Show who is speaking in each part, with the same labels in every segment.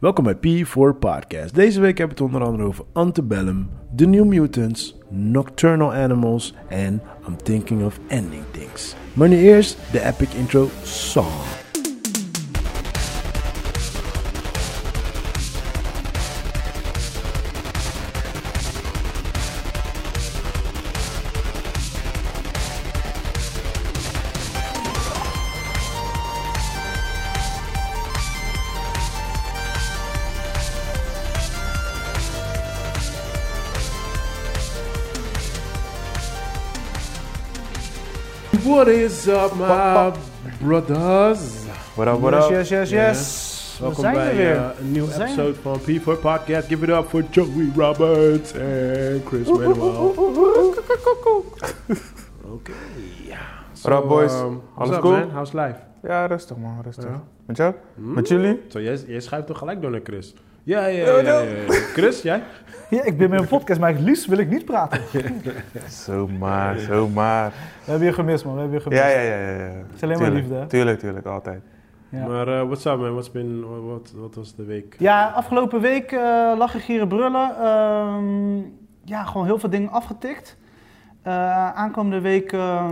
Speaker 1: Welkom bij P4 Podcast. Deze week hebben we het onder andere over Antebellum, The New Mutants, Nocturnal Animals en I'm Thinking of Ending Things. Maar nu eerst de epic intro song. What is up, my brothers?
Speaker 2: What up, what
Speaker 1: Yes,
Speaker 2: up?
Speaker 1: yes, yes, yes.
Speaker 2: Yeah.
Speaker 1: Welkom
Speaker 2: zijn
Speaker 1: bij
Speaker 2: er weer.
Speaker 1: eh, een nieuw
Speaker 2: We zijn er.
Speaker 1: episode van P4 Podcast. Give it up for Joey Roberts en Chris Manuel. Oké. So,
Speaker 2: up, boys?
Speaker 1: um,
Speaker 2: Alles
Speaker 1: what's up,
Speaker 2: cool?
Speaker 1: man? How's life?
Speaker 2: Ja, rustig man, rustig.
Speaker 1: Ja.
Speaker 2: Met jou? Met jullie?
Speaker 1: Zo, jij, jij schuift toch gelijk door naar Chris? Ja, ja, ja. ja, ja. Chris, jij?
Speaker 3: Ja, ik ben met een podcast, maar het liefst wil ik niet praten. We
Speaker 2: Zomaar, zomaar.
Speaker 3: hebben je gemist, man. We hebben je gemist.
Speaker 2: Ja, ja, ja. ja, ja.
Speaker 3: is alleen maar
Speaker 2: Tuurlijk,
Speaker 3: liefde, hè?
Speaker 2: Tuurlijk, tuurlijk, altijd.
Speaker 3: Ja.
Speaker 1: Maar eh, what's up, man? What's been, what, what, what was de week?
Speaker 3: Ja, afgelopen week eh lachen, gieren, brullen. Ehm, ja, gewoon heel veel dingen afgetikt. Eh, aankomende week eh,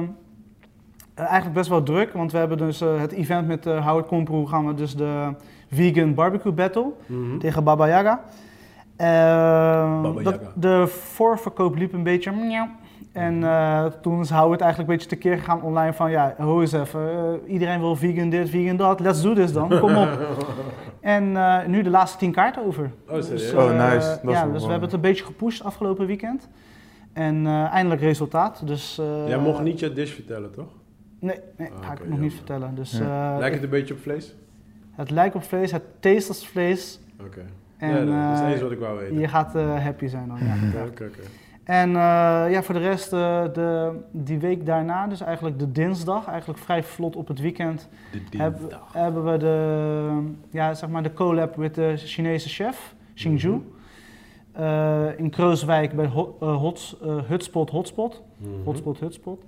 Speaker 3: eigenlijk best wel druk, want we hebben dus eh, het event met eh, Howard Komproe gaan we dus de Vegan Barbecue Battle
Speaker 1: Mhm.
Speaker 3: tegen Baba Yaga. Ehm,
Speaker 1: Baba
Speaker 3: dat-
Speaker 1: Yaga. Mhm.
Speaker 3: de voorverkoop liep een beetje. miauw. En eh, toen is Howard eigenlijk een beetje tekeer gegaan online van ja, hoe eens even, eh, iedereen wil vegan dit, vegan dat, let's do this dan, kom op. en eh, nu de laatste tien kaarten over.
Speaker 1: Oh, serieus?
Speaker 2: Oh,
Speaker 3: eh,
Speaker 2: nice. Dat is wel
Speaker 3: ja,
Speaker 2: mooi.
Speaker 3: dus we hebben het een beetje gepusht afgelopen weekend. En eh, eindelijk resultaat, dus... eh,
Speaker 1: jij mocht niet je dish vertellen, toch?
Speaker 3: Nee, nee
Speaker 1: Ah,
Speaker 3: ga ik
Speaker 1: oké,
Speaker 3: nog niet
Speaker 1: jammer.
Speaker 3: vertellen. Dus, eh,
Speaker 1: Lijkt het een beetje op vlees?
Speaker 3: het lijkt op vlees, het taste als vlees.
Speaker 1: Oké.
Speaker 3: En
Speaker 1: ja, dat is
Speaker 3: eh,
Speaker 1: eens wat ik wou weten.
Speaker 3: je gaat eh, happy zijn dan, ja.
Speaker 1: Oké, oké, oké.
Speaker 3: En eh, ja, voor de rest, eh, de, die week daarna, dus eigenlijk de dinsdag, eigenlijk vrij vlot op het weekend,
Speaker 1: De
Speaker 3: heb-
Speaker 1: dinsdag.
Speaker 3: hebben we de, ja, zeg maar de collab met de Chinese chef, Xingju.
Speaker 1: Mhm.
Speaker 3: Eh, in Kreuzwijk bij Ho- eh, Hots- eh, Hutspot Hotspot.
Speaker 1: Mhm.
Speaker 3: Hotspot Hutspot.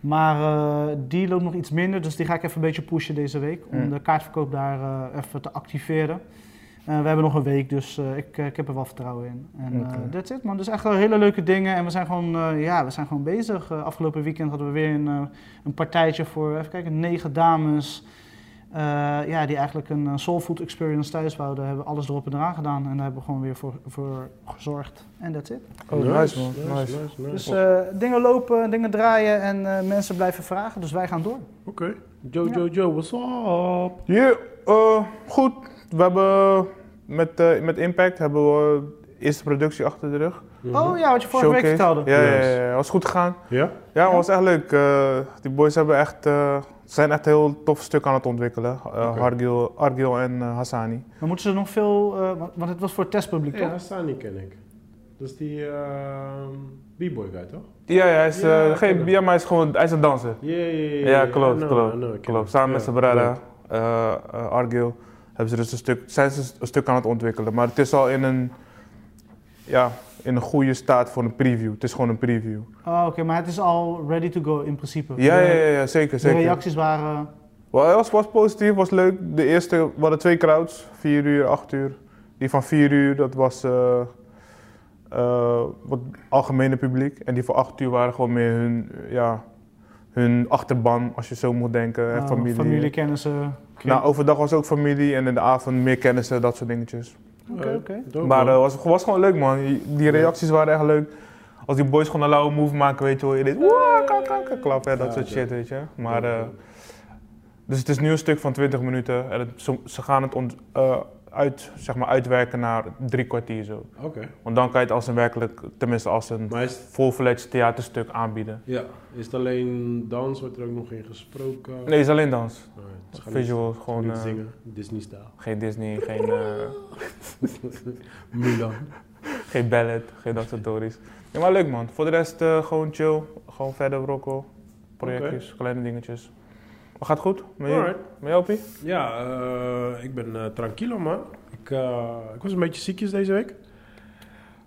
Speaker 3: Maar eh, die loopt nog iets minder, dus die ga ik even een beetje pushen deze week. Om
Speaker 2: Mm.
Speaker 3: de kaartverkoop daar eh, even te activeren. Eh, we hebben nog een week, dus eh, ik, eh, ik heb er wel vertrouwen in. En eh,
Speaker 2: Oké.
Speaker 3: that's it man. Dus echt wel hele leuke dingen. En we zijn gewoon, eh, ja, we zijn gewoon bezig. Eh, afgelopen weekend hadden we weer een, eh, een partijtje voor, even kijken, negen dames. eh, ja, die eigenlijk een eh, soul food experience thuis wouden. Hebben alles erop en eraan gedaan. En daar hebben we gewoon weer voor, voor gezorgd. En that's it.
Speaker 2: Oh, nice, man. Nice.
Speaker 1: nice, nice.
Speaker 3: Dus eh, dingen lopen, dingen draaien en eh, mensen blijven vragen, dus wij gaan door.
Speaker 1: Oké. Joe, Joe, Joe, what's up?
Speaker 2: Hier, eh, goed. We hebben met, eh, met Impact hebben we de eerste productie achter de rug.
Speaker 1: Mhm.
Speaker 3: Oh ja, wat je vorige week
Speaker 2: Showcase.
Speaker 3: vertelde.
Speaker 2: Ja, ja,
Speaker 1: Yes.
Speaker 2: ja, ja. Was goed gegaan.
Speaker 1: Ja?
Speaker 2: Ja, maar was echt leuk. Eh, die boys hebben echt, eh, zijn echt een heel tof stuk aan het ontwikkelen. Eh
Speaker 1: Oké.
Speaker 2: Hargil, Argil en eh, Hassani.
Speaker 3: Maar moeten ze nog veel, eh, want, want het was voor het testpubliek
Speaker 1: Ja,
Speaker 3: toch?
Speaker 1: Hassani ken ik. Dat is die ehm B-boy guy, toch?
Speaker 2: Ja, ja, hij is,
Speaker 1: Ja,
Speaker 2: eh,
Speaker 1: ik ken
Speaker 2: geen,
Speaker 1: hem.
Speaker 2: ja, maar hij is gewoon hij is een danser.
Speaker 1: Ja, ja, ja, ja.
Speaker 2: Ja,
Speaker 1: I
Speaker 2: klopt,
Speaker 1: know,
Speaker 2: klopt,
Speaker 1: I know, ik ken
Speaker 2: Klopt,
Speaker 1: hem.
Speaker 2: samen
Speaker 1: Ja,
Speaker 2: met zijn brada,
Speaker 1: leuk.
Speaker 2: eh, eh, Argil, hebben ze dus een stuk, zijn ze een stuk aan het ontwikkelen. Maar het is al in een, ja, in een goede staat voor een preview. Het is gewoon een preview.
Speaker 3: Oh, Oké, maar het is al ready to go in principe.
Speaker 2: Ja,
Speaker 3: De-
Speaker 2: ja, ja, ja, zeker,
Speaker 3: De
Speaker 2: zeker.
Speaker 3: reacties waren,
Speaker 2: Wel, het was, was positief, was leuk. De eerste, we hadden twee crowds, 4 uur, 8 uur. Die van 4 uur, dat was eh, eh, wat algemene publiek. En die van 8 uur waren gewoon meer hun, ja, hun achterban, als je zo moet denken. En
Speaker 3: eh,
Speaker 2: Ah, familie.
Speaker 3: kennissen. Oké,
Speaker 2: Nou, overdag was ook familie en in de avond meer kennissen, dat soort
Speaker 1: Oh,
Speaker 2: dingetjes.
Speaker 3: oké, oké.
Speaker 1: Dope,
Speaker 2: maar eh,
Speaker 1: man.
Speaker 2: het was, was gewoon leuk, man. Die- Die reacties waren echt leuk. Als die boys gewoon een lauwe move maken, weet je wel. Je deed, "Woah, kan, kan, kan," klappen, hè, dat
Speaker 1: Ja,
Speaker 2: soort
Speaker 1: ja.
Speaker 2: shit, weet je. Maar,
Speaker 1: Ja,
Speaker 2: eh, dus het is nu een stuk van 20 minuten. En het- ze, ze gaan het ont- eh, uit, zeg maar uitwerken naar drie kwartier zo.
Speaker 1: Oké.
Speaker 2: Want dan kan je het als een werkelijk, tenminste als een
Speaker 1: Maar is,
Speaker 2: full-fledged theaterstuk aanbieden.
Speaker 1: ja, is het alleen dans? Wordt er ook nog in gesproken?
Speaker 2: Nee, het is alleen dans.
Speaker 1: Alright, ze gaan niet-
Speaker 2: Visuals,
Speaker 1: ze gaan
Speaker 2: gewoon
Speaker 1: niet
Speaker 2: eh,
Speaker 1: zingen, Disney-stijl.
Speaker 2: geen Disney, geen... eh,
Speaker 1: Mulan.
Speaker 2: Geen ballet, geen dat soort dories. Ja, maar leuk man. Voor de rest eh, gewoon chill. Gewoon verder rocken. Projectjes, kleine dingetjes. Maar gaat goed? Met je-
Speaker 1: Alright.
Speaker 2: met jou, Pie?
Speaker 1: Ja, eh, ik ben eh, tranquilo, man. Ik, eh, ik was een beetje ziekjes deze week.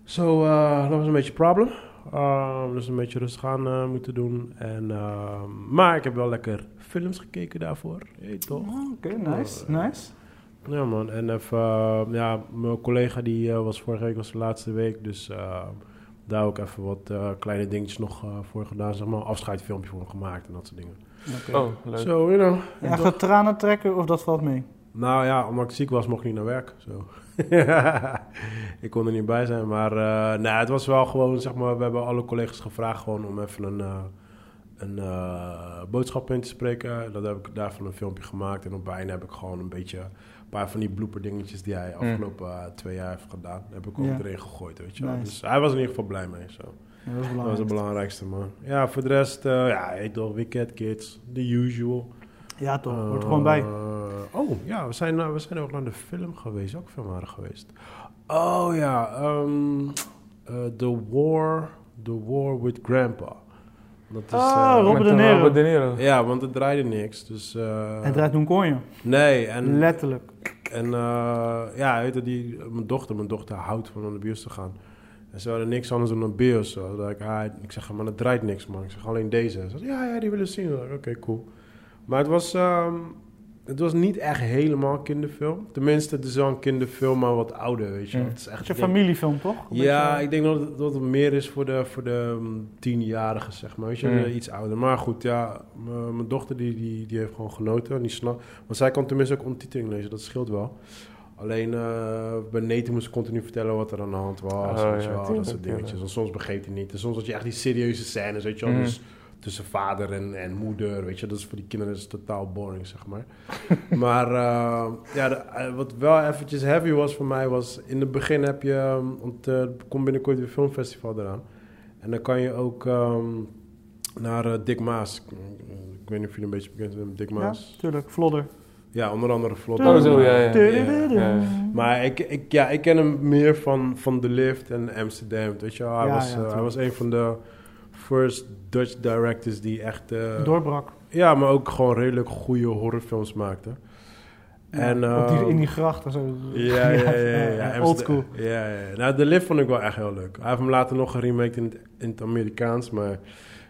Speaker 1: Zo, eh, dat was een beetje een probleem. Ehm, dus een beetje rustig aan eh, moeten doen. En, ehm, maar ik heb wel lekker films gekeken daarvoor. Hey, toch?
Speaker 3: Ah, Oké, nice,
Speaker 1: Eh,
Speaker 3: nice.
Speaker 1: Ja man, en even, eh, ja, mijn collega die eh, was vorige week was de laatste week, dus eh, daar ook even wat eh, kleine dingetjes nog eh, voor gedaan, zeg maar, afscheidfilmpje voor hem gemaakt en dat soort dingen.
Speaker 2: Oh, leuk.
Speaker 1: Zo, you know.
Speaker 3: Ja, echt dat tranen trekken of dat valt mee?
Speaker 1: Nou ja, omdat ik ziek was, mocht ik niet naar werk. Zo. ik kon er niet bij zijn, maar eh, nou, het was wel gewoon, zeg maar, we hebben alle collega's gevraagd gewoon om even een, eh, een eh, boodschap in te spreken. Dat heb ik daarvan een filmpje gemaakt en op bijna heb ik gewoon een beetje, een paar van die blooper dingetjes die hij afgelopen eh, twee jaar heeft gedaan, heb ik ook
Speaker 3: Ja.
Speaker 1: erin gegooid, weet je wel.
Speaker 3: Nice.
Speaker 1: Dus hij was in ieder geval blij mee, zo.
Speaker 3: Ja, dat
Speaker 1: Dat
Speaker 3: is
Speaker 1: was
Speaker 3: belangrijk.
Speaker 1: het belangrijkste, man. Ja, voor de rest, eh, ja, ik toch, Wicked Kids, the usual.
Speaker 3: Ja, toch. Hoort er
Speaker 1: Eh,
Speaker 3: gewoon bij.
Speaker 1: Oh ja, we zijn, eh, we zijn ook naar de film geweest, ook filmaren geweest. Oh ja, ehm, eh, The War, The War with Grandpa. Dat is,
Speaker 3: Ah,
Speaker 1: eh,
Speaker 3: Robert
Speaker 2: Met,
Speaker 3: De
Speaker 2: eh,
Speaker 3: Niro.
Speaker 2: Robert De Niro.
Speaker 1: Ja, want het draaide niks. Dus, eh,
Speaker 3: Het draait doen kon je.
Speaker 1: Nee, en,
Speaker 3: Letterlijk.
Speaker 1: en eh, ja, weet je, die, mijn dochter, mijn dochter houdt van naar de bios te gaan. En ze hadden niks anders dan een bios. Zo. Dat ik, ah, ik zeg, maar dat draait niks, man. Ik zeg, alleen deze. Ze zei, ja, ja, die willen zien. Ik dacht, Oké, cool. Maar het was, ehm, het was niet echt helemaal kinderfilm. Tenminste, het is wel een kinderfilm, maar wat ouder, weet je. wel.
Speaker 2: Mm.
Speaker 1: Het is echt
Speaker 3: Het is een
Speaker 1: ik denk-
Speaker 3: familiefilm, toch? Een
Speaker 2: eh,
Speaker 1: ja,
Speaker 3: beetje-
Speaker 1: ik denk dat het, dat het meer is voor de, voor de mm, tienjarigen, zeg maar. Weet je,
Speaker 2: Mm.
Speaker 1: eh, iets ouder. Maar goed, ja, m- eh, mijn dochter die, die, die heeft gewoon genoten. En die snapt. Want zij kan tenminste ook ondertiteling lezen, dat scheelt wel. Alleen eh bij Nathan moest ik continu vertellen wat er aan de hand was.
Speaker 2: Oh,
Speaker 1: weet je
Speaker 2: ja,
Speaker 1: wel, dat
Speaker 2: tuurlijk,
Speaker 1: soort dingetjes.
Speaker 2: tuurlijk.
Speaker 1: En soms begreep hij niet. En soms had je echt die serieuze scènes, weet je wel.
Speaker 2: Mm.
Speaker 1: Dus tussen vader en, en moeder, weet je. Dat is voor die kinderen is het totaal boring, zeg maar. Maar eh, ja, de- eh, wat wel eventjes heavy was voor mij was... In het begin heb je... ehm, Want eh, er komt binnenkort weer filmfestival eraan. En dan kan je ook ehm, naar eh, Dick Maas. Ik, ik weet niet of jullie een beetje bekend zijn met Dick Maas.
Speaker 3: eh, Ja, tuurlijk. Vlodder.
Speaker 1: Ja, onder andere Vlot.
Speaker 3: Oh,
Speaker 2: zo, ja, ja.
Speaker 3: Tudududu.
Speaker 2: Ja, ja.
Speaker 1: Maar ik, ik, ja, ik ken hem meer van, van The Lift en Amsterdam. Weet je wel? Hij,
Speaker 3: Ja,
Speaker 1: was,
Speaker 3: ja,
Speaker 1: eh, hij
Speaker 3: tuurlijk.
Speaker 1: was een van de first Dutch directors die echt... eh,
Speaker 3: Doorbrak.
Speaker 1: Ja, maar ook gewoon redelijk goede horrorfilms maakte. En,
Speaker 3: Op die,
Speaker 1: ehm,
Speaker 3: in die grachten zo.
Speaker 1: Ja, ja, ja. ja,
Speaker 3: ja,
Speaker 1: ja.
Speaker 3: Old school.
Speaker 1: Ja, ja. ja. Nou, The Lift vond ik wel echt heel leuk. Hij heeft hem later nog geremaked in het, in het Amerikaans, maar die,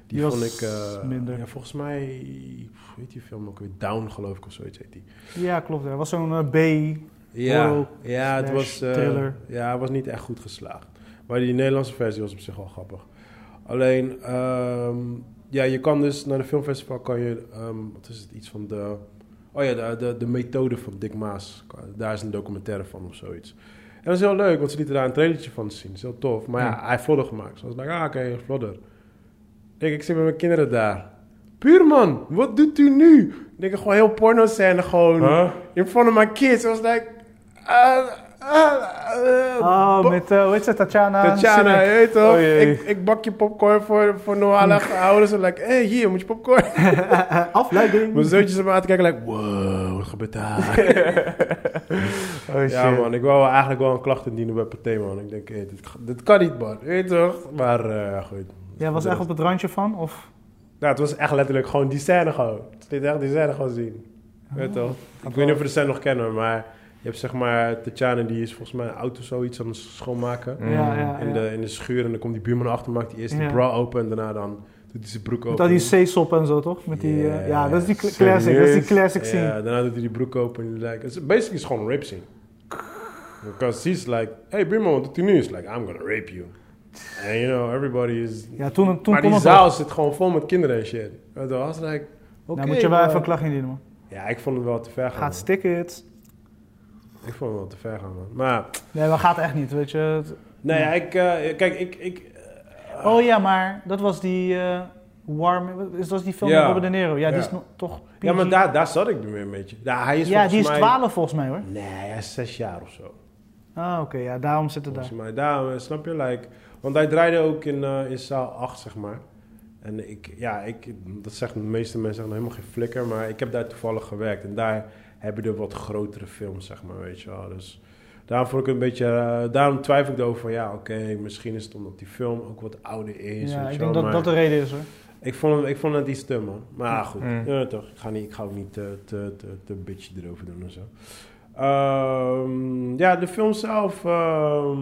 Speaker 3: Die was
Speaker 1: vond ik... eh,
Speaker 3: minder.
Speaker 1: Ja, volgens mij, hoe heet die film ook weer? Down, geloof ik, of zoiets heet die.
Speaker 3: Ja, klopt. ja. Er was zo'n eh, B.
Speaker 1: Ja,
Speaker 3: Horror
Speaker 1: ja, het
Speaker 3: slash
Speaker 1: was, eh,
Speaker 3: thriller.
Speaker 1: ja, het was niet echt goed geslaagd. Maar die Nederlandse versie was op zich wel grappig. Alleen, ehm, ja, je kan dus naar de filmfestival kan je, ehm, wat is het, iets van de, oh ja, de, de, de methode van Dick Maas. Daar is een documentaire van of zoiets. En dat is heel leuk, want ze lieten daar een trailertje van zien. Dat is heel tof. Maar ja,
Speaker 2: Ja.
Speaker 1: hij heeft vlodder gemaakt. Zoals ik dacht, ah, oké, vlodder. Ik, ik zit met mijn kinderen daar. Buurman, wat doet u nu? Ik denk gewoon heel porno scène gewoon
Speaker 2: Huh?
Speaker 1: in front of my kids. I was like, uh, uh, uh,
Speaker 3: Oh,
Speaker 1: ba-
Speaker 3: met, eh, hoe heet ze? Tatjana.
Speaker 1: Tatjana,
Speaker 3: Sinek.
Speaker 1: je weet toch?
Speaker 2: Oh, jee. Mm.
Speaker 1: ik, ik bak je popcorn voor, voor Noala. Ouders zijn like, hé, hey, hier, moet je popcorn?
Speaker 3: Afleiding.
Speaker 1: Mijn zoontjes zijn me aan te kijken, like, wow, wat gebeurt daar?
Speaker 2: Oh shit.
Speaker 1: ja man, ik wou wel eigenlijk wel een klacht indienen bij Pathé, man. Ik denk, hey, dit, dit kan niet, man. Je Weet toch? Maar eh, goed.
Speaker 3: Jij was echt op het randje van? Of?
Speaker 1: Nou, het was echt letterlijk gewoon die scène gewoon. Het liet echt die scène gewoon zien.
Speaker 3: Oh.
Speaker 1: Weet toch? Ik weet niet of we de scène nog kennen, maar je hebt zeg maar Tatjana die is volgens mij een auto zoiets aan het schoonmaken.
Speaker 2: Mm.
Speaker 3: Ja, ja.
Speaker 1: In,
Speaker 3: ja.
Speaker 1: de, in de schuur en dan komt die buurman achter, maakt die eerst die
Speaker 3: Ja.
Speaker 1: bra open en daarna dan doet hij zijn broek open.
Speaker 3: Met al die C-sop en zo, toch? Met die,
Speaker 1: Ja,
Speaker 3: eh, ja, dat is die cl-
Speaker 2: serieus?
Speaker 3: classic. Dat is die classic
Speaker 1: Ja,
Speaker 3: scene.
Speaker 1: daarna doet hij die broek open en die like, it's, basically is gewoon een rape scene. Because he's like, hey buurman, wat doet hij nu? He's like, I'm gonna rape you. And you know, everybody is...
Speaker 3: Ja, toen, toen
Speaker 1: maar
Speaker 3: kon
Speaker 1: die
Speaker 3: het
Speaker 1: zaal
Speaker 3: wel.
Speaker 1: zit gewoon vol met kinderen en shit. Weet je wel? I was like, oké.
Speaker 3: nou, moet je wel
Speaker 1: maar-
Speaker 3: even een klacht indienen, man.
Speaker 1: Ja, ik vond het wel te ver gaan.
Speaker 3: Gaat
Speaker 1: man.
Speaker 3: stikken het.
Speaker 1: Ik vond het wel te ver gaan, man. Maar,
Speaker 3: Nee, maar gaat echt niet, weet je. Het-
Speaker 1: nee, ja, ik... eh, kijk, ik... ik
Speaker 3: Oh ja, maar dat was die eh, Warm... Is dat was die film
Speaker 1: Ja.
Speaker 3: met Robert De Niro? Ja, die
Speaker 1: Ja.
Speaker 3: is nog, toch PG.
Speaker 1: ja, maar daar, daar zat ik nu weer een beetje. Ja, hij is
Speaker 3: Ja, die is
Speaker 1: volgens mij-
Speaker 3: 12 volgens mij, hoor.
Speaker 1: Nee, hij is zes jaar of zo.
Speaker 3: Ah, oké. ja, daarom zit het daar.
Speaker 1: Volgens mij. Daarom, eh, snap je? Like, want hij draaide ook in, eh, in zaal 8, zeg maar. En ik, ja, ik, dat zeggen de meeste mensen zeggen helemaal geen flikker. Maar ik heb daar toevallig gewerkt. En daar heb je de wat grotere films, zeg maar, weet je wel. Dus daarom vond ik het een beetje... eh, daarom twijfel ik erover van, ja, oké, misschien is het omdat die film ook wat ouder is.
Speaker 3: Ja,
Speaker 1: weet je
Speaker 3: ik denk
Speaker 1: wel,
Speaker 3: dat
Speaker 1: maar-
Speaker 3: dat de reden is, hoor.
Speaker 1: Ik vond, het- ik vond het iets te, man. Maar ja, goed,
Speaker 2: Mm.
Speaker 1: ja, toch. Ik ga, niet, ik ga ook niet te, te, te, te bitchy erover doen en zo. Ehm, ja, de film zelf... ehm,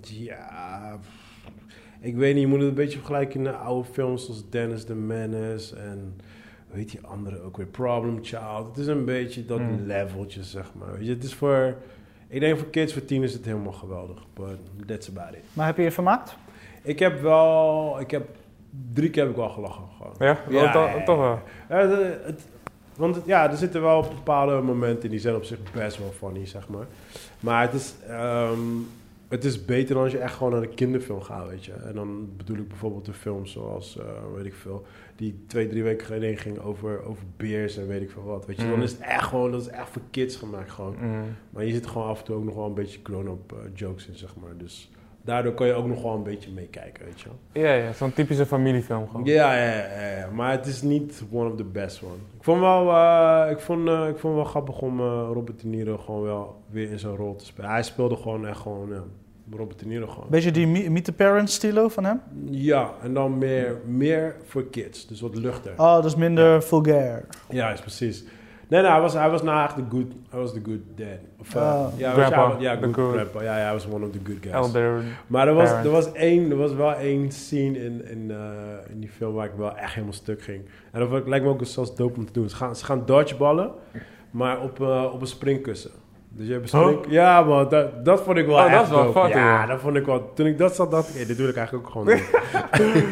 Speaker 1: ja... pff, Ik weet niet, je moet het een beetje vergelijken in de oude films zoals Dennis the Menace en... weet die andere ook weer, Problem Child. Het is een beetje dat
Speaker 2: Mm.
Speaker 1: leveltje, zeg maar. Weet je, het is voor, ik denk voor kids, voor tien is het helemaal geweldig. But that's about it.
Speaker 3: Maar heb je je vermaakt?
Speaker 1: Oh. Ik heb wel, ik heb, drie keer heb ik wel gelachen gewoon.
Speaker 2: Ja,
Speaker 1: Ja,
Speaker 2: dat- dat-
Speaker 1: ja, ja.
Speaker 2: toch wel.
Speaker 1: Ja, het, het- want het- ja, er zitten wel bepaalde momenten die zijn op zich best wel funny, zeg maar. Maar het is, ehm, het is beter dan als je echt gewoon naar een kinderfilm gaat, weet je. En dan bedoel ik bijvoorbeeld de films zoals, eh, weet ik veel, die twee, drie weken geleden ging over, over beers en weet ik veel wat, weet je. Dan
Speaker 2: Mm.
Speaker 1: is het echt gewoon, dat is echt voor kids gemaakt gewoon.
Speaker 2: Mm.
Speaker 1: Maar je zit gewoon af en toe ook nog wel een beetje grown-up eh, jokes in, zeg maar. Dus daardoor kan je ook nog wel een beetje meekijken, weet je wel.
Speaker 2: Ja, ja, zo'n typische familiefilm gewoon.
Speaker 1: Ja, ja, ja, ja, maar het is niet one of the best one. Ik vond wel, eh, ik vond, eh, ik vond wel grappig om eh, Robert De Niro gewoon wel weer in zijn rol te spelen. Hij speelde gewoon echt gewoon ja, Robert De Niro gewoon.
Speaker 3: Beetje die me- Meet the Parents stilo van hem?
Speaker 1: Ja, en dan meer, meer voor kids, dus wat luchter.
Speaker 3: Oh, dat is minder vulgair.
Speaker 1: Ja, is precies. Nee, nee, hij was, hij was nou echt de good, hij was the good dad. Of, eh,
Speaker 3: Oh.
Speaker 1: ja, weet je,
Speaker 2: Grandpa.
Speaker 1: hij was- ja,
Speaker 2: The
Speaker 1: good
Speaker 2: good.
Speaker 1: grandpa. Ja, ja, hij was one of the good guys.
Speaker 2: Elder.
Speaker 1: Maar er was,
Speaker 2: Parent.
Speaker 1: er, was één, er was wel één scene in, in, eh, in die film waar ik wel echt helemaal stuk ging. En dat vond ik- lijkt me ook zelfs dope om te doen. Ze gaan, ze gaan dodgeballen, maar op, eh, op een springkussen. Dus je hebt een spring... Ja, man, dat, dat vond ik wel
Speaker 2: Oh, dat
Speaker 1: echt
Speaker 2: is wel
Speaker 1: dope.
Speaker 2: fucking
Speaker 1: Ja,
Speaker 2: dope.
Speaker 1: dat vond ik wel... Toen ik dat zat, dacht ik, hé, dit wil ik eigenlijk ook gewoon doen.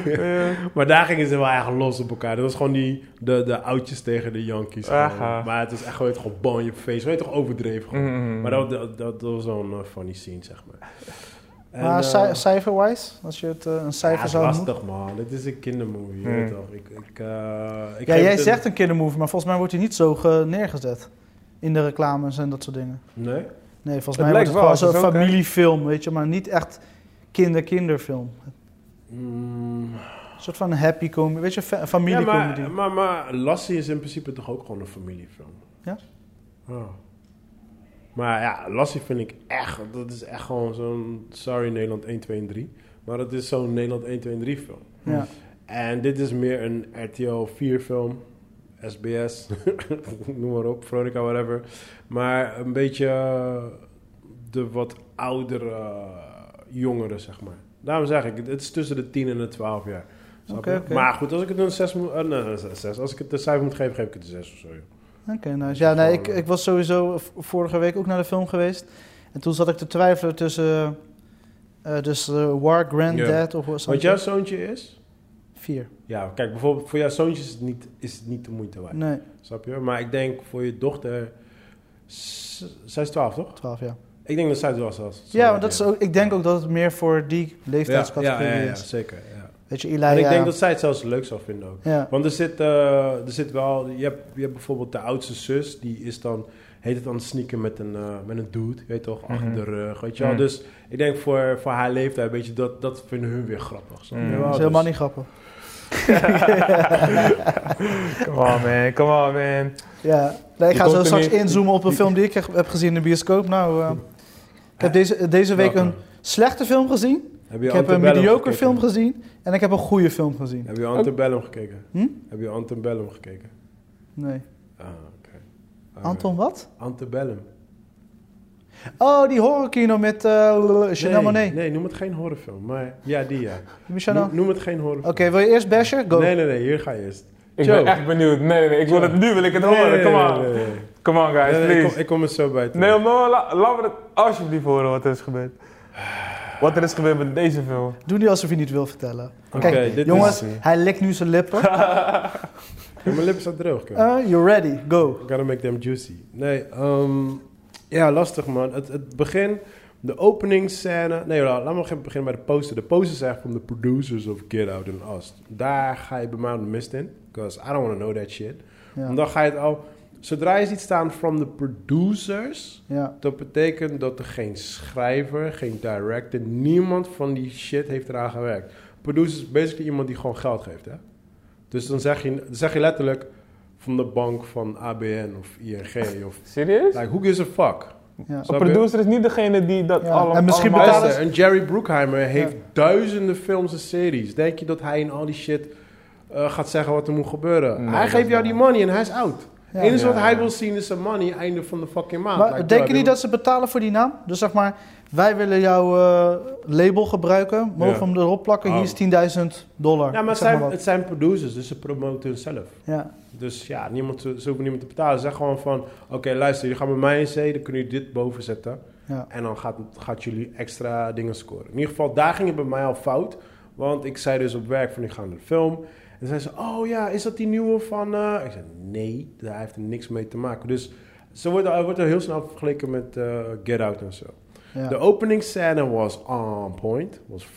Speaker 1: maar daar gingen ze wel echt los op elkaar. Dat was gewoon die, de, de oudjes tegen de Yankees. gewoon.
Speaker 2: Aha.
Speaker 1: Maar het was echt gewoon, gewoon bal in je face. Weet je, toch overdreven gewoon.
Speaker 2: Mm.
Speaker 1: Maar dat, dat, dat, dat was zo'n eh, funny scene, zeg maar. En,
Speaker 3: maar
Speaker 1: eh,
Speaker 3: ci- cijfer-wise, als je het eh, een
Speaker 1: ja,
Speaker 3: cijfer
Speaker 1: het is
Speaker 3: zou moeten...
Speaker 1: lastig, man. Dit is een kindermovie, je
Speaker 2: Hmm.
Speaker 1: weet toch? Ik, ik, eh, ik
Speaker 3: Ja,
Speaker 1: geef
Speaker 3: jij
Speaker 1: het een-
Speaker 3: zegt een kindermovie, maar volgens mij wordt hij niet zo ge- neergezet. In de reclames en dat soort dingen.
Speaker 1: Nee?
Speaker 3: Nee, volgens
Speaker 2: Het
Speaker 3: mij wordt
Speaker 2: lijkt
Speaker 3: het
Speaker 2: wel,
Speaker 3: gewoon zo'n
Speaker 2: het is ook, hè?
Speaker 3: familiefilm, weet je. Maar niet echt kinder-kinderfilm.
Speaker 1: Mm.
Speaker 3: Een soort van happy comedy, weet je, fa-
Speaker 1: Ja,
Speaker 3: familiecomedy.
Speaker 1: maar, maar, maar Lassie is in principe toch ook gewoon een familiefilm?
Speaker 3: Ja.
Speaker 1: Ah. Maar ja, Lassie vind ik echt... Dat is echt gewoon zo'n... Sorry, Nederland 1, 2 en 3. Maar dat is zo'n Nederland 1, 2 en 3 film.
Speaker 3: Ja.
Speaker 1: En dit is meer een RTL 4 film. SBS, noem maar op, Veronica, whatever. Maar een beetje eh, de wat oudere eh, jongeren, zeg maar. Daarom zeg ik, het het is tussen de 10 en de 12 jaar. Snap
Speaker 3: Oké,
Speaker 1: je?
Speaker 3: oké.
Speaker 1: Maar goed, als ik het een 6 moet... eh, nee, nee, zes- zes. Als ik het een cijfer moet geven, geef ik het een 6 of zo. joh.
Speaker 3: Oké, nice. Ja, nee, ik, ik was sowieso v- vorige week ook naar de film geweest. En toen zat ik te twijfelen tussen... eh, eh, dus eh, War Granddad of zoiets.
Speaker 1: Want jouw zoontje is...
Speaker 3: Vier.
Speaker 1: Ja, kijk, bijvoorbeeld voor jouw zoontje is het niet, is het niet de moeite waard.
Speaker 3: Nee,
Speaker 1: Snap je? Maar ik denk voor je dochter... s- Zij is 12, toch?
Speaker 3: twaalf, ja.
Speaker 1: Ik denk dat zij 12 zelfs.
Speaker 3: Ja, maar dat is ook, ik denk ook dat het meer voor die leeftijdscategorie
Speaker 1: ja, ja, ja,
Speaker 3: is.
Speaker 1: zeker. Ja.
Speaker 3: Weet je,
Speaker 1: en
Speaker 3: Eli,
Speaker 1: ik
Speaker 3: Nou ja.
Speaker 1: denk dat zij het zelfs leuk zou vinden ook.
Speaker 3: ja.
Speaker 1: Want er zit, eh, er zit wel... Je hebt, je hebt bijvoorbeeld de oudste zus. Die is dan... Heet het aan het sneaken met een, eh, met een dude. Je weet toch? Achter
Speaker 2: Mhm.
Speaker 1: de rug. Weet je wel?
Speaker 2: Mm.
Speaker 1: Dus ik denk voor, voor haar leeftijd... Weet je, dat, dat vinden hun weer grappig. snap je
Speaker 2: Mm.
Speaker 1: wel?
Speaker 3: Dat is
Speaker 1: Dus-
Speaker 3: helemaal niet grappig.
Speaker 2: Come on man, come on man.
Speaker 3: Ja, nee, ik
Speaker 2: Je
Speaker 3: ga
Speaker 2: komt
Speaker 3: zo
Speaker 2: er
Speaker 3: straks
Speaker 2: niet-
Speaker 3: inzoomen op een film die ik heb heb gezien in de bioscoop. Nou, eh, ik heb deze, deze week
Speaker 1: Welke?
Speaker 3: een slechte film gezien.
Speaker 1: Heb
Speaker 3: Ik heb een
Speaker 1: Antebellum
Speaker 3: mediocre
Speaker 1: gekeken?
Speaker 3: film gezien. En ik heb een goede film gezien.
Speaker 1: Heb je Antebellum gekeken?
Speaker 3: Hm?
Speaker 1: Heb je Antebellum gekeken?
Speaker 3: Nee.
Speaker 1: Ah, oké. Ah,
Speaker 3: Anton wat?
Speaker 1: Antebellum.
Speaker 3: Oh, die horrorkino met eh Chanel
Speaker 1: nee,
Speaker 3: Monet.
Speaker 1: nee, noem het geen horrorfilm. Maar ja, die ja.
Speaker 3: Chanel.
Speaker 1: Noem,
Speaker 3: nou- Oké,
Speaker 1: noem het geen horrorfilm.
Speaker 3: wil je eerst Basher? Go.
Speaker 1: Nee, nee, nee, hier ga je eerst.
Speaker 2: Ik
Speaker 1: Joe.
Speaker 2: ben echt benieuwd. Nee, nee, nee, ik wil het nu, wil ik het horen. Come on.
Speaker 1: nee, nee, nee.
Speaker 2: Come on guys,
Speaker 1: Nee, nee, ik, kom,
Speaker 2: please.
Speaker 1: ik kom er zo bij terug.
Speaker 2: Nee, maar la- laat me het alsjeblieft horen wat er is gebeurd. Wat er is gebeurd met deze film.
Speaker 3: Doe niet alsof je niet wil vertellen.
Speaker 1: Oké,
Speaker 3: Kijk,
Speaker 1: dit
Speaker 3: jongens,
Speaker 1: is-
Speaker 3: hij likt nu zijn lippen.
Speaker 1: Ja, mijn lippen staan droog. kijk.
Speaker 3: Eh, you're ready, go.
Speaker 1: Gotta make them juicy. Nee, ehm, ja, lastig man. Het, het begin, de openingsscène. Nee, la- laat maar beginnen bij de poster. De poster is echt van de producers of Get Out and Us. Daar ga je bij mij de mist in. Because I don't want to know that shit.
Speaker 3: Ja.
Speaker 1: En dan ga je het al... Zodra je ziet staan from the producers...
Speaker 3: Ja.
Speaker 1: Dat betekent dat er geen schrijver, geen director, niemand van die shit heeft eraan gewerkt. Producer is basically iemand die gewoon geld geeft, hè? Dus dan zeg je, dan zeg je letterlijk van de bank van ABN of ING of...
Speaker 2: Serieus?
Speaker 1: Like, who gives a fuck?
Speaker 3: Ja.
Speaker 2: Een
Speaker 1: Snap je?
Speaker 2: producer is niet degene die dat
Speaker 3: Ja,
Speaker 2: allem- allemaal...
Speaker 3: en misschien betalen
Speaker 1: Luister, en Jerry Bruckheimer heeft duizenden films en series. Denk je dat hij in al die shit eh, gaat zeggen wat er moet gebeuren?
Speaker 2: Nee,
Speaker 1: hij
Speaker 2: dat
Speaker 1: geeft
Speaker 2: is
Speaker 1: jou
Speaker 2: waar.
Speaker 1: die money en hij is oud.
Speaker 3: Ja.
Speaker 1: Het enige wat
Speaker 2: Ja.
Speaker 1: hij wil zien is zijn money einde van de fucking maand.
Speaker 3: Maar
Speaker 1: Like,
Speaker 3: denk
Speaker 1: bro,
Speaker 3: je niet
Speaker 1: dit-
Speaker 3: dat ze betalen voor die naam? Dus zeg maar, wij willen jouw eh, label gebruiken, mogen
Speaker 2: Ja.
Speaker 3: we hem erop plakken,
Speaker 1: Oh.
Speaker 3: hier is 10.000 dollar.
Speaker 1: Ja, maar het
Speaker 3: Zeg
Speaker 1: zijn,
Speaker 3: wat.
Speaker 1: het zijn producers, dus ze promoten hunzelf.
Speaker 3: ja.
Speaker 1: Dus ja, niemand, ze hoeven niemand te betalen. Ze zeggen gewoon van, oké luister, jullie gaan met mij in zee, dan kunnen jullie dit boven zetten.
Speaker 3: Ja.
Speaker 1: En dan gaat, gaat jullie extra dingen scoren. In ieder geval, daar ging het bij mij al fout. Want ik zei dus op werk van, ik ga naar de film. En zei ze, oh ja, is dat die nieuwe van... eh?" Ik zei, nee, daar heeft er niks mee te maken. Dus ze wordt, hij wordt er heel snel vergeleken met eh, Get Out en zo.
Speaker 3: Ja.
Speaker 1: De openingsscène was on point. Was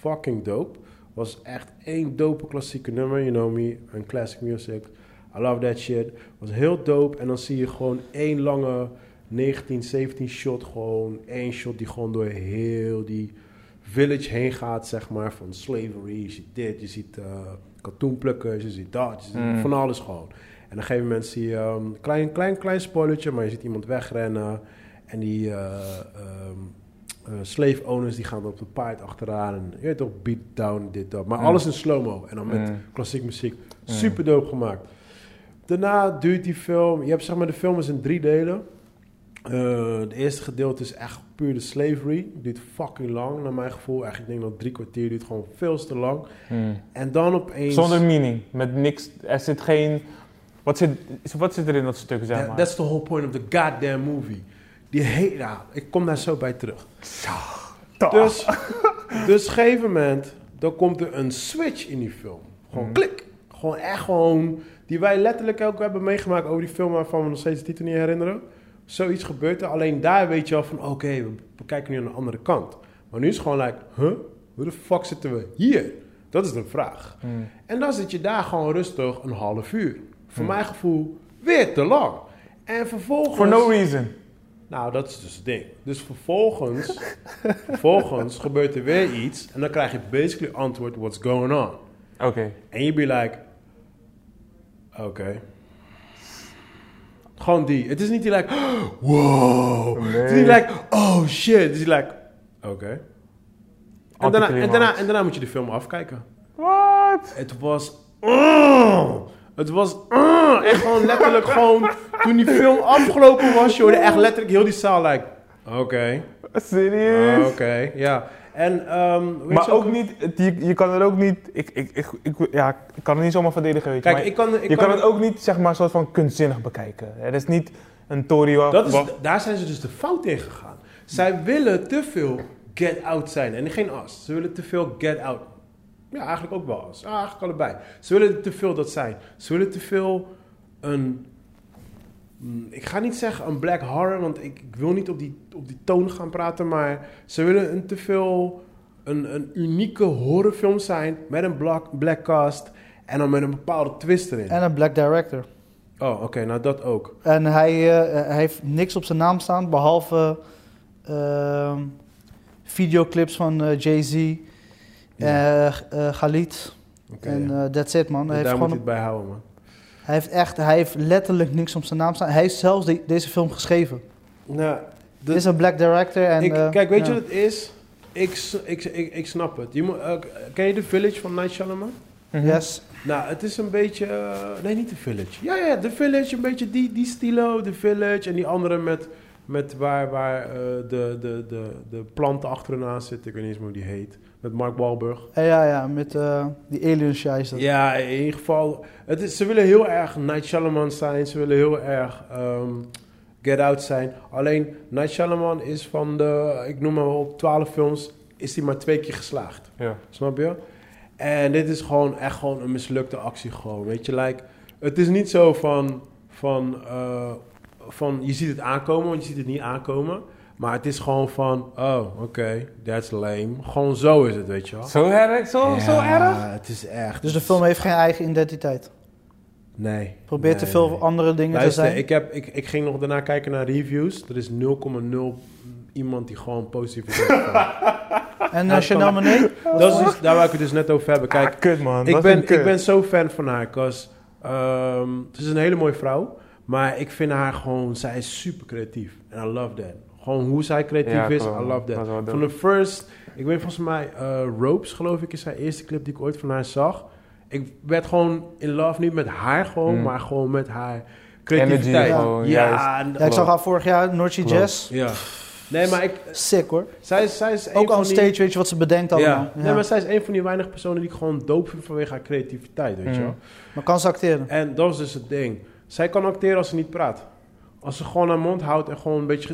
Speaker 1: fucking dope. Was echt één dope klassieke nummer. You know me, een classic music. I love that shit. Was heel dope. En dan zie je gewoon één lange 19, 17 shot. Gewoon één shot die gewoon door heel die village heen gaat, zeg maar. Van slavery, je ziet dit, je ziet eh katoenplukkers, je ziet dat, je ziet
Speaker 2: Mm.
Speaker 1: van alles gewoon. En op een gegeven moment zie je ehm, klein, klein, klein spoilertje, maar je ziet iemand wegrennen. En die eh, ehm, eh, slave owners die gaan op de paard achteraan. En, je weet toch, beat down, dit, dat. Maar
Speaker 2: Mm.
Speaker 1: alles in slow-mo. En dan met
Speaker 2: Mm.
Speaker 1: klassiek muziek. Super dope gemaakt. Daarna duurt die film. Je hebt zeg maar, de film is in drie delen. Eh het eerste gedeelte is echt puur de slavery. Duurt fucking lang, naar mijn gevoel. Echt, ik denk dat drie kwartier duurt gewoon veel te lang.
Speaker 2: Hmm.
Speaker 1: En dan opeens.
Speaker 2: Zonder meaning, met niks. Er zit geen. Wat zit, wat zit er in dat stuk, zeg
Speaker 1: That-
Speaker 2: maar?
Speaker 1: that's the whole point of the goddamn movie. Die hele. nou, ik kom daar zo bij terug.
Speaker 2: Toch.
Speaker 1: Dus, dus op een gegeven moment, dan komt er een switch in die film. Gewoon
Speaker 2: Hmm.
Speaker 1: klik. Gewoon echt gewoon, die wij letterlijk ook hebben meegemaakt over die film waarvan we nog steeds de titel niet herinneren. Zoiets gebeurt er, alleen daar weet je al van, oké, we, we kijken nu aan de andere kant. Maar nu is het gewoon like, huh, hoe de fuck zitten we hier? Dat is de vraag.
Speaker 2: Hmm.
Speaker 1: En dan zit je daar gewoon rustig een half uur. Voor mijn gevoel, weer te lang. En vervolgens...
Speaker 2: For no reason.
Speaker 1: Nou, dat is dus het ding. Dus vervolgens, vervolgens gebeurt er weer iets. En dan krijg je basically antwoord, what's going on?
Speaker 2: Oké.
Speaker 1: En je be like, oké. Gewoon die. Het is niet die like, wow. Het is niet like, oh shit. Het is die like, oké. En, daarna, en,
Speaker 2: Anticlimax.
Speaker 1: daarna, en daarna moet je de film afkijken.
Speaker 2: Wat?
Speaker 1: Het was. Oh, het was. Oh, echt gewoon letterlijk gewoon. Toen die film afgelopen was, je hoorde echt letterlijk heel die zaal. Like, oké,
Speaker 2: Serieus?
Speaker 1: oké, ja. En, ehm, weet
Speaker 2: Eh, Maar
Speaker 1: je
Speaker 2: ook niet, het- je, je kan er ook niet, ik, ik, ik, ik- ja, ik kan het niet zomaar verdedigen, weet je.
Speaker 1: Kijk,
Speaker 2: maar
Speaker 1: ik kan. Ik
Speaker 2: je kan, het ook niet, zeg maar, soort van kunstzinnig bekijken. Het is niet een Tory waar-
Speaker 1: Dat is,
Speaker 2: waar-
Speaker 1: daar zijn ze dus de fout in gegaan. Zij willen te veel get out zijn en geen as. Ze willen te veel get out. Ja, eigenlijk ook wel as. Ah, eigenlijk allebei. Ze willen te veel dat zijn. Ze willen te veel een. mm, Ik ga niet zeggen een black horror, want ik, ik wil niet op die, op die toon gaan praten. Maar ze willen een te veel. Een, een unieke horrorfilm zijn met een black, black cast. En dan met een bepaalde twist erin.
Speaker 3: En een black director.
Speaker 1: Oh, oké, nou dat ook.
Speaker 3: En hij, eh, hij heeft niks op zijn naam staan behalve ehm, videoclips van eh, Jay-Z, eh eh, Khalid.
Speaker 1: Oké,
Speaker 3: en
Speaker 1: ja.
Speaker 3: eh, that's it, man. Hij heeft,
Speaker 1: daar moet
Speaker 3: gewoon
Speaker 1: je het bij houden, man.
Speaker 3: hij, heeft echt, hij heeft letterlijk niks op zijn naam staan. Hij heeft zelfs de- deze film geschreven.
Speaker 1: Nou,
Speaker 3: Dit
Speaker 1: de-
Speaker 3: is een black director. En,
Speaker 1: ik,
Speaker 3: eh,
Speaker 1: kijk, weet
Speaker 3: ja.
Speaker 1: je wat het is? Ik, s- ik, ik, ik snap het. Je moet, eh, ken je The Village van Night Shyamalan?
Speaker 2: Mhm.
Speaker 3: Yes.
Speaker 1: Nou, het is een beetje... eh, nee, niet The Village. Ja, ja, The Village. Een beetje die, die stilo, The Village. En die andere met, met waar, waar eh, de, de, de, de planten achterna zitten. Ik weet niet eens meer hoe die heet. Met Mark Wahlberg.
Speaker 3: Eh, ja, ja, met eh, die alien shy is dat.
Speaker 1: Ja, in ieder geval. Het is, ze willen heel erg Night Shyamalan zijn. Ze willen heel erg ehm, Get Out zijn. Alleen Night Shyamalan is van de, ik noem maar op, 12 films, is hij maar twee keer geslaagd.
Speaker 2: Ja.
Speaker 1: Snap je? En dit is gewoon echt gewoon een mislukte actie. Gewoon. Weet je, like, het is niet zo van, van, eh, van je ziet het aankomen, want je ziet het niet aankomen. Maar het is gewoon van, oh, oké, that's lame. Gewoon zo is het, weet je wel.
Speaker 2: Zo erg? Zo, zo
Speaker 1: Ja,
Speaker 2: erg?
Speaker 1: Het is echt.
Speaker 3: Dus de film heeft geen eigen identiteit.
Speaker 1: Nee.
Speaker 3: Probeert
Speaker 1: nee,
Speaker 3: te veel
Speaker 1: nee.
Speaker 3: andere dingen
Speaker 1: Luister,
Speaker 3: te zijn.
Speaker 1: ik, heb, ik, ik ging nog daarna kijken naar reviews. Er is 0,0 iemand die gewoon positief is. dat
Speaker 3: En uh, Chanel Monet?
Speaker 1: is dus- daar waar ik het dus net over hebben. Kijk,
Speaker 2: Ah, kut man.
Speaker 1: ik
Speaker 2: Dat
Speaker 1: ben,
Speaker 2: vind kut.
Speaker 1: ik ben zo fan van haar. 'cause, ehm, ze is een hele mooie vrouw. Maar ik vind haar gewoon... Zij is super creatief. En I love that. Gewoon hoe zij creatief
Speaker 2: Ja,
Speaker 1: is,
Speaker 2: klopt.
Speaker 1: I love
Speaker 2: Dat
Speaker 1: that.
Speaker 2: is wel dope.
Speaker 1: Van de first... Ik weet volgens mij... eh, Ropes, geloof ik, is haar eerste clip die ik ooit van haar zag. Ik werd gewoon in love. Niet met haar gewoon,
Speaker 2: Hmm.
Speaker 1: maar gewoon met haar creativiteit.
Speaker 2: Energy gewoon, juist.
Speaker 1: ja, en-
Speaker 3: Ja, ik zag haar vorig jaar, Nortje
Speaker 2: Klopt.
Speaker 3: Jazz.
Speaker 1: ja. Nee, maar ik,
Speaker 3: Sick hoor.
Speaker 1: zij, is- zij is een
Speaker 3: Ook
Speaker 1: van
Speaker 3: on
Speaker 1: die-
Speaker 3: stage weet je wat ze bedenkt allemaal.
Speaker 1: Ja.
Speaker 3: Ja.
Speaker 1: Nee, maar zij is een van die weinige personen die ik gewoon doop vind vanwege haar creativiteit, weet je
Speaker 2: Mm.
Speaker 1: wel.
Speaker 3: Maar kan ze acteren?
Speaker 1: En dat is dus het ding. Zij kan acteren als ze niet praat. Als ze gewoon haar mond houdt en gewoon een beetje,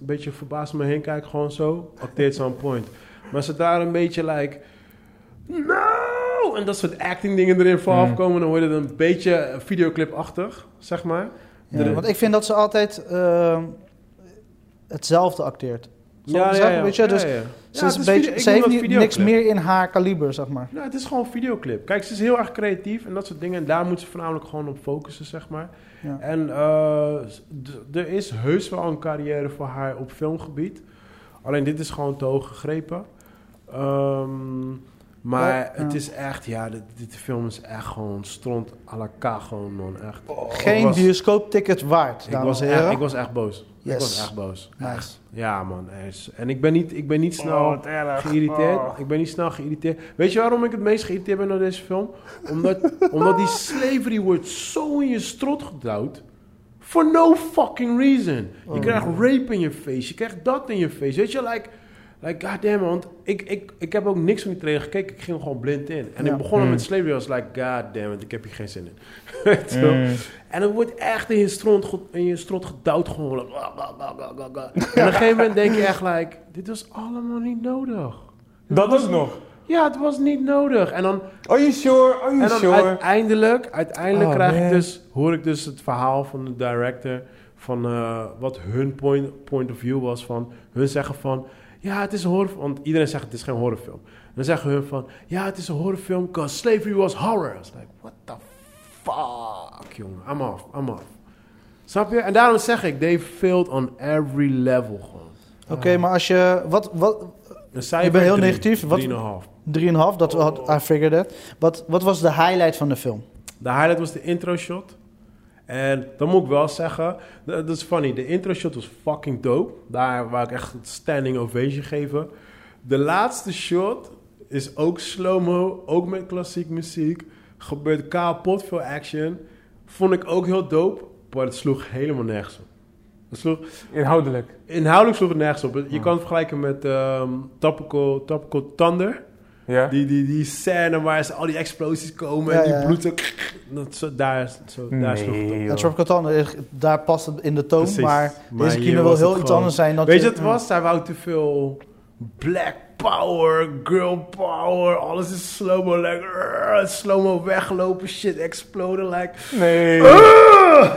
Speaker 1: een beetje verbaasd om me heen kijkt, gewoon zo, acteert ze aan point. Maar ze daar een beetje like, no! En dat soort acting dingen erin voor
Speaker 2: Mm.
Speaker 1: afkomen, dan wordt het een beetje videoclipachtig, zeg maar.
Speaker 3: Ja,
Speaker 1: Er-
Speaker 3: Want ik vind dat ze altijd ehm, hetzelfde acteert. Zal ik het zeggen? Weet je, dus
Speaker 1: ja, ja. Ja,
Speaker 3: Ze,
Speaker 1: het
Speaker 3: is
Speaker 1: is
Speaker 3: een beetje,
Speaker 1: video- ik
Speaker 3: ze
Speaker 1: noem
Speaker 3: heeft
Speaker 1: dat
Speaker 3: niet- niks
Speaker 1: videoclip.
Speaker 3: meer in haar kaliber, zeg maar.
Speaker 1: Nou, het is gewoon een videoclip. Kijk, ze is heel erg creatief en dat soort dingen. En daar moet ze voornamelijk gewoon op focussen, zeg maar.
Speaker 3: Ja.
Speaker 1: En eh, s- d- er is heus wel een carrière voor haar op filmgebied. Alleen dit is gewoon te hoog gegrepen. Ehm, maar
Speaker 3: Ja,
Speaker 1: het
Speaker 3: ja.
Speaker 1: is echt, ja, dit, dit film is echt gewoon stront à la ka gewoon, man. Echt.
Speaker 3: Geen
Speaker 1: Ik Oh, was-
Speaker 3: bioscoopticket waard,
Speaker 1: Ik
Speaker 3: dames
Speaker 1: was,
Speaker 3: en
Speaker 1: echt,
Speaker 3: heren.
Speaker 1: ik was echt boos. Ik
Speaker 3: Yes.
Speaker 1: was echt boos. Echt.
Speaker 3: Nice.
Speaker 1: Ja, man. er is- En ik ben niet, ik ben
Speaker 2: Oh,
Speaker 1: niet snel
Speaker 2: wat erg.
Speaker 1: geïrriteerd.
Speaker 2: Oh.
Speaker 1: Ik ben niet snel geïrriteerd. Weet je waarom ik het meest geïrriteerd ben door deze film? Omdat, omdat die slavery wordt zo in je strot gedouwd. For no fucking reason. Je krijgt rape in je face. Je krijgt dat in je face. Weet je, like... Like, goddamn, man. Want ik, ik, ik heb ook niks van die trailer gekeken. Ik ging er gewoon blind in. En
Speaker 3: Ja.
Speaker 1: ik begon met slavery. I was like, goddamn, it, ik heb hier geen zin in. Weet je wel?
Speaker 2: Mm.
Speaker 1: En dan wordt echt in je stront, ge- in je strot gedouwd gewoon. like, bla, bla, bla, bla, bla, bla. En op een gegeven moment denk je echt like, dit was allemaal niet nodig.
Speaker 2: Dat was nog.
Speaker 1: Ja, het was niet nodig. En dan,
Speaker 2: Are you sure? Are
Speaker 1: en
Speaker 2: you
Speaker 1: dan
Speaker 2: sure?
Speaker 1: uiteindelijk, uiteindelijk
Speaker 2: Oh,
Speaker 1: krijg ik
Speaker 2: man.
Speaker 1: dus, hoor ik dus het verhaal van de director. Van eh, wat hun point, point of view was. Van hun zeggen van, ja het is een horror. Want iedereen zegt het is geen horrorfilm. Dan zeggen hun van, ja het is een horrorfilm. Cause slavery was horror. I was like, what the fuck jongen. I'm off, I'm off. Snap je? En daarom zeg ik, they failed on every level gewoon.
Speaker 3: Oké, maar als je... Wat, wat, 3,5,
Speaker 1: Je
Speaker 3: bent heel negatief. Wat-
Speaker 1: 3,5.
Speaker 3: dat had, I figured that. Wat, wat was de highlight van de film?
Speaker 1: De highlight was de intro shot. En dat moet ik wel zeggen. Dat dat is funny. De intro shot was fucking dope. Daar waar ik echt een standing ovation geven. De laatste shot is ook slow-mo. Ook met klassiek muziek. Gebeurt kapot veel action. Vond ik ook heel dope. Maar het sloeg helemaal nergens op. Het sloeg,
Speaker 2: Inhoudelijk.
Speaker 1: inhoudelijk sloeg het nergens op. Je kan het vergelijken met ehm topical, topical Thunder.
Speaker 2: Ja?
Speaker 1: Die, die, die scène waar ze al die explosies komen
Speaker 3: Ja,
Speaker 1: en die
Speaker 3: ja, ja.
Speaker 1: bloed zo... Dat, zo daar is- zo, daar sloeg het op.
Speaker 2: joh.
Speaker 3: Ja, Tropical Thunder, daar past het in de toon,
Speaker 1: Precies.
Speaker 3: maar
Speaker 1: Maar hier
Speaker 3: deze kinderen wil
Speaker 1: was
Speaker 3: heel
Speaker 1: het
Speaker 3: iets
Speaker 1: gewoon-
Speaker 3: anders zijn. dan
Speaker 1: Weet je wat het was? Zij wou te veel black power, girl power, alles is slow-mo, like, rrr, slow-mo weglopen, shit exploden, like...
Speaker 2: Nee.
Speaker 1: ah!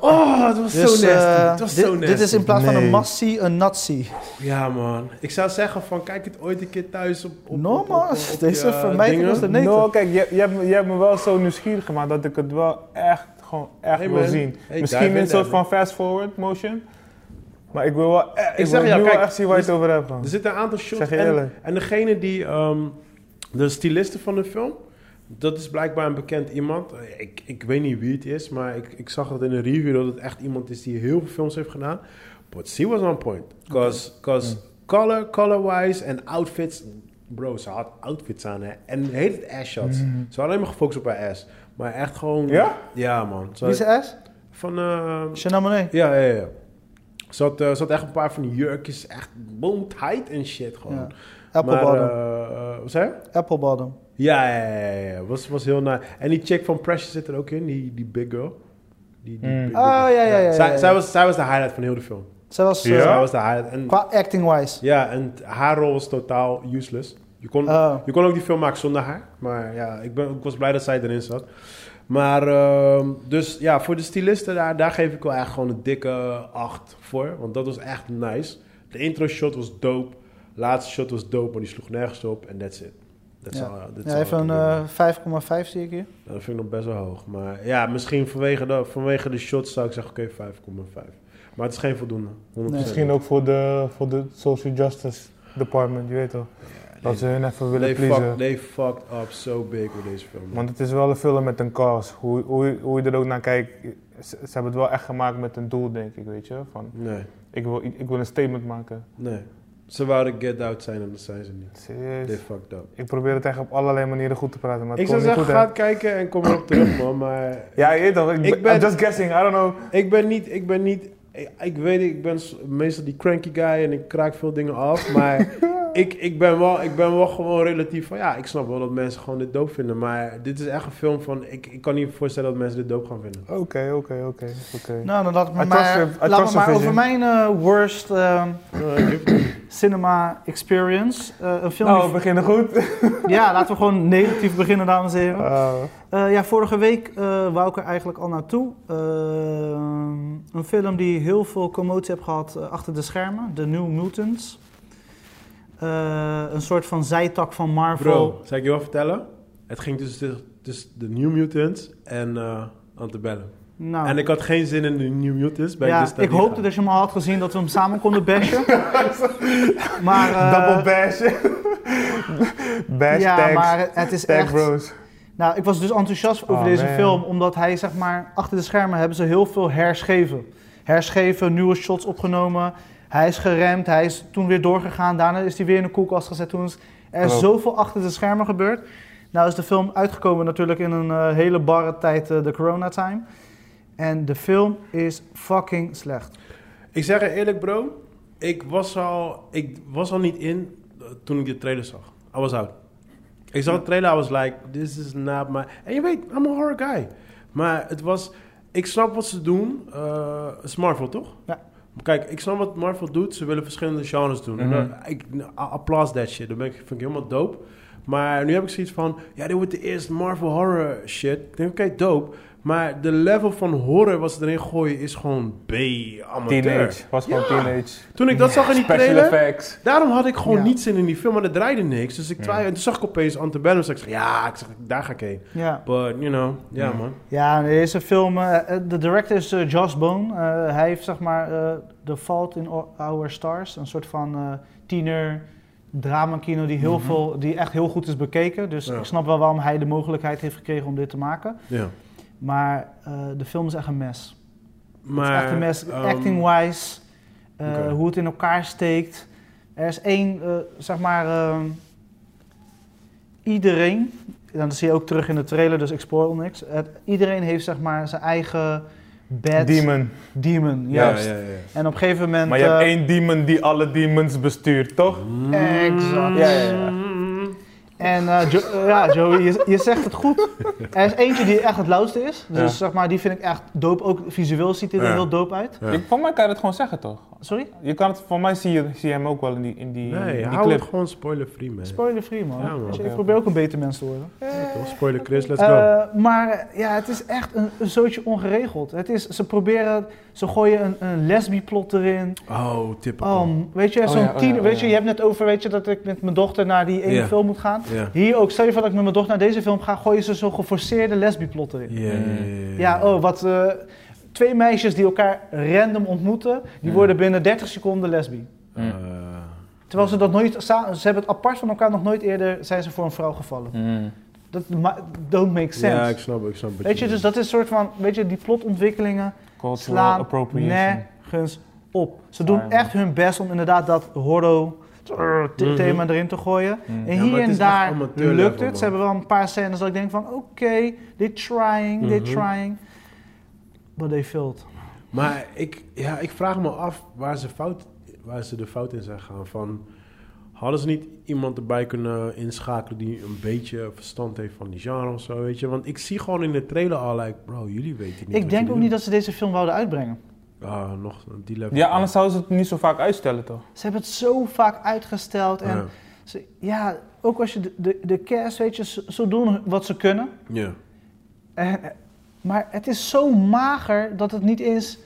Speaker 1: Oh, het was
Speaker 3: Dus,
Speaker 1: zo
Speaker 3: eh,
Speaker 1: nasty. het was
Speaker 3: dit,
Speaker 1: zo nasty.
Speaker 3: dit is in plaats van een
Speaker 2: Nee.
Speaker 3: massie een nazi.
Speaker 1: Ja, man. Ik zou zeggen van, kijk het ooit een keer thuis op... op
Speaker 3: No,
Speaker 1: op-
Speaker 3: man.
Speaker 1: op- op- op
Speaker 3: Deze
Speaker 1: je eh,
Speaker 3: vermijding
Speaker 1: dingen.
Speaker 3: was er Nee,
Speaker 2: no,
Speaker 3: toch?
Speaker 2: kijk, je, je, hebt, me- je hebt me wel zo nieuwsgierig gemaakt dat ik het wel echt, gewoon echt
Speaker 1: Hey,
Speaker 2: wil
Speaker 1: man.
Speaker 2: zien.
Speaker 1: Hey, dive
Speaker 2: Misschien
Speaker 1: in
Speaker 2: in een soort
Speaker 1: daar,
Speaker 2: van fast-forward motion. Maar ik wil wel echt, ik
Speaker 1: zeg
Speaker 2: wil
Speaker 1: ja,
Speaker 2: nu
Speaker 1: kijk, dus-
Speaker 2: wel echt zien waar je het over hebt. man.
Speaker 1: Er zitten een aantal shots.
Speaker 2: Zeg je
Speaker 1: En,
Speaker 2: eerlijk.
Speaker 1: en degene die, ehm, de stylisten van de film, dat is blijkbaar een bekend iemand. Ik, ik weet niet wie het is, maar ik, ik zag dat in een review dat het echt iemand is die heel veel films heeft gedaan. But she was on point. Cause, cause color, color-wise en outfits. Bro, ze had outfits aan hè. En heet het ass shots. Ze had alleen maar gefocust op haar ass. Maar echt gewoon...
Speaker 2: Ja?
Speaker 1: Ja, man. Ze
Speaker 3: Wie is
Speaker 1: had-
Speaker 3: de S?
Speaker 1: van... ehm,
Speaker 3: Chanel Monáe.
Speaker 1: ja, ja, ja. Ze had, eh, ze had echt een paar van die jurkjes, echt bone tight en shit gewoon.
Speaker 3: Ja.
Speaker 1: Maar,
Speaker 3: Apple Bottom.
Speaker 1: eh, eh, wat zei je?
Speaker 3: Apple Bottom.
Speaker 1: Ja, ja, ja, ja, ja. Was, was heel nice. En die chick van Pressure zit er ook in, die, die big girl. Die, die
Speaker 2: Mm.
Speaker 1: big
Speaker 3: Oh,
Speaker 1: girl.
Speaker 3: ja, ja, ja, ja,
Speaker 1: Zij,
Speaker 3: ja.
Speaker 1: Zij, was, zij was de highlight van heel de film.
Speaker 3: Zij was... eh,
Speaker 1: Zij was de highlight. En,
Speaker 3: Qua acting-wise.
Speaker 1: ja, en haar rol was totaal useless. Je kon,
Speaker 3: Oh.
Speaker 1: je kon ook die film maken zonder haar. Maar ja, ik, ben, ik was blij dat zij erin zat. Maar, ehm, dus ja, voor de stylisten daar, daar geef ik wel echt gewoon een dikke 8 voor. Want dat was echt nice. De intro shot was dope. Laatste shot was dope, maar die sloeg nergens op. En that's it. That's
Speaker 3: Ja.
Speaker 1: all, uh, that's
Speaker 3: Ja,
Speaker 1: all I
Speaker 3: even
Speaker 1: can
Speaker 3: een
Speaker 1: do.
Speaker 3: eh, 5,5 zie ik hier.
Speaker 1: Ja, Dat vind ik nog best wel hoog. Maar ja, misschien vanwege de, vanwege de shots zou ik zeggen, oké, 5,5. Maar het is geen voldoende. 100%.
Speaker 2: Misschien ook voor de, voor de Social Justice Department, je weet toch. dat ze hun even willen
Speaker 1: They, fuck,
Speaker 2: pleasen.
Speaker 1: they fucked up so big met deze film.
Speaker 2: Want het is wel een film met een cause. Hoe, hoe, hoe je er ook naar kijkt, ze, ze hebben het wel echt gemaakt met een doel, denk ik, weet je. Van,
Speaker 1: Nee,
Speaker 2: ik, wil, i- ik wil een statement maken.
Speaker 1: nee. Ze waren get out zijn en dat zijn ze niet. They
Speaker 2: Serieus.
Speaker 1: fucked up.
Speaker 2: Ik probeer het echt op allerlei manieren goed te praten, maar het
Speaker 1: Ik
Speaker 2: komt
Speaker 1: zou
Speaker 2: niet
Speaker 1: zeggen,
Speaker 2: goed hè.
Speaker 1: ga het kijken en kom erop terug, man. Maar
Speaker 2: Ja, je weet toch, ik,
Speaker 1: Ik
Speaker 2: ben,
Speaker 1: ben-
Speaker 2: I'm just guessing, I don't know.
Speaker 1: ik ben niet, ik ben niet, ik, ik weet, ik ben s- meestal die cranky guy en ik kraak veel dingen af. Maar ik, ik, ben wel, ik ben wel gewoon relatief van, ja, ik snap wel dat mensen gewoon dit doop vinden. Maar dit is echt een film van, ik, ik kan niet voorstellen dat mensen dit doop gaan vinden.
Speaker 2: Oké, oké, oké, oké.
Speaker 3: Nou, dan laat ik me
Speaker 2: I trust
Speaker 3: maar,
Speaker 2: your- I
Speaker 3: laat me
Speaker 2: trust your
Speaker 3: maar
Speaker 2: vision.
Speaker 3: over mijn eh, worst eh,
Speaker 1: Eh, Juf-
Speaker 3: cinema experience. Eh, een film
Speaker 2: Nou,
Speaker 1: Oh,
Speaker 3: die-
Speaker 2: we beginnen goed.
Speaker 3: Ja, laten we gewoon negatief beginnen, dames en heren.
Speaker 2: Eh,
Speaker 3: Eh, ja, vorige week eh, wou ik er eigenlijk al naartoe. Ehm, een film die heel veel commotie heeft gehad eh, achter de schermen. The New Mutants. Eh, een soort van zijtak van Marvel.
Speaker 1: Bro, zal ik je wel vertellen? Het ging tussen, tussen de New Mutants en eh Antebellum.
Speaker 3: Nou,
Speaker 1: En ik dus had geen zin in de New Mutants bij
Speaker 3: ja,
Speaker 1: Disney.
Speaker 3: ik hoopte dat je hem al had gezien dat we hem samen konden bashen. maar, eh,
Speaker 2: double bash. bash
Speaker 3: ja,
Speaker 2: tags.
Speaker 3: maar het is
Speaker 2: tag
Speaker 3: echt...
Speaker 2: bros.
Speaker 3: Nou, ik was dus enthousiast over
Speaker 2: Oh,
Speaker 3: deze
Speaker 2: man.
Speaker 3: film, omdat hij zeg maar achter de schermen hebben ze heel veel herschreven. Herschreven, nieuwe shots opgenomen. Hij is geremd, hij is toen weer doorgegaan. Daarna is hij weer in de koelkast gezet. Toen is er
Speaker 2: Klopt.
Speaker 3: zoveel achter de schermen gebeurd. Nou is de film uitgekomen natuurlijk in een eh, hele barre tijd, eh, de coronatime. En de film is fucking slecht.
Speaker 1: Ik zeg je eerlijk, bro. Ik was al, ik was al niet in eh, toen ik de trailer zag. I was out. Ik zag de trailer, I was like, this is not my... En je weet, I'm a horror guy. Maar het was... Ik snap wat ze doen. Eh, het is Marvel, toch?
Speaker 3: Ja.
Speaker 1: Kijk, ik snap wat Marvel doet. Ze willen verschillende genres doen. En,
Speaker 2: Mhm.
Speaker 1: eh, ik I applaud that shit. Dat ben ik, vind ik helemaal dope. Maar nu heb ik zoiets van... Ja, dit wordt de eerste Marvel horror shit. Ik denk, oké, dope. Maar de level van horror wat ze erin gooien is gewoon B, amateur.
Speaker 2: Teenage. Was gewoon
Speaker 1: Ja.
Speaker 2: teenage.
Speaker 1: Toen ik dat zag in die
Speaker 2: Special
Speaker 1: trailer...
Speaker 2: effects.
Speaker 1: Daarom had ik gewoon
Speaker 3: Ja.
Speaker 1: niet zin in die film, maar er draaide niks. Dus ik twijfelde. En toen zag ik opeens Antebellum. Dus ik zeg, ja, ik zeg, daar ga ik heen.
Speaker 3: Ja,
Speaker 1: But, you know, ja
Speaker 2: Ja.
Speaker 1: man.
Speaker 3: ja deze film, eh, eh, de director is eh, Joss Bone. Eh, hij heeft zeg maar eh, The Fault in O- Our Stars, een soort van eh, tiener dramakino die, heel veel, die echt heel goed is bekeken. Dus
Speaker 1: Ja.
Speaker 3: ik snap wel waarom hij de mogelijkheid heeft gekregen om dit te maken.
Speaker 1: Ja.
Speaker 3: Maar eh, de film is echt een mes. het is
Speaker 1: Maar,
Speaker 3: echt een mes,
Speaker 1: ehm,
Speaker 3: acting-wise, eh,
Speaker 1: oké.
Speaker 3: hoe het in elkaar steekt. Er is één, eh, zeg maar, ehm, iedereen, en dat zie je ook terug in de trailer, dus ik spoil niks. Het- iedereen heeft, zeg maar, zijn eigen bad
Speaker 2: Demon.
Speaker 3: demon,
Speaker 1: Ja,
Speaker 3: juist.
Speaker 1: ja, ja.
Speaker 3: En op een gegeven moment...
Speaker 2: Maar je hebt
Speaker 3: eh, Mhm.
Speaker 2: één demon die alle demons bestuurt, toch?
Speaker 3: Exact.
Speaker 2: Ja, ja, ja.
Speaker 3: En eh, Jo- eh, ja, Joey, je, je zegt het goed. Er is eentje die echt het lauwste is. Dus
Speaker 2: Ja.
Speaker 3: zeg maar, die vind ik echt dope. Ook visueel ziet hij er
Speaker 1: Ja.
Speaker 3: heel dope uit.
Speaker 1: Ja.
Speaker 2: Ik, voor mij kan je het gewoon zeggen, toch?
Speaker 3: Sorry?
Speaker 2: Je kan het, voor mij zie je, zie je hem ook wel in die, in die, in
Speaker 1: Nee,
Speaker 2: die
Speaker 1: hou
Speaker 2: clip.
Speaker 1: het gewoon spoiler-free, man.
Speaker 3: Spoiler free, man.
Speaker 1: Ja, man.
Speaker 3: Dus
Speaker 2: Oké,
Speaker 3: ik probeer ook een beter mens te worden.
Speaker 1: Toch? Spoiler Chris, let's go.
Speaker 3: Eh, maar eh, ja, het is echt een, een zootje ongeregeld. Het is, ze proberen, ze gooien een, een lesbi-plot erin.
Speaker 1: oh, typical.
Speaker 3: Oh, weet je,
Speaker 2: Oh
Speaker 3: zo'n
Speaker 2: ja, oh ja,
Speaker 3: tiener,
Speaker 2: oh
Speaker 3: weet
Speaker 2: ja.
Speaker 3: je, je hebt net over, weet je, dat ik met mijn dochter naar die ene
Speaker 1: Ja.
Speaker 3: film moet gaan.
Speaker 1: Ja.
Speaker 3: Hier ook, stel je voor dat ik met mijn dochter naar deze film ga, gooien ze zo'n geforceerde lesbi-plot erin.
Speaker 1: Ja, ja, ja,
Speaker 3: Ja, oh, wat... eh, twee meisjes die elkaar random ontmoeten, die
Speaker 2: Ja.
Speaker 3: worden binnen 30 seconden lesbi.
Speaker 1: Eh,
Speaker 3: Terwijl ze dat nooit, sa- ze hebben het apart van elkaar nog nooit eerder, zijn ze voor een vrouw gevallen. Dat ma- don't make sense.
Speaker 1: ja, ik snap, ik snap. wat
Speaker 3: Weet je, dus
Speaker 1: bedoelt.
Speaker 3: dat is een soort van, weet je, die plotontwikkelingen
Speaker 2: Cultural
Speaker 3: slaan
Speaker 2: appropriation.
Speaker 3: nergens op. Ze doen
Speaker 2: Ah, ja.
Speaker 3: echt hun best om inderdaad dat horror t-
Speaker 1: Mhm.
Speaker 3: thema erin te gooien.
Speaker 2: Mm.
Speaker 3: En
Speaker 1: Ja, maar
Speaker 3: hier
Speaker 1: het
Speaker 3: en
Speaker 1: is echt
Speaker 3: daar
Speaker 1: amateur level,
Speaker 3: lukt het. Ze
Speaker 1: man.
Speaker 3: hebben wel een paar scènes dat ik denk van, oké, they trying, they
Speaker 1: Mhm.
Speaker 3: trying. But they failed.
Speaker 1: Maar ik, ja, ik vraag me af waar ze, fout, waar ze de fout in zijn gaan. Van, hadden ze niet iemand erbij kunnen inschakelen die een beetje verstand heeft van die genre of zo, weet je? Want ik zie gewoon in de trailer al, like, bro, jullie weten niet
Speaker 3: ik denk ook niet dat ze deze film wouden uitbrengen.
Speaker 1: dat... Ah, nog op die level.
Speaker 2: Ja, anders zouden ze het niet zo vaak uitstellen, toch?
Speaker 3: Ze hebben het zo vaak uitgesteld. En
Speaker 1: Ja.
Speaker 3: ze- ja, ook als je de, de, de cast, weet je, ze, ze doen wat ze kunnen.
Speaker 1: Ja.
Speaker 3: En, eh, maar het is zo mager dat het niet eens.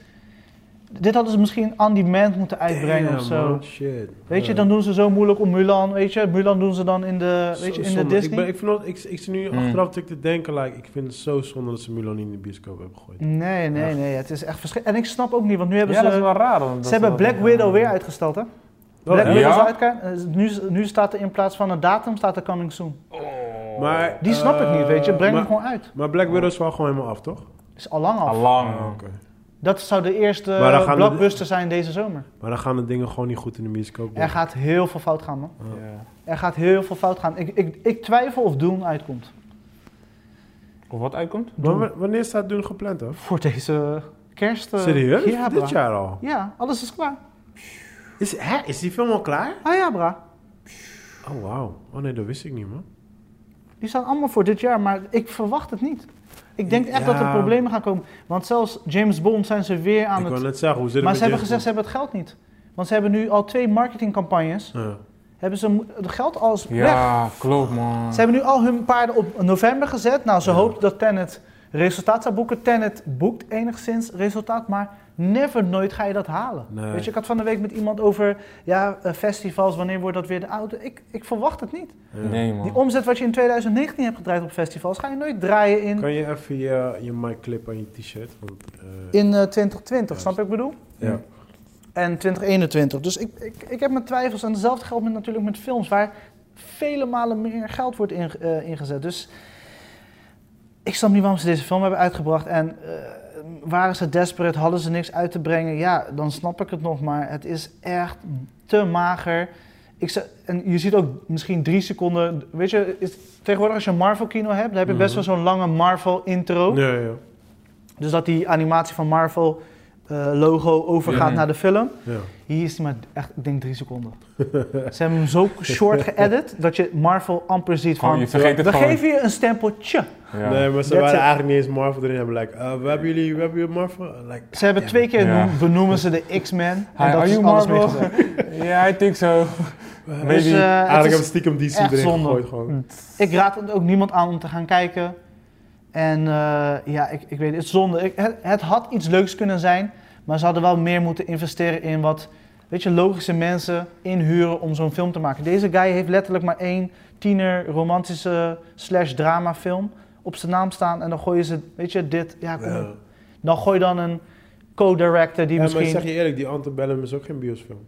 Speaker 3: Dit hadden ze misschien on demand moeten uitbrengen
Speaker 1: Damn,
Speaker 3: of zo.
Speaker 1: man, shit.
Speaker 3: Weet je,
Speaker 1: Ja.
Speaker 3: dan doen ze zo moeilijk om Mulan. Weet je, Mulan doen ze dan in de,
Speaker 1: Zo
Speaker 3: weet je, in de
Speaker 1: zonde.
Speaker 3: Disney.
Speaker 1: Ik, ben, ik, vind dat, ik, ik zit nu
Speaker 2: Mm.
Speaker 1: achteraf dat ik te denken, like, ik vind het zo zonde dat ze Mulan niet in de bioscoop hebben gegooid.
Speaker 3: Nee, nee, nee. Het is echt verschrikkelijk. En ik snap ook niet, want nu hebben
Speaker 2: ja, dat is
Speaker 3: ze.
Speaker 2: wel raar. want dat
Speaker 3: Ze hebben
Speaker 2: wel-
Speaker 3: Black Widow weer uitgesteld, hè? Black
Speaker 1: Oh, ja?
Speaker 3: Widow is
Speaker 2: Ja?
Speaker 3: uitge- eh, Nu, nu staat er in plaats van een datum, staat er coming soon.
Speaker 2: Oh.
Speaker 1: Maar,
Speaker 3: Die snap ik niet, weet je.
Speaker 1: eh,
Speaker 3: Breng
Speaker 1: maar,
Speaker 3: hem gewoon uit.
Speaker 1: Maar Black Widow is wel gewoon helemaal af, toch?
Speaker 3: Is al lang af.
Speaker 2: Al lang.
Speaker 1: Ah, oké.
Speaker 3: Dat zou de
Speaker 1: Maar dan
Speaker 3: eerste
Speaker 1: gaan de-
Speaker 3: blockbuster zijn deze zomer.
Speaker 1: Maar dan gaan de dingen gewoon niet goed in de bioscoop.
Speaker 3: Er
Speaker 1: man.
Speaker 3: gaat heel veel fout gaan, man.
Speaker 1: Ja.
Speaker 2: Ja.
Speaker 3: Er gaat heel veel fout gaan. Ik, ik, ik twijfel of Doom uitkomt.
Speaker 2: Of wat uitkomt?
Speaker 1: Maar wa- wanneer staat Dune gepland dan?
Speaker 3: Voor deze kerst. eh,
Speaker 1: Serieus?
Speaker 3: Ja, bra.
Speaker 1: Dit jaar al?
Speaker 3: Ja, alles is klaar.
Speaker 1: Is, hè, is die film al klaar?
Speaker 3: Ah ja, bra.
Speaker 1: Oh, wauw. Oh nee, dat wist ik niet, man.
Speaker 3: Die staan allemaal voor dit jaar, maar ik verwacht het niet. Ik denk echt dat er
Speaker 1: Ja.
Speaker 3: problemen gaan komen. Want zelfs James Bond zijn ze weer aan
Speaker 1: ik
Speaker 3: het...
Speaker 1: wou net zeggen, hoe zit het
Speaker 3: Maar
Speaker 1: met
Speaker 3: ze hebben
Speaker 1: James
Speaker 3: gezegd, ze hebben het geld niet. Want ze hebben nu al twee marketingcampagnes.
Speaker 1: Bond?
Speaker 3: Hebben ze mo- het geld als weg.
Speaker 2: Ja, klopt man.
Speaker 3: Ze hebben nu al hun paarden op november gezet. Nou, ze
Speaker 1: Ja.
Speaker 3: hoopt dat Tenet resultaat zou boeken. Tenet boekt enigszins resultaat, maar never nooit ga je dat halen.
Speaker 1: Nee.
Speaker 3: Weet je, ik had van de week met iemand over ja, eh, festivals, wanneer wordt dat weer de oude? Ik, ik verwacht het niet.
Speaker 1: Ja. Ja.
Speaker 2: Nee man.
Speaker 3: Die omzet wat je in 2019 hebt gedraaid op festivals, ga je nooit draaien in,
Speaker 1: Kan je even je, je mic clip aan je t-shirt? Want, eh,
Speaker 3: in eh, 2020,
Speaker 1: Ja.
Speaker 3: snap je wat ik bedoel?
Speaker 1: ja.
Speaker 3: En 2021. Dus ik, ik, ik heb mijn twijfels. En hetzelfde geldt met, natuurlijk met films, waar vele malen meer geld wordt in, eh, ingezet. Dus ik snap niet waarom ze deze film hebben uitgebracht. En eh, waren ze desperate, hadden ze niks uit te brengen. Ja, dan snap ik het nog, maar het is echt te mager. Ik zou- en je ziet ook misschien drie seconden. Weet je, is, tegenwoordig als je een Marvel-kino hebt, dan heb je best wel
Speaker 1: Mhm.
Speaker 3: zo'n lange Marvel-intro.
Speaker 1: Ja, ja,
Speaker 3: Dus dat die animatie van Marvel-logo overgaat
Speaker 2: Ja.
Speaker 3: naar de film.
Speaker 1: ja.
Speaker 3: Hier is hij maar echt, ik denk drie seconden. Ze hebben hem zo short geëdit dat je Marvel amper ziet van...
Speaker 2: Gewoon, je vergeet het
Speaker 3: we
Speaker 2: gewoon.
Speaker 3: geven je een stempeltje.
Speaker 2: Ja.
Speaker 1: Nee, maar ze
Speaker 3: That's
Speaker 1: waren
Speaker 3: it.
Speaker 1: eigenlijk niet eens Marvel erin. Hebben like, eh, we hebben jullie, we hebben jullie Marvel. Eh, Like,
Speaker 3: Ze hebben twee keer
Speaker 2: Ja.
Speaker 3: noem- benoemen ze de X-Men.
Speaker 2: Hi,
Speaker 3: En dat
Speaker 2: are
Speaker 3: is
Speaker 2: you
Speaker 3: alles
Speaker 2: Marvel?
Speaker 3: meegezegd.
Speaker 2: Ja, ik denk zo.
Speaker 1: eh,
Speaker 3: Dus,
Speaker 2: Maybe.
Speaker 3: eh, het
Speaker 1: eigenlijk hebben
Speaker 3: is,
Speaker 1: ze stiekem DC
Speaker 3: echt
Speaker 1: erin
Speaker 3: zonde.
Speaker 1: gegooid gewoon.
Speaker 3: ik raad het ook niemand aan om te gaan kijken. En eh, ja, ik, ik weet het, het is zonde. Ik- het, het had iets leuks kunnen zijn, maar ze hadden wel meer moeten investeren in wat... Weet je, logische mensen inhuren om zo'n film te maken. Deze guy heeft letterlijk maar één tiener romantische slash drama film op zijn naam staan. En dan gooien ze, weet je, dit, ja, kom op.
Speaker 1: Ja.
Speaker 3: Dan gooi dan een co-director die
Speaker 1: Ja, maar ik
Speaker 3: misschien...
Speaker 1: zeg je eerlijk, die Antebellum is ook geen biosfilm.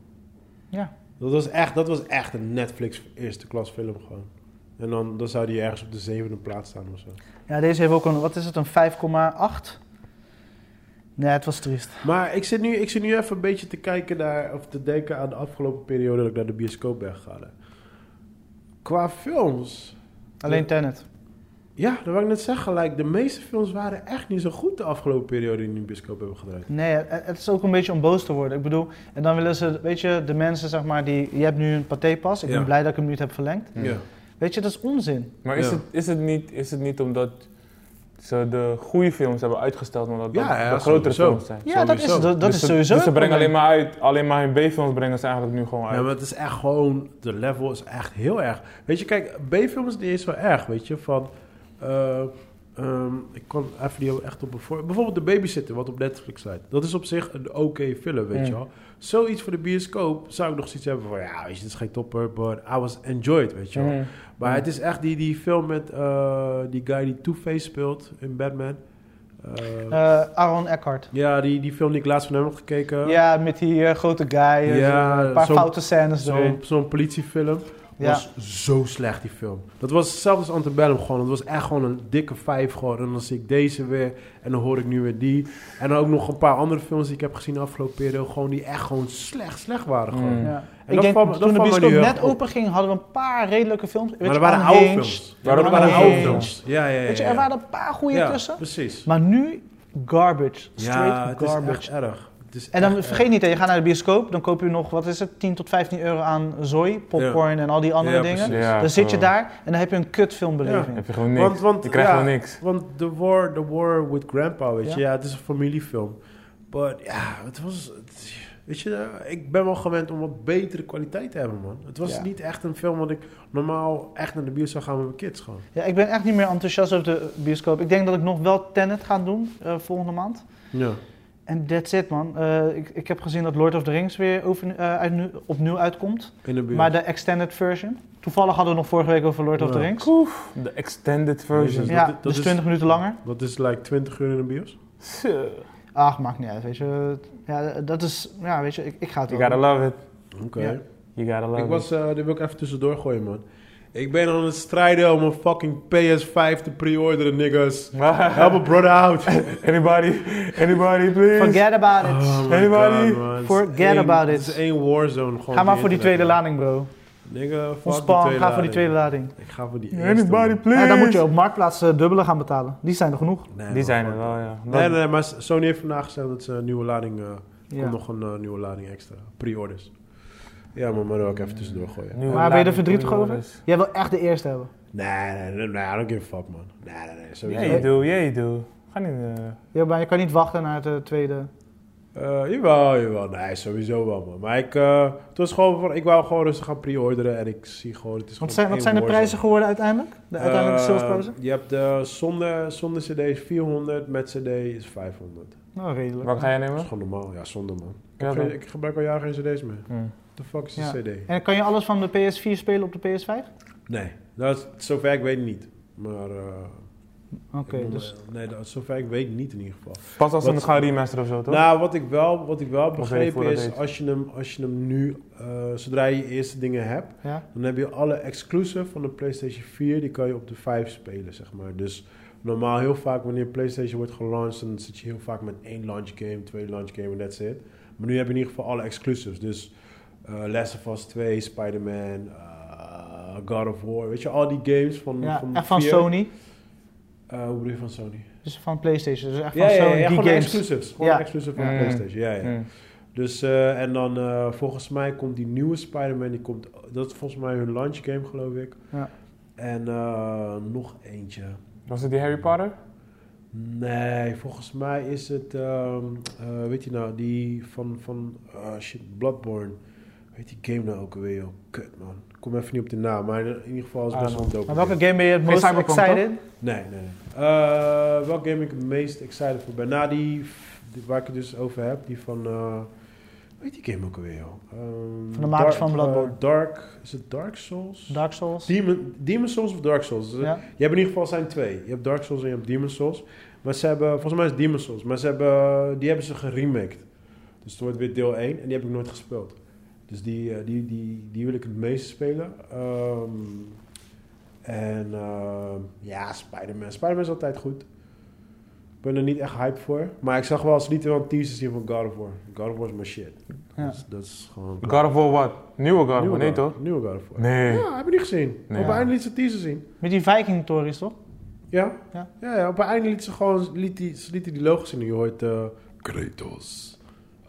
Speaker 3: Ja.
Speaker 1: Dat was echt, dat was echt een Netflix eerste klas film gewoon. En dan, dan zou die ergens op de zevende plaats staan of zo.
Speaker 3: Ja, deze heeft ook een, wat is het, een 5,8? Nee, het was triest.
Speaker 1: Maar ik zit, nu, ik zit nu even een beetje te kijken naar, of te denken aan de afgelopen periode dat ik naar de bioscoop ben gegaan. Qua films,
Speaker 3: Alleen Tenet.
Speaker 1: ja, dat wil ik net zeggen, like, de meeste films waren echt niet zo goed de afgelopen periode die in de bioscoop hebben gedraaid.
Speaker 3: Nee, het het is ook een beetje om boos te worden. Ik bedoel, en dan willen ze, weet je, de mensen zeg maar die, je hebt nu een patépas. Ik
Speaker 1: Ja.
Speaker 3: ben blij dat ik hem niet heb verlengd.
Speaker 2: Ja.
Speaker 1: Ja.
Speaker 3: Weet je, dat is onzin.
Speaker 2: Maar is,
Speaker 1: Ja.
Speaker 2: het, is, het niet, is het niet omdat ze de goede films hebben uitgesteld, omdat dat
Speaker 1: Ja, ja,
Speaker 2: de grotere
Speaker 1: sowieso.
Speaker 2: films zijn?
Speaker 3: Ja, dat is,
Speaker 1: Sowieso.
Speaker 3: dat, dat
Speaker 2: Dus
Speaker 3: is
Speaker 2: ze-
Speaker 3: sowieso.
Speaker 2: Dus ze
Speaker 3: het
Speaker 2: brengen alleen
Speaker 3: probleem.
Speaker 2: maar uit, alleen maar hun B-films brengen ze eigenlijk nu gewoon
Speaker 1: Ja,
Speaker 2: uit.
Speaker 1: maar het is echt gewoon, de level is echt heel erg. Weet je, kijk, B-film is niet eens zo erg, weet je, van... eh, ehm, ik kan even die echt op een voor... Bijvoorbeeld De Babysitter, wat op Netflix staat. Dat is op zich een oké film, weet je
Speaker 2: Mm.
Speaker 1: wel. Zoiets voor de bioscoop zou ik nog zoiets hebben van... Ja, weet je, dit is geen topper, but I was enjoyed, weet je wel.
Speaker 2: Mhm.
Speaker 1: Maar het is echt die, die film met eh, die guy die Two-Face speelt in Batman. Eh,
Speaker 3: Eh, Aaron Eckhart.
Speaker 1: Ja, die, die film die ik laatst van hem heb gekeken.
Speaker 3: Ja, met die eh, grote guy. eh,
Speaker 1: Ja,
Speaker 3: zo- een paar
Speaker 1: zo'n-
Speaker 3: foute scènes
Speaker 1: Zo'n
Speaker 3: erin.
Speaker 1: zo'n politiefilm.
Speaker 3: Ja.
Speaker 1: was zo slecht, die film. Dat was hetzelfde als Antebellum gewoon. Dat was echt gewoon een dikke vijf gewoon. En dan zie ik deze weer. En dan hoor ik nu weer die. En dan ook nog een paar andere films die ik heb gezien de afgelopen periode. Gewoon die echt gewoon slecht, slecht waren gewoon.
Speaker 2: Mm.
Speaker 1: Maar
Speaker 3: Ja.
Speaker 1: dat
Speaker 3: Ik denk,
Speaker 1: valt me- dat
Speaker 3: toen de
Speaker 1: valt me
Speaker 3: bioscoop
Speaker 1: nu heel
Speaker 3: net
Speaker 1: erg op.
Speaker 3: open ging, hadden we een paar redelijke films. Weet
Speaker 1: dat
Speaker 3: je,
Speaker 1: waren oude
Speaker 3: Unhinged.
Speaker 1: films.
Speaker 2: Ja, dat
Speaker 1: dat
Speaker 2: waren
Speaker 1: waren oude
Speaker 3: Unhinged.
Speaker 1: films. Ja, ja, ja.
Speaker 3: Weet je,
Speaker 1: ja.
Speaker 3: er waren een paar goede
Speaker 1: Ja,
Speaker 3: tussen.
Speaker 1: precies.
Speaker 3: Maar nu garbage. Straight
Speaker 1: Ja, het is
Speaker 3: garbage.
Speaker 1: echt erg. Het is
Speaker 3: En dan
Speaker 1: echt
Speaker 3: vergeet niet, hè, je gaat naar de bioscoop, dan koop je nog, wat is het, 10 tot 15 euro aan zooi, popcorn en al die andere
Speaker 1: Ja,
Speaker 3: dingen.
Speaker 1: precies.
Speaker 2: Ja,
Speaker 3: Dan zit je
Speaker 2: gewoon.
Speaker 3: daar en dan heb je een kutfilmbeleving.
Speaker 2: Heb je gewoon
Speaker 1: erg.
Speaker 2: niks.
Speaker 1: Want, want,
Speaker 2: je krijgt
Speaker 1: ja,
Speaker 2: gewoon niks.
Speaker 1: Want The War, the war with Grandpa, weet je.
Speaker 3: Ja.
Speaker 1: Ja, het is een familiefilm. But ja, het was... het- weet je, eh, ik ben wel gewend om wat betere kwaliteit te hebben, man. Het was
Speaker 3: Ja.
Speaker 1: niet echt een film wat ik normaal echt naar de bios zou gaan met mijn kids gewoon.
Speaker 3: Ja, ik ben echt niet meer enthousiast over de bioscoop. Ik denk dat ik nog wel Tenet ga doen eh, volgende maand.
Speaker 1: Ja.
Speaker 3: En that's it man. Eh, ik, ik heb gezien dat Lord of the Rings weer over, eh, uitnieuw- opnieuw uitkomt.
Speaker 1: In de bios.
Speaker 3: Maar de extended version. Toevallig hadden we nog vorige week over Lord of the
Speaker 1: Ja.
Speaker 3: Rings.
Speaker 2: De extended
Speaker 1: version.
Speaker 2: version.
Speaker 1: Dus
Speaker 3: Ja,
Speaker 1: dat- dat
Speaker 3: dus
Speaker 1: is-
Speaker 3: 20 minuten langer.
Speaker 1: Dat is like 20 uur in de bios.
Speaker 3: Ach, maakt niet uit, weet je. Ja, dat is, ja, weet je, ik, ik ga het
Speaker 2: You
Speaker 3: wel
Speaker 2: gotta
Speaker 3: doen.
Speaker 2: love it.
Speaker 1: Oké.
Speaker 3: Ja.
Speaker 2: You gotta love
Speaker 1: Ik
Speaker 2: it.
Speaker 1: was, eh die wil ik even tussendoor gooien, man. Ik ben aan het strijden om een fucking PS5 te pre-orderen, niggas. Help a brother out.
Speaker 2: Anybody, anybody please.
Speaker 3: Forget about it.
Speaker 1: Oh my
Speaker 2: Anybody?
Speaker 1: God, man. Het is
Speaker 3: Forget
Speaker 1: één-
Speaker 3: about it.
Speaker 1: Het is één warzone. Gewoon
Speaker 3: Ga maar
Speaker 1: die
Speaker 3: voor die tweede
Speaker 1: internet,
Speaker 3: lading, bro.
Speaker 1: man. Nigga, fuck
Speaker 3: Ontspan,
Speaker 1: die
Speaker 3: ga voor die tweede lading.
Speaker 1: Ik ga voor die eerste.
Speaker 2: Anybody
Speaker 1: man.
Speaker 2: please.
Speaker 3: En dan moet je op marktplaats eh, dubbele gaan betalen. Die zijn er genoeg.
Speaker 1: Nee,
Speaker 2: Die
Speaker 1: man,
Speaker 2: zijn
Speaker 1: fuck
Speaker 2: er wel,
Speaker 1: that.
Speaker 2: ja.
Speaker 1: Nee, nee, nee, maar Sony heeft vandaag gezegd dat ze een nieuwe lading... eh,
Speaker 3: Ja.
Speaker 1: komt nog een eh, nieuwe lading extra. Pre-orders. Ja, maar maar ook even tussendoor gooien.
Speaker 2: Nieuwe
Speaker 3: Maar ben je er
Speaker 2: lading
Speaker 3: verdrietig over?
Speaker 2: pre-orders.
Speaker 3: Jij wil echt de eerste hebben.
Speaker 1: Nee, nee, nee, nee, I don't give a fuck, man. Nee, nee, nee, sowieso.
Speaker 2: Yeah, you do, yeah, you do. Ga niet... eh,
Speaker 3: Ja, maar je kan niet wachten naar de tweede.
Speaker 1: Eh, jawel, jawel. Nee, sowieso wel, man. Maar ik, eh, het was gewoon van, ik wou gewoon rustig gaan pre-orderen en ik zie gewoon, het is
Speaker 3: Wat
Speaker 1: gewoon
Speaker 3: zijn, wat
Speaker 1: één
Speaker 3: zijn de
Speaker 1: Warzone.
Speaker 3: prijzen geworden uiteindelijk? De uiteindelijke
Speaker 1: Eh,
Speaker 3: salesprijzen?
Speaker 1: Je hebt de zonder, zonder cd is 400, met cd is 500.
Speaker 3: Nou, redelijk.
Speaker 2: Wat ga jij
Speaker 1: Dat is
Speaker 2: nemen?
Speaker 1: gewoon normaal. Ja, zonder, man. Ik,
Speaker 2: Ja,
Speaker 1: heb geen-
Speaker 2: dan.
Speaker 1: ik gebruik al jaren geen cd's meer.
Speaker 2: Hm.
Speaker 1: The fuck is een
Speaker 3: Ja.
Speaker 1: cd?
Speaker 3: En kan je alles van de PS4 spelen op de PS5?
Speaker 1: Nee, dat is, zover ik weet niet. Maar... eh,
Speaker 3: Oké,
Speaker 1: ik bedoel,
Speaker 3: dus...
Speaker 1: eh, Nee, dat, zover ik weet niet in ieder geval.
Speaker 2: Pas als ze
Speaker 1: Wat-
Speaker 2: het gaan remasteren of zo, toch?
Speaker 1: Nou, wat ik wel, wat ik wel heb
Speaker 2: weet ik hoe
Speaker 1: begrepen
Speaker 2: dat
Speaker 1: is,
Speaker 2: heet.
Speaker 1: als je hem, als je hem nu, eh, zodra je je eerste dingen hebt,
Speaker 3: Ja.
Speaker 1: dan heb je alle exclusive van de PlayStation 4, die kan je op de 5 spelen, zeg maar. Dus normaal heel vaak wanneer PlayStation wordt gelanceerd, dan zit je heel vaak met één launch game, twee launch game en that's it. Maar nu heb je in ieder geval alle exclusives. Dus eh Last of Us 2, Spider-Man, eh, God of War, weet je, al die games van...
Speaker 3: Ja,
Speaker 1: van
Speaker 3: echt van
Speaker 1: vier-
Speaker 3: Sony.
Speaker 1: Eh, hoe bedoel je van Sony?
Speaker 3: Dus van PlayStation. Dus echt van
Speaker 1: Ja, ja, ja,
Speaker 3: Sony,
Speaker 1: ja,
Speaker 3: die
Speaker 1: gewoon de
Speaker 3: games.
Speaker 1: exclusives. Gewoon
Speaker 3: Ja.
Speaker 1: de exclusive van de
Speaker 2: Mm.
Speaker 1: PlayStation, ja, ja.
Speaker 2: Hm.
Speaker 1: Dus, eh, en dan eh, volgens mij komt die nieuwe Spider-Man, die komt, dat is volgens mij hun launch game geloof ik.
Speaker 3: Ja.
Speaker 1: En eh, nog eentje.
Speaker 2: Was het die Harry Potter?
Speaker 1: Nee, volgens mij is het, ehm, eh, weet je nou, die van, van ah, shit, Bloodborne. Weet die game nou ook alweer, joh. Kut man. Ik kom even niet op de naam, maar in ieder geval is het
Speaker 2: Ah,
Speaker 1: best wel een dope
Speaker 3: Maar
Speaker 1: game.
Speaker 3: welke game ben je het
Speaker 2: Geen
Speaker 3: most
Speaker 2: Cyberpunk,
Speaker 3: excited?
Speaker 1: Nee, nee, nee. Eh, welke game ik het meest excited voor ben? Na die, f- die- waar ik het dus over heb, die van. eh weet die game ook alweer, joh? Ehm,
Speaker 3: Van de makers
Speaker 1: Dark-
Speaker 3: van Bloodborne.
Speaker 1: eh, Dark. Is het Dark Souls?
Speaker 3: Dark Souls.
Speaker 1: Demon, Demon Souls of Dark Souls? Dus, eh,
Speaker 3: Ja.
Speaker 1: Je hebt in ieder geval zijn twee. Je hebt Dark Souls en je hebt Demon Souls. Maar ze hebben, volgens mij is het Demon Souls, maar ze hebben, eh, die hebben ze geremaked. Dus het wordt weer deel 1 en die heb ik nooit gespeeld. Dus die, eh, die, die, die wil ik het meest spelen. Ehm, en ehm, ja, Spider-Man. Spider-Man is altijd goed. Ik ben er niet echt hype voor. Maar ik zag wel eens niet wel een teaser zien van God of War. God of War is mijn shit.
Speaker 3: Ja.
Speaker 1: Dat is- Dat is gewoon...
Speaker 2: God of War wat? Nieuwe God of
Speaker 1: Nieuwe
Speaker 2: War?
Speaker 1: God-
Speaker 2: Nee, toch?
Speaker 1: Nieuwe God of War.
Speaker 2: Nee.
Speaker 1: Ja, heb je niet gezien.
Speaker 2: Nee.
Speaker 1: Op het einde liet ze teaser zien.
Speaker 3: Met die Viking-tories, toch?
Speaker 1: Ja?
Speaker 3: Ja.
Speaker 1: Ja, ja, op het einde liet ze gewoon liet die, ze liet die logo zien. en Je hoort... eh Kratos,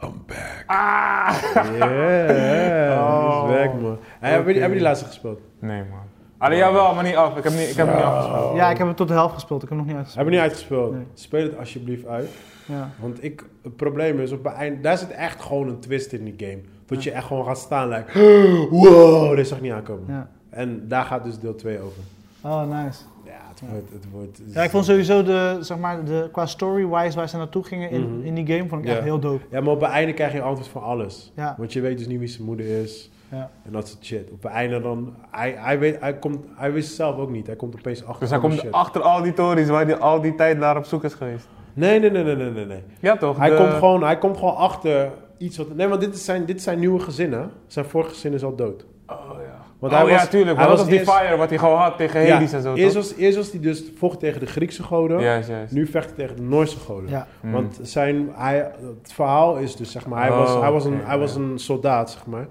Speaker 1: I'm back. Ah! Yeah,
Speaker 2: Oh.
Speaker 1: he's back, man. Hey, hebben, jullie- hebben die laatste gespeeld?
Speaker 2: Nee, man. Allee, jawel, maar niet af. Ik heb, niet, ik heb hem niet
Speaker 1: Oh.
Speaker 2: afgespeeld.
Speaker 3: Ja, ik heb het tot de helft gespeeld. Ik heb hem nog niet
Speaker 1: Hebben
Speaker 3: uitgespeeld.
Speaker 1: we niet uitgespeeld?
Speaker 3: Nee.
Speaker 1: Speel het alsjeblieft uit.
Speaker 3: Ja.
Speaker 1: Want ik, het probleem is, op het einde, daar zit echt gewoon een twist in die game. Dat je echt gewoon gaat staan, like... Wow, dit zag ik niet aankomen.
Speaker 3: ja.
Speaker 1: En daar gaat dus deel 2 over.
Speaker 3: Oh, nice.
Speaker 1: Ja, het wordt... Het wordt
Speaker 3: Ja, ik vond sowieso de, zeg maar, de, qua story-wise waar ze naartoe gingen in,
Speaker 1: Mhm.
Speaker 3: in die game, vond ik echt
Speaker 1: Ja.
Speaker 3: heel dope.
Speaker 1: Ja, maar op het einde krijg je antwoord van alles.
Speaker 3: Ja.
Speaker 1: Want je weet dus niet wie zijn moeder is.
Speaker 3: Ja.
Speaker 1: En dat soort shit. Op het einde dan... Hij, hij, weet, hij, komt, hij wist zelf ook niet. Hij komt opeens achter.
Speaker 2: Dus hij
Speaker 1: alle
Speaker 2: komt
Speaker 1: shit.
Speaker 2: achter al die tories waar hij al die tijd naar op zoek is geweest.
Speaker 1: Nee, nee, nee, nee, nee, nee. nee.
Speaker 2: Ja, toch?
Speaker 1: Hij,
Speaker 2: De-
Speaker 1: komt gewoon, hij komt gewoon achter iets wat... Nee, want dit zijn, dit zijn nieuwe gezinnen. Zijn vorige gezin is al dood.
Speaker 2: Oh ja.
Speaker 1: Want
Speaker 2: oh
Speaker 1: hij
Speaker 2: ja,
Speaker 1: was-
Speaker 2: tuurlijk.
Speaker 1: hij
Speaker 2: Hij was
Speaker 1: was
Speaker 2: op die
Speaker 1: eerst-
Speaker 2: fire wat hij gewoon had tegen Hades en zo,
Speaker 1: eerst
Speaker 2: toch?
Speaker 1: was, eerst was hij dus vocht tegen de Griekse goden.
Speaker 2: Juist, juist.
Speaker 1: Nu vecht hij tegen de Noorse goden.
Speaker 3: Ja.
Speaker 2: Mm.
Speaker 1: Want zijn, hij, het verhaal is dus, zeg maar, hij,
Speaker 2: Oh,
Speaker 1: was, hij, was, een,
Speaker 2: oké,
Speaker 1: hij was
Speaker 2: ja.
Speaker 1: een soldaat, zeg maar.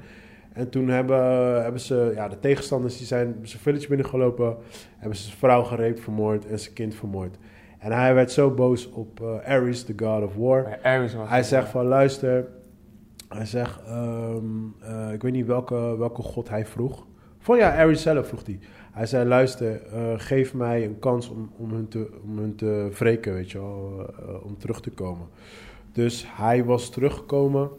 Speaker 1: En toen hebben, hebben ze, ja, de tegenstanders die zijn zijn village binnengelopen, hebben ze zijn vrouw gereept, vermoord en zijn kind vermoord. En hij werd zo boos op eh, Ares, de god of war.
Speaker 2: Ja, Ares was
Speaker 1: Hij
Speaker 2: het.
Speaker 1: zegt van, luister, hij zegt, ehm, eh, ik weet niet welke, welke god hij vroeg. Van ja, Ares zelf vroeg hij. Hij zei, luister, eh, geef mij een kans om, om, hun te, om hun te wreken, weet je wel, eh, eh, om terug te komen. Dus hij was teruggekomen,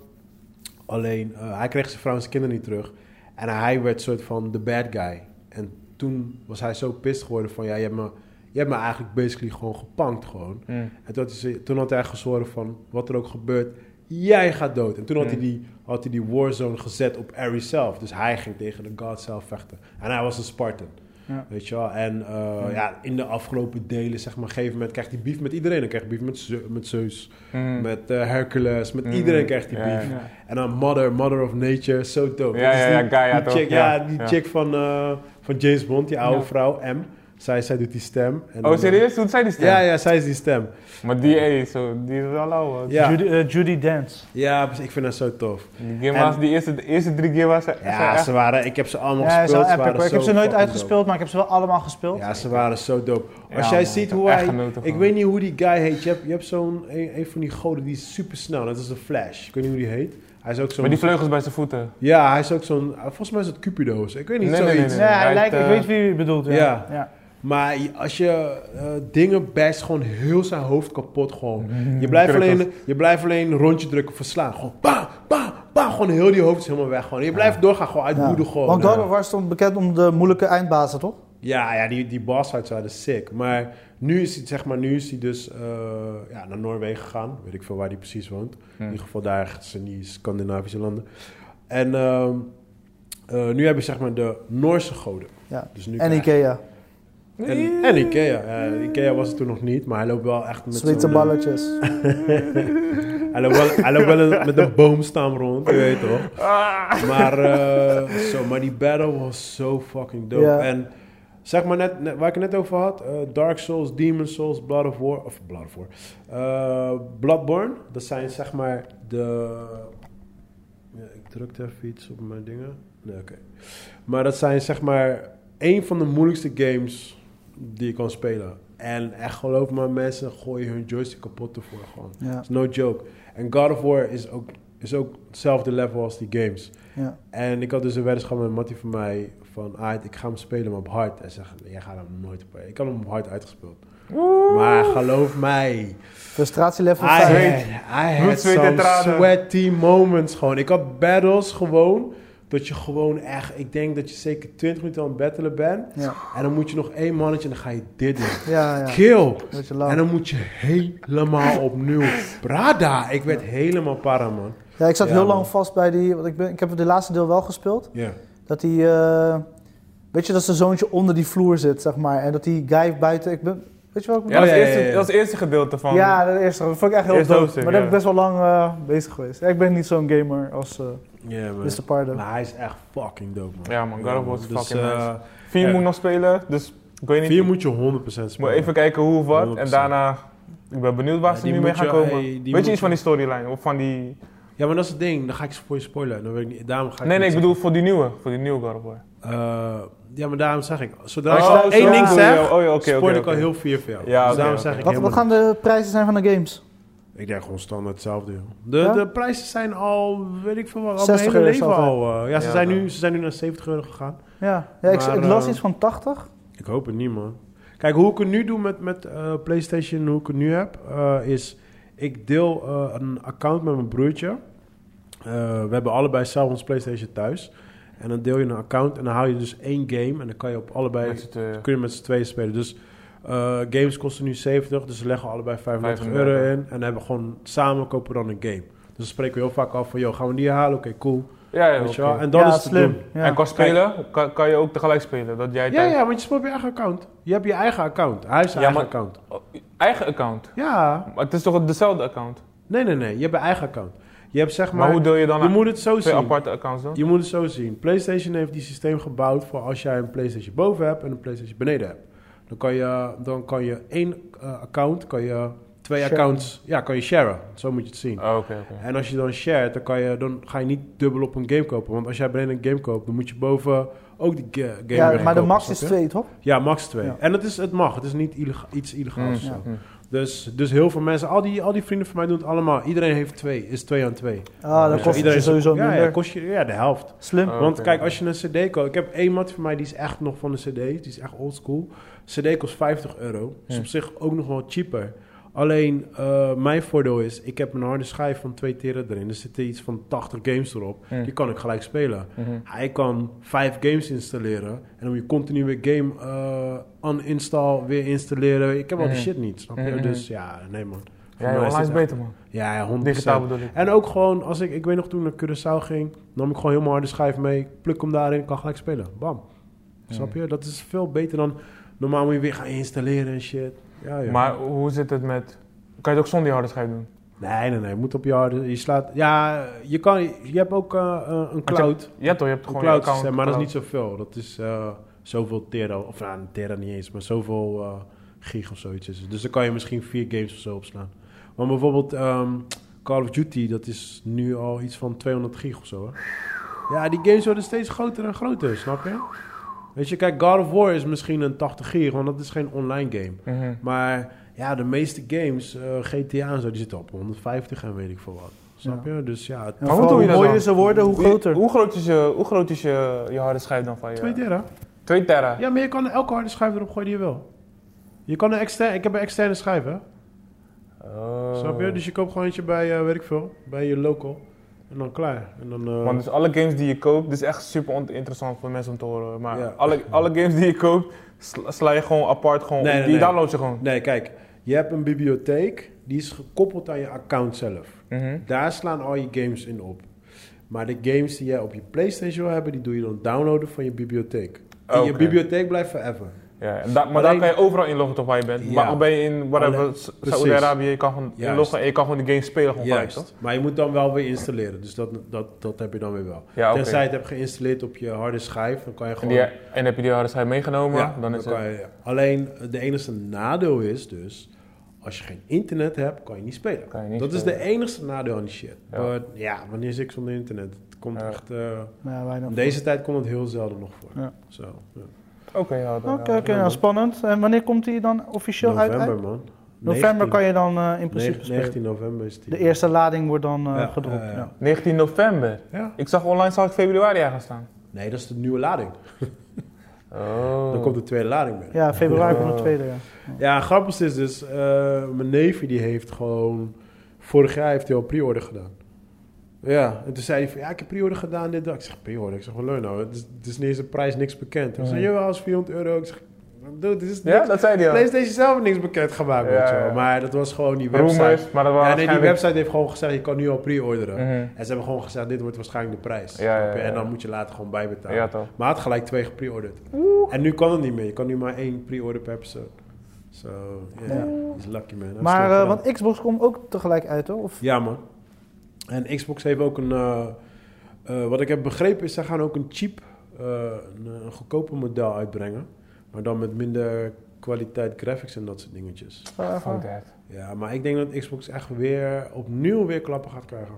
Speaker 1: alleen eh, hij kreeg zijn vrouw en zijn kinderen niet terug. En hij werd soort van de bad guy. En toen was hij zo pissed geworden van, ja, je hebt me, je hebt me eigenlijk basically gewoon gepankt gewoon.
Speaker 2: Mm.
Speaker 1: En toen had, hij, ze- toen had hij gezworen van, wat er ook gebeurt, jij gaat dood. En toen had, hij,
Speaker 2: Mm.
Speaker 1: die, had hij die warzone gezet op Ares zelf. Dus hij ging tegen de god zelf vechten. En hij was een Spartan.
Speaker 3: Ja.
Speaker 1: Weet je wel? En eh, ja, in de afgelopen delen, zeg maar, op een gegeven moment krijgt hij beef met iedereen. Dan krijgt hij beef met, Zeu- met Zeus,
Speaker 2: Mm.
Speaker 1: met eh, Hercules, met
Speaker 2: Mm.
Speaker 1: iedereen krijgt hij
Speaker 2: Ja,
Speaker 1: beef.
Speaker 2: ja.
Speaker 3: Ja.
Speaker 1: En dan Mother, Mother of Nature, zo dope.
Speaker 2: Ja,
Speaker 1: Dat is
Speaker 2: ja, ja, Gaia
Speaker 1: die
Speaker 2: toch?
Speaker 1: chick,
Speaker 2: Ja,
Speaker 1: ja, die
Speaker 2: ja.
Speaker 1: chick van, eh, van James Bond, die oude
Speaker 3: Ja.
Speaker 1: vrouw, M. Zij, zij doet die stem. En dan,
Speaker 2: Oh,
Speaker 1: eh,
Speaker 2: serieus? Toen zei die stem?
Speaker 1: Ja, ja, zij is die stem.
Speaker 2: Maar die, ey, zo, die is wel lauw. hoor.
Speaker 1: Ja,
Speaker 3: Judy, eh, Judy Dance.
Speaker 1: ja precies, ik vind dat zo tof.
Speaker 2: Die, Gimma's,
Speaker 1: En-
Speaker 2: die eerste, de eerste drie Gimma's zijn zijn
Speaker 1: Ja,
Speaker 2: echt-
Speaker 1: ze waren, ik heb ze allemaal
Speaker 3: Ja, is
Speaker 1: gespeeld.
Speaker 3: wel
Speaker 1: ze
Speaker 3: epic
Speaker 1: waren
Speaker 3: hoor. Ik heb
Speaker 1: zo
Speaker 3: ze nooit
Speaker 1: fucking
Speaker 3: uitgespeeld, maar ik heb ze wel allemaal gespeeld.
Speaker 1: dope. Ja, ze waren zo dope. Als
Speaker 2: Ja,
Speaker 1: jij
Speaker 2: man,
Speaker 1: ziet
Speaker 2: ik heb
Speaker 1: hoe
Speaker 2: echt
Speaker 1: hij...
Speaker 2: genoten
Speaker 1: Ik
Speaker 2: gewoon.
Speaker 1: weet niet hoe die guy heet. Je hebt, je hebt zo'n... Een, een van die goden die is super snel. Dat is de Flash. Ik weet niet hoe die heet. Hij is ook zo'n...
Speaker 2: Met die vleugels bij zijn voeten.
Speaker 1: Ja, hij is ook zo'n... Volgens mij is het Cupido's. Ik weet niet,
Speaker 2: Nee, nee,
Speaker 1: zoiets.
Speaker 2: nee,
Speaker 3: Nee, hij
Speaker 2: Hij
Speaker 3: lijkt,
Speaker 2: heeft,
Speaker 3: ik
Speaker 2: eh,
Speaker 3: weet wie je bedoelt. Ja.
Speaker 1: Ja.
Speaker 3: Ja.
Speaker 1: Maar je- als je eh, dingen best gewoon heel zijn hoofd kapot gewoon. Je blijft,
Speaker 2: Krukkels.
Speaker 1: alleen, je blijft alleen een rondje drukken, verslaan. Gewoon pa, pa, pa. Gewoon heel die hoofd is helemaal weg gewoon. Je blijft doorgaan gewoon uit woede gewoon.
Speaker 3: Want
Speaker 1: Ja.
Speaker 3: God of War stond bekend om de moeilijke eindbazen, toch?
Speaker 1: Ja, ja die, die boss fights waren sick. Maar nu is hij, zeg maar, nu is hij dus eh, ja, naar Noorwegen gegaan. Weet ik veel waar hij precies woont. In ieder geval daar ergens in die Scandinavische landen. En ehm, eh, nu heb je zeg maar de Noorse goden.
Speaker 3: Ja.
Speaker 1: Dus nu
Speaker 3: En
Speaker 1: krijg-
Speaker 3: Ikea.
Speaker 1: en, en Ikea. Eh, Ikea was het toen nog niet, maar hij loopt wel echt met
Speaker 3: Zwitse
Speaker 1: zo'n, eh,
Speaker 3: balletjes.
Speaker 1: Hij loopt wel, hij loopt wel een- met een boomstam rond, je weet toch? Maar, eh, zo, maar die battle was zo fucking dope.
Speaker 3: Ja.
Speaker 1: En zeg maar net, net- waar ik het net over had, eh, Dark Souls, Demon Souls, Blood of War, of Blood of War, eh, Bloodborne, dat zijn zeg maar de... Ja, ik drukte even iets op mijn dingen. Nee, oké. Maar dat zijn zeg maar één van de moeilijkste games die je kan spelen. En echt geloof me, mensen gooien hun joystick kapot ervoor gewoon.
Speaker 3: Ja.
Speaker 1: It's no joke. En God of War is ook, is ook hetzelfde level als die games.
Speaker 3: Ja.
Speaker 1: En ik had dus een weddenschap met een mattie van mij van... Ah, ik ga hem spelen, maar op hard. En zeg, jij gaat hem nooit op... Ik had hem op hard uitgespeeld. Maar geloof mij... I
Speaker 3: Frustratielevel
Speaker 1: had,
Speaker 3: 5.
Speaker 1: I had
Speaker 2: Bloed, zweet en
Speaker 1: some
Speaker 2: tranen.
Speaker 1: sweaty moments gewoon. Ik had battles gewoon... Dat je gewoon echt... Ik denk dat je zeker 20 minuten aan het battelen bent.
Speaker 3: Ja.
Speaker 1: En dan moet je nog één mannetje en dan ga je dit doen.
Speaker 3: Ja, ja.
Speaker 1: Kill.
Speaker 3: Dat je lang-
Speaker 1: En dan moet je helemaal opnieuw. Brada, ik werd helemaal para, man.
Speaker 3: ja, ik zat
Speaker 1: Ja,
Speaker 3: heel
Speaker 1: man.
Speaker 3: lang vast bij die. Want ik, ben, ik heb de laatste deel wel gespeeld.
Speaker 1: Ja.
Speaker 3: Dat die. eh, weet je dat zijn zoontje onder die vloer zit, zeg maar. En dat die guy buiten. Ik ben, weet je wel?
Speaker 2: Ja, dat, is
Speaker 1: ja, ja,
Speaker 2: eerste,
Speaker 1: ja.
Speaker 2: dat is het eerste gedeelte van...
Speaker 3: Ja, dat eerste. Dat vond ik echt heel
Speaker 2: Eerste
Speaker 3: dood. Maar
Speaker 2: hoofdstuk,
Speaker 3: daar ben ik
Speaker 2: ja.
Speaker 3: best wel lang eh, bezig geweest. Ja, ik ben niet zo'n gamer als eh
Speaker 1: Ja, man.
Speaker 3: Mr. Pardo.
Speaker 1: Maar hij is echt fucking dope, man.
Speaker 2: Ja, man, God of War is fucking
Speaker 1: eh,
Speaker 2: nice. Vier
Speaker 1: ja.
Speaker 2: moet ik nog spelen, dus ik weet niet.
Speaker 1: Vier
Speaker 2: Ik
Speaker 1: moet je 100% spelen.
Speaker 2: moet even kijken hoe of wat. En
Speaker 1: 100%.
Speaker 2: daarna, ik ben benieuwd waar
Speaker 1: Ja,
Speaker 2: ze
Speaker 1: die
Speaker 2: nu mee
Speaker 1: moet
Speaker 2: gaan
Speaker 1: je-
Speaker 2: komen.
Speaker 1: hey, die
Speaker 2: weet
Speaker 1: moet
Speaker 2: je
Speaker 1: je-
Speaker 2: iets van die storyline? Of van die...
Speaker 1: Ja, maar dat is het ding. Dan ga ik ze voor je spoilen. Dan weet ik niet. Daarom ga ik
Speaker 2: Nee, nee, ik
Speaker 1: niet
Speaker 2: bedoel voor die nieuwe. Voor die nieuwe God of War.
Speaker 1: zeggen. Eh, ja, maar daarom zeg ik. Zodra
Speaker 3: Oh,
Speaker 1: ik
Speaker 3: zo
Speaker 1: één ding
Speaker 3: bedoel
Speaker 1: zeg,
Speaker 2: je. Oh, ja, oké,
Speaker 1: spoil
Speaker 2: oké,
Speaker 1: ik al
Speaker 2: oké.
Speaker 1: heel vier veel.
Speaker 2: Ja,
Speaker 1: dus
Speaker 2: oké,
Speaker 1: daarom
Speaker 2: oké.
Speaker 1: zeg ik
Speaker 3: Wat, wat
Speaker 1: helemaal
Speaker 3: gaan de prijzen zijn van de games?
Speaker 1: niks. Ik denk gewoon standaard hetzelfde, joh. De,
Speaker 3: Ja?
Speaker 1: de prijzen zijn al, weet ik veel wat, al mijn
Speaker 3: 60
Speaker 1: hele
Speaker 3: euro
Speaker 1: leven
Speaker 3: zat, hè?
Speaker 1: al. eh, ja, ze,
Speaker 2: Ja,
Speaker 1: zijn nu,
Speaker 2: dan.
Speaker 1: ze zijn nu naar 70 euro gegaan.
Speaker 3: Ja, ja ik,
Speaker 1: Maar,
Speaker 3: ik las
Speaker 1: eh,
Speaker 3: iets van 80.
Speaker 1: Ik hoop het niet, man. Kijk, hoe ik het nu doe met, met eh, PlayStation, hoe ik het nu heb, eh, is... Ik deel eh, een account met mijn broertje. Eh, we hebben allebei zelf ons PlayStation thuis. En dan deel je een account en dan haal je dus één game. En dan kan je op allebei...
Speaker 2: Met z'n tweeën.
Speaker 1: Kun je met z'n tweeën spelen. Dus eh, games kosten nu 70, dus we leggen allebei 35
Speaker 2: 35.
Speaker 1: euro in. En hebben gewoon samen kopen we dan een game. Dus dan spreken we heel vaak af van, joh, gaan we die halen? Oké, cool.
Speaker 2: Ja, ja,
Speaker 1: Weet je
Speaker 2: oké.
Speaker 1: wel? En dat
Speaker 3: ja,
Speaker 1: is te doen.
Speaker 3: Ja.
Speaker 2: En qua spelen kan, kan je ook tegelijk spelen. Dat jij
Speaker 1: Ja,
Speaker 2: thuis-
Speaker 1: ja, want je speelt op je eigen account. Je hebt je eigen account. Hij heeft zijn
Speaker 2: Ja,
Speaker 1: eigen
Speaker 2: maar-
Speaker 1: account.
Speaker 2: Oh, Eigen account.
Speaker 1: Ja.
Speaker 2: Maar het is toch dezelfde account?
Speaker 1: Nee, nee, nee. Je hebt een eigen account. Je hebt zeg
Speaker 2: Maar,
Speaker 1: maar...
Speaker 2: hoe deel je dan
Speaker 1: je
Speaker 2: aan-
Speaker 1: moet het zo
Speaker 2: twee
Speaker 1: zien.
Speaker 2: aparte accounts dan?
Speaker 1: Je moet het zo zien. PlayStation heeft die systeem gebouwd voor als jij een PlayStation boven hebt en een PlayStation beneden hebt. Dan kan je, dan kan je één eh, account, kan je twee
Speaker 3: Sharen.
Speaker 1: accounts, ja, kan je sharen. Zo moet je het zien.
Speaker 2: Oh, oké, oké.
Speaker 1: En als je dan shared, dan, kan je, dan ga je niet dubbel op een game kopen. Want als jij beneden een game koopt, dan moet je boven ook die ga- game
Speaker 3: Ja,
Speaker 1: weer
Speaker 3: maar de
Speaker 1: kopen,
Speaker 3: max
Speaker 1: snap
Speaker 3: is
Speaker 1: je?
Speaker 3: 2, toch?
Speaker 1: Ja, max twee.
Speaker 3: Ja.
Speaker 1: En het, is, het mag. Het is niet illega- iets
Speaker 2: Mm,
Speaker 1: illegaals. of zo.
Speaker 2: mm.
Speaker 1: Dus, dus heel veel mensen, al die, al die vrienden van mij doen het allemaal. Iedereen heeft twee, is twee aan twee.
Speaker 3: Ah,
Speaker 2: Ja,
Speaker 3: dat kost het
Speaker 1: dus Iedereen
Speaker 3: je
Speaker 1: is-
Speaker 3: sowieso
Speaker 1: ja,
Speaker 3: minder.
Speaker 1: Ja, kost je ja, de helft.
Speaker 3: Slim.
Speaker 2: Oh,
Speaker 1: Want
Speaker 2: oké.
Speaker 1: kijk, als je een cd koopt... Ik heb één mat van mij, die is echt nog van de cd. Die is echt oldschool. cd kost 50 euro. Is
Speaker 2: Ja.
Speaker 1: op zich ook nog wel cheaper. Alleen, eh, mijn voordeel is... Ik heb een harde schijf van 2 tera erin. Er zitten iets van 80 games erop.
Speaker 2: Ja.
Speaker 1: Die kan ik gelijk spelen.
Speaker 2: Mhm.
Speaker 1: Hij kan vijf games installeren. En om je continu weer game eh uninstall, weer installeren. Ik heb al die
Speaker 2: Mhm.
Speaker 1: shit niet, snap je?
Speaker 2: Mhm.
Speaker 1: Dus ja, nee man. Voor
Speaker 2: Ja,
Speaker 1: mij
Speaker 2: joh,
Speaker 1: is
Speaker 2: online is
Speaker 1: dit echt-
Speaker 2: beter, man.
Speaker 1: Ja, ja, 100%.
Speaker 2: Digitaal bedoel ik.
Speaker 1: En ook gewoon, als ik, ik weet nog toen ik naar Curaçao ging, nam ik gewoon helemaal harde schijf mee, pluk hem daarin, kan gelijk spelen. Bam. Snap je? Dat is veel beter dan normaal moet je weer gaan installeren en shit. Ja, ja.
Speaker 2: Maar hoe zit het met... Kan je het ook zonder die harde schijf doen?
Speaker 1: Nee, nee, nee. Je moet op je harde, je slaat. Ja, je kan, je hebt ook eh, eh, een
Speaker 2: je-
Speaker 1: cloud.
Speaker 2: Ja toch, je hebt
Speaker 1: Een
Speaker 2: gewoon je
Speaker 1: cloud
Speaker 2: account.
Speaker 1: systeem, maar dat is
Speaker 2: cloud.
Speaker 1: niet zoveel. Dat is eh, zoveel tera, of nou, tera niet eens, maar zoveel eh, gig of zoiets is. het. Dus dan kan je misschien vier games of zo opslaan. Maar bijvoorbeeld ehm, Call of Duty, dat is nu al iets van 200 gig of zo. Hè? Ja, die games worden steeds groter en groter, snap je? Weet je, kijk, God of War is misschien een 80 gig, want dat is geen online game.
Speaker 2: Mhm.
Speaker 1: Maar ja, de meeste games, eh, GTA en zo, die zitten op 150 en weet ik veel wat. Snap je? Dus ja, het-
Speaker 3: Ja,
Speaker 2: Maar
Speaker 3: vooral
Speaker 2: hoe doe je
Speaker 3: hoe
Speaker 2: dat
Speaker 3: mooier
Speaker 2: dan?
Speaker 3: ze worden, hoe groter.
Speaker 2: Hoe groot is je, hoe groot is je, je harde schijf dan van je?
Speaker 1: 2 tera.
Speaker 2: Twee tera.
Speaker 1: Ja, maar je kan elke harde schijf erop gooien die je wil. Je kan een externe, ik heb een externe schijf, hè?
Speaker 2: Oh.
Speaker 1: Snap je? Dus je koopt gewoon eentje bij, eh, weet ik veel, bij je local. En dan klaar. En dan, eh,
Speaker 2: Want dus alle games die je koopt, dit is echt super on- interessant voor mensen om te horen. Maar
Speaker 1: Ja.
Speaker 2: alle, alle games die je koopt, sla, sla je gewoon apart, gewoon
Speaker 1: Nee,
Speaker 2: op.
Speaker 1: nee,
Speaker 2: die
Speaker 1: nee.
Speaker 2: download je gewoon.
Speaker 1: Nee, kijk, je hebt een bibliotheek, die is gekoppeld aan je account zelf.
Speaker 2: Mhm.
Speaker 1: Daar slaan al je games in op. Maar de games die jij op je PlayStation wil hebben, die doe je dan downloaden van je bibliotheek. En je
Speaker 2: Oh, Oké.
Speaker 1: bibliotheek blijft forever.
Speaker 2: Ja, en da- maar
Speaker 1: Alleen-
Speaker 2: daar kan je overal inloggen tot waar je bent.
Speaker 1: Ja.
Speaker 2: Maar al ben je in
Speaker 1: Alleen-
Speaker 2: whatever, Sa-
Speaker 1: precies.
Speaker 2: Saoedi-Arabië, je kan gewoon
Speaker 1: Juist.
Speaker 2: inloggen en je kan gewoon de game spelen gewoon gelijk, toch?
Speaker 1: Maar je moet dan wel weer installeren. Dus dat, dat, dat heb je dan weer wel.
Speaker 2: Ja, oké.
Speaker 1: Tenzij je het hebt geïnstalleerd op je harde schijf, dan kan je
Speaker 2: En,
Speaker 1: gewoon.
Speaker 2: die, en heb je die harde schijf meegenomen,
Speaker 1: Ja,
Speaker 2: dan is
Speaker 1: dan
Speaker 2: het...
Speaker 1: kan je- alleen eh, de enige nadeel is dus, als je geen internet hebt, kan je niet spelen.
Speaker 2: Kan je niet
Speaker 1: dat is
Speaker 2: spelen.
Speaker 1: de enige nadeel aan die shit.
Speaker 2: Ja.
Speaker 1: Ja, ja wanneer zit ik zonder internet? Het komt
Speaker 2: Ja.
Speaker 1: echt, eh,
Speaker 3: Ja, weinig.
Speaker 1: in deze tijd komt het heel zelden nog voor.
Speaker 3: Ja.
Speaker 1: Zo, ja.
Speaker 2: Oké, ja, dan-
Speaker 3: Oké,
Speaker 2: ja,
Speaker 3: oké,
Speaker 2: dan-
Speaker 3: nou spannend. En wanneer komt die dan officieel uit?
Speaker 1: November man.
Speaker 3: November
Speaker 1: 19
Speaker 3: kan je dan eh, in principe
Speaker 1: neg-
Speaker 3: spelen.
Speaker 1: 19 november is die.
Speaker 3: De eerste lading wordt dan eh,
Speaker 1: Ja,
Speaker 3: gedropt.
Speaker 1: ja, ja.
Speaker 3: ja.
Speaker 2: 19 november.
Speaker 1: Ja.
Speaker 2: Ik zag online, zag ik februari aan gaan staan.
Speaker 1: Nee, dat is de nieuwe lading.
Speaker 2: Oh.
Speaker 1: Dan komt de tweede lading binnen.
Speaker 3: Ja, februari
Speaker 2: Ja.
Speaker 3: komt de tweede. Ja.
Speaker 1: Ja, het grappigste is dus, eh, mijn neefje die heeft gewoon, vorig jaar heeft hij al pre-order gedaan. Ja, en toen zei hij van, ja, ik heb pre-order gedaan dit, dat. Ik zeg, pre-order? Ik zeg, wat leuk nou, het is, het is niet eens een prijs, niks bekend. Hij zei,
Speaker 2: Mhm.
Speaker 1: jawel, als 400 euro. Ik zeg, dude, dit is
Speaker 2: Ja,
Speaker 1: niks.
Speaker 2: dat zei die al.
Speaker 1: PlayStation zelf niks bekend gemaakt,
Speaker 2: Ja,
Speaker 1: weet je wel.
Speaker 2: ja.
Speaker 1: Maar dat was gewoon die website.
Speaker 2: Rumors, maar dat
Speaker 1: Ja,
Speaker 2: waren
Speaker 1: nee, die
Speaker 2: waarschijnlijk-
Speaker 1: website heeft gewoon gezegd, je kan nu al pre-orderen.
Speaker 2: Mhm.
Speaker 1: En ze hebben gewoon gezegd, dit wordt waarschijnlijk de prijs.
Speaker 2: Ja, ja,
Speaker 1: snap je?
Speaker 2: ja,
Speaker 1: En dan
Speaker 2: ja.
Speaker 1: moet je later gewoon bijbetalen.
Speaker 2: Ja, toch.
Speaker 1: Maar hij had gelijk twee gepreorderd. En nu kan het niet meer. Je kan nu maar één pre-order per persoon. So, yeah. He's lucky man. Hij heeft
Speaker 3: Maar
Speaker 1: het
Speaker 3: eh,
Speaker 1: gedaan.
Speaker 3: want Xbox komt ook tegelijk uit, hoor? Of,
Speaker 1: Ja man. En Xbox heeft ook een... eh, eh, wat ik heb begrepen is, zij gaan ook een cheap, eh, een, een goedkoper model uitbrengen. Maar dan met minder kwaliteit graphics en dat soort dingetjes.
Speaker 3: Oh, echt waar?
Speaker 2: Fuck that.
Speaker 1: Ja, maar ik denk dat Xbox echt weer opnieuw weer klappen gaat krijgen.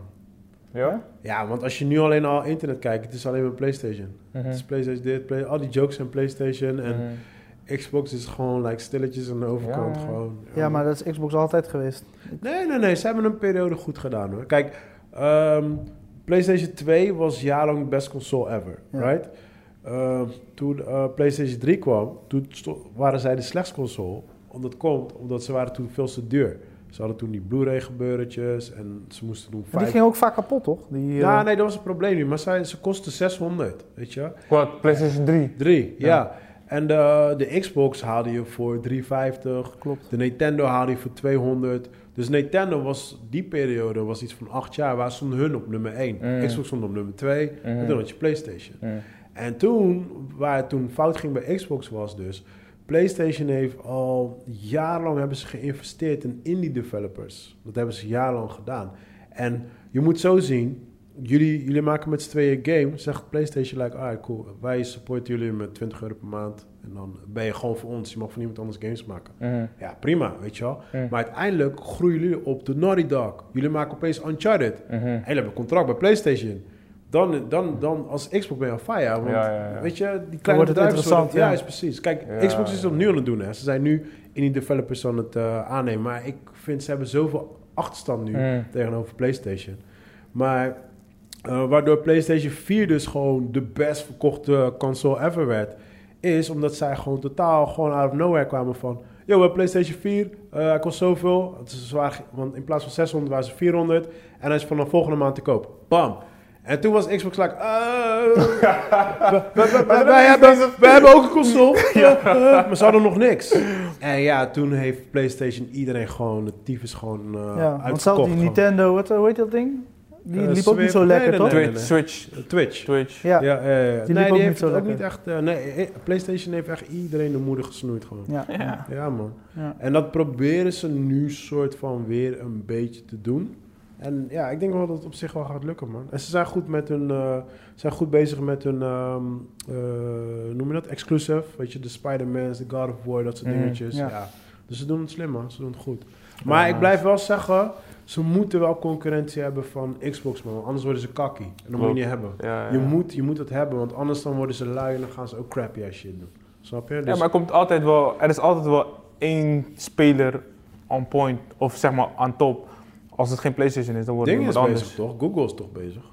Speaker 2: Ja?
Speaker 1: Ja, want als je nu alleen al internet kijkt, het is alleen maar PlayStation. Het is PlayStation dit, Play- al die jokes zijn PlayStation. En
Speaker 2: Mhm.
Speaker 1: Xbox is gewoon like, stilletjes aan de overkant.
Speaker 2: Ja.
Speaker 1: Gewoon,
Speaker 3: ja, maar dat is Xbox altijd geweest.
Speaker 1: Nee, nee, nee. Ze hebben een periode goed gedaan hoor. Kijk, ehm, PlayStation 2 was jarenlang de best console ever,
Speaker 3: Ja.
Speaker 1: right? Ehm, toen eh, PlayStation 3 kwam, toen sto- waren zij de slechtste console. Omdat komt, omdat ze waren toen veel te duur. Ze hadden toen die Blu-ray gebeurtjes en ze moesten doen
Speaker 3: Maar die
Speaker 1: vijf...
Speaker 3: ging ook vaak kapot, toch? Die, eh,
Speaker 1: Ja, nee, dat was het probleem niet. Maar zij, ze kostten 600, weet je.
Speaker 2: Wat? PlayStation 3?
Speaker 1: Drie, ja.
Speaker 2: Ja.
Speaker 1: En de, de Xbox haalde je voor 350.
Speaker 3: Klopt.
Speaker 1: De Nintendo haalde je voor 200. Dus Nintendo was die periode was iets van acht jaar. Waar stonden hun op nummer 1?
Speaker 2: Mm.
Speaker 1: Xbox stond op nummer 2. En
Speaker 2: Mm.
Speaker 1: toen had je PlayStation.
Speaker 2: Mm.
Speaker 1: En toen, waar het toen fout ging bij Xbox was dus... PlayStation heeft al jarenlang hebben ze geïnvesteerd in indie developers. Dat hebben ze jarenlang gedaan. En je moet zo zien, jullie, jullie maken met z'n tweeën een game. Zegt PlayStation like, alright cool, wij supporten jullie met 20 euro per maand. En dan ben je gewoon voor ons, je mag voor niemand anders games maken.
Speaker 2: Mhm.
Speaker 1: Ja, prima, weet je wel.
Speaker 2: Mm.
Speaker 1: Maar uiteindelijk groeien jullie op de Naughty Dog. Jullie maken opeens Uncharted.
Speaker 2: Mhm.
Speaker 1: Hij hebben een contract bij PlayStation. Dan, dan, dan als Xbox ben je al fire. Want
Speaker 2: Ja, ja, ja.
Speaker 1: weet je, die kleine
Speaker 3: wordt het
Speaker 1: bedrijven...
Speaker 3: interessant,
Speaker 1: worden- ja.
Speaker 3: ja.
Speaker 1: is precies. Kijk,
Speaker 2: Ja,
Speaker 1: Xbox is het
Speaker 2: ja.
Speaker 1: opnieuw aan het doen. Hè. Ze zijn nu in die developers aan het eh, aannemen. Maar ik vind, ze hebben zoveel achterstand nu
Speaker 2: Mm.
Speaker 1: tegenover PlayStation. Maar eh, waardoor PlayStation 4 dus gewoon de best verkochte console ever werd... is omdat zij gewoon totaal gewoon out of nowhere kwamen van... Yo, we hebben PlayStation 4, eh, hij kost zoveel. Het is zwaar, ge- want in plaats van 600 waren ze 400. En hij is vanaf volgende maand te koop. Bam! En toen was Xbox like... eh, we- we- we- we- wij hebben- We hebben ook een console. Eh, maar ze hadden nog niks. En ja, toen heeft PlayStation iedereen gewoon... de tyfus gewoon eh
Speaker 3: ja, want zelfs
Speaker 1: uitverkocht.
Speaker 3: die
Speaker 1: gewoon.
Speaker 3: Nintendo, wat, eh, hoe heet dat ding? Die
Speaker 1: Eh,
Speaker 3: liep ook niet
Speaker 1: Swift.
Speaker 3: zo
Speaker 1: Nee,
Speaker 3: lekker,
Speaker 1: nee,
Speaker 3: toch?
Speaker 1: nee.
Speaker 2: Twitch, Switch,
Speaker 1: Eh, Twitch.
Speaker 2: Twitch.
Speaker 3: Ja.
Speaker 1: Ja, ja, ja.
Speaker 3: Die liep
Speaker 1: nee,
Speaker 3: ook
Speaker 1: die
Speaker 3: niet
Speaker 1: heeft
Speaker 3: zo
Speaker 1: het ook
Speaker 3: lekker.
Speaker 1: niet echt. eh, nee, eh, PlayStation heeft echt iedereen de moeder gesnoeid gewoon.
Speaker 3: Ja. Ja.
Speaker 1: Ja, man.
Speaker 3: Ja.
Speaker 1: En dat proberen ze nu soort van weer een beetje te doen. En ja, ik denk wel dat het op zich wel gaat lukken, man. En ze zijn goed, met hun, eh, zijn goed bezig met hun, ehm, eh, noem je dat, exclusive. Weet je, de Spider-Mans, de God of War, dat soort
Speaker 2: Mhm,
Speaker 1: dingetjes.
Speaker 3: ja.
Speaker 1: ja. Dus ze doen het slim, man. Ze doen het goed.
Speaker 2: Ja,
Speaker 1: Maar
Speaker 2: nice.
Speaker 1: ik blijf wel zeggen, ze moeten wel concurrentie hebben van Xbox, man. Want Anders worden ze kakkie. En dat moet je
Speaker 2: Klopt.
Speaker 1: niet hebben.
Speaker 2: Ja, ja.
Speaker 1: Je, moet, je moet het hebben, want anders dan worden ze lui en dan gaan ze ook crappy ass shit doen. Snap je? Dus,
Speaker 2: Ja, maar er, komt altijd wel, er is altijd wel één speler on point, of zeg maar aan top. Als het geen PlayStation is, dan wordt het
Speaker 1: Ding is
Speaker 2: iemand
Speaker 1: bezig,
Speaker 2: anders.
Speaker 1: toch? Google is toch bezig?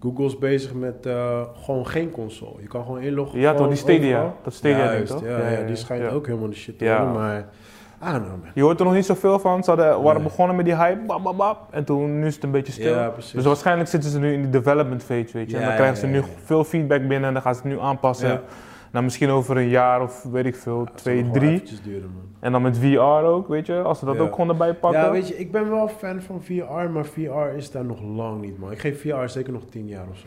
Speaker 1: Google is bezig met eh, gewoon geen console. Je kan gewoon inloggen.
Speaker 2: Ja, toch,
Speaker 1: gewoon
Speaker 2: die Stadia.
Speaker 1: overal.
Speaker 2: Dat Stadia ding,
Speaker 1: Juist,
Speaker 2: toch?
Speaker 1: Ja,
Speaker 2: Ja,
Speaker 1: ja,
Speaker 2: ja,
Speaker 1: die
Speaker 2: ja.
Speaker 1: schijnt
Speaker 2: Ja.
Speaker 1: ook helemaal de shit te
Speaker 2: Ja.
Speaker 1: worden, maar... I don't know, man.
Speaker 2: Je hoort er nog niet zoveel van. Ze hadden, waren
Speaker 1: Nee.
Speaker 2: begonnen met die hype, bam, bam, bam. En toen, nu is het een beetje stil.
Speaker 1: Ja, precies.
Speaker 2: dus waarschijnlijk zitten ze nu in die development phase, weet je.
Speaker 1: Ja,
Speaker 2: en dan krijgen
Speaker 1: ja,
Speaker 2: ze
Speaker 1: ja,
Speaker 2: nu
Speaker 1: ja.
Speaker 2: veel feedback binnen en dan gaan ze het nu aanpassen.
Speaker 1: Ja.
Speaker 2: Nou, misschien over een jaar of weet ik veel,
Speaker 1: Het zal
Speaker 2: twee,
Speaker 1: nog wel
Speaker 2: drie.
Speaker 1: eventjes duren, man.
Speaker 2: En dan met VR ook, weet je. Als ze dat
Speaker 1: Ja.
Speaker 2: ook gewoon erbij pakken.
Speaker 1: Ja, weet je, ik ben wel fan van VR, maar VR is daar nog lang niet, man. Ik geef VR zeker nog 10 jaar of zo.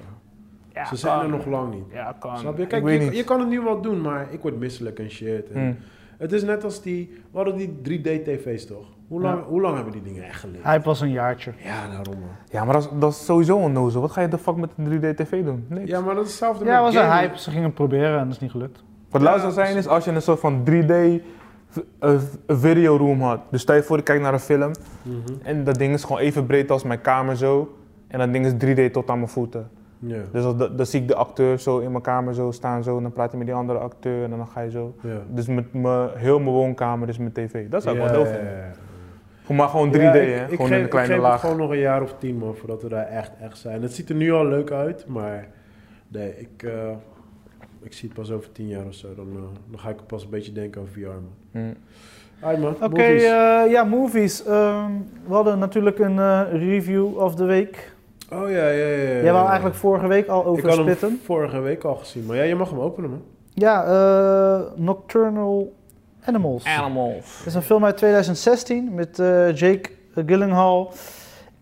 Speaker 2: Ja,
Speaker 1: Ze zijn
Speaker 2: kan.
Speaker 1: er nog lang niet.
Speaker 2: Ja, kan.
Speaker 1: Snap je?
Speaker 2: Ik
Speaker 1: Kijk,
Speaker 2: weet
Speaker 1: je,
Speaker 2: niet.
Speaker 1: je kan het nu wel doen, maar ik word misselijk en shit. En
Speaker 2: Hmm.
Speaker 1: Het is net als die... We hadden die 3D-tv's, toch? Hoe lang, hoe lang hebben die dingen echt gelegen?
Speaker 3: Hij was een jaartje.
Speaker 1: Ja, nou, daarom, man.
Speaker 2: Ja, maar dat is, dat is sowieso onnozel. Wat ga je de fuck met een 3D-tv doen? Niks.
Speaker 1: Ja, maar dat is hetzelfde
Speaker 3: Ja,
Speaker 1: met
Speaker 3: was een
Speaker 1: gaming.
Speaker 3: hype. Ze gingen het proberen en dat is niet gelukt.
Speaker 2: Wat
Speaker 1: Ja,
Speaker 2: laatst zou zijn is als je een soort van 3D v- eh, v- videoroom had. Dus stel je voor, ik kijk naar een film
Speaker 1: Mhm.
Speaker 2: en dat ding is gewoon even breed als mijn kamer zo. En dat ding is 3D tot aan mijn voeten.
Speaker 1: Ja,
Speaker 2: Dus als dat- dan zie ik de acteur zo in mijn kamer zo staan zo. En dan praat je met die andere acteur en dan ga je zo.
Speaker 1: ja.
Speaker 2: Dus met mijn, heel mijn woonkamer, dus mijn tv. Dat zou ik
Speaker 1: Ja,
Speaker 2: wel doof
Speaker 1: ja,
Speaker 2: vinden.
Speaker 1: ja, ja.
Speaker 2: Gewoon Maar gewoon 3D,
Speaker 1: Ja, ik-
Speaker 2: hè?
Speaker 1: ik
Speaker 2: gewoon
Speaker 1: geef-
Speaker 2: in een kleine
Speaker 1: ik geef het
Speaker 2: laag.
Speaker 1: gewoon nog een jaar of tien, man, voordat we daar echt, echt zijn. Het ziet er nu al leuk uit, maar nee, ik, eh, ik zie het pas over tien jaar of zo. Dan, eh, dan ga ik pas een beetje denken over VR, man.
Speaker 2: Mm.
Speaker 1: Hi, man.
Speaker 3: Oké,
Speaker 1: movies.
Speaker 3: eh, ja, movies. Ehm, we hadden natuurlijk een eh, review of the week.
Speaker 1: oh, ja, ja, ja. ja, ja,
Speaker 3: Jij wou
Speaker 1: ja.
Speaker 3: eigenlijk vorige week al
Speaker 1: Ik
Speaker 3: over
Speaker 1: had hem
Speaker 3: spitten.
Speaker 1: vorige week al gezien, maar ja, je mag hem openen, man.
Speaker 3: Ja, eh, Nocturnal Animals.
Speaker 2: Animals.
Speaker 3: Het is een film uit 2016 met eh, Jake Gyllenhaal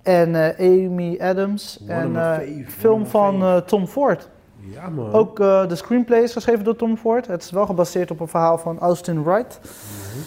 Speaker 3: en eh, Amy Adams.
Speaker 1: One of
Speaker 3: en
Speaker 1: my
Speaker 3: eh,
Speaker 1: fave, one of
Speaker 3: film
Speaker 1: my
Speaker 3: van
Speaker 1: fave.
Speaker 3: eh, Tom Ford.
Speaker 1: Ja, man.
Speaker 3: Ook eh, de screenplay is geschreven door Tom Ford. Het is wel gebaseerd op een verhaal van Austin Wright.
Speaker 1: Mhm.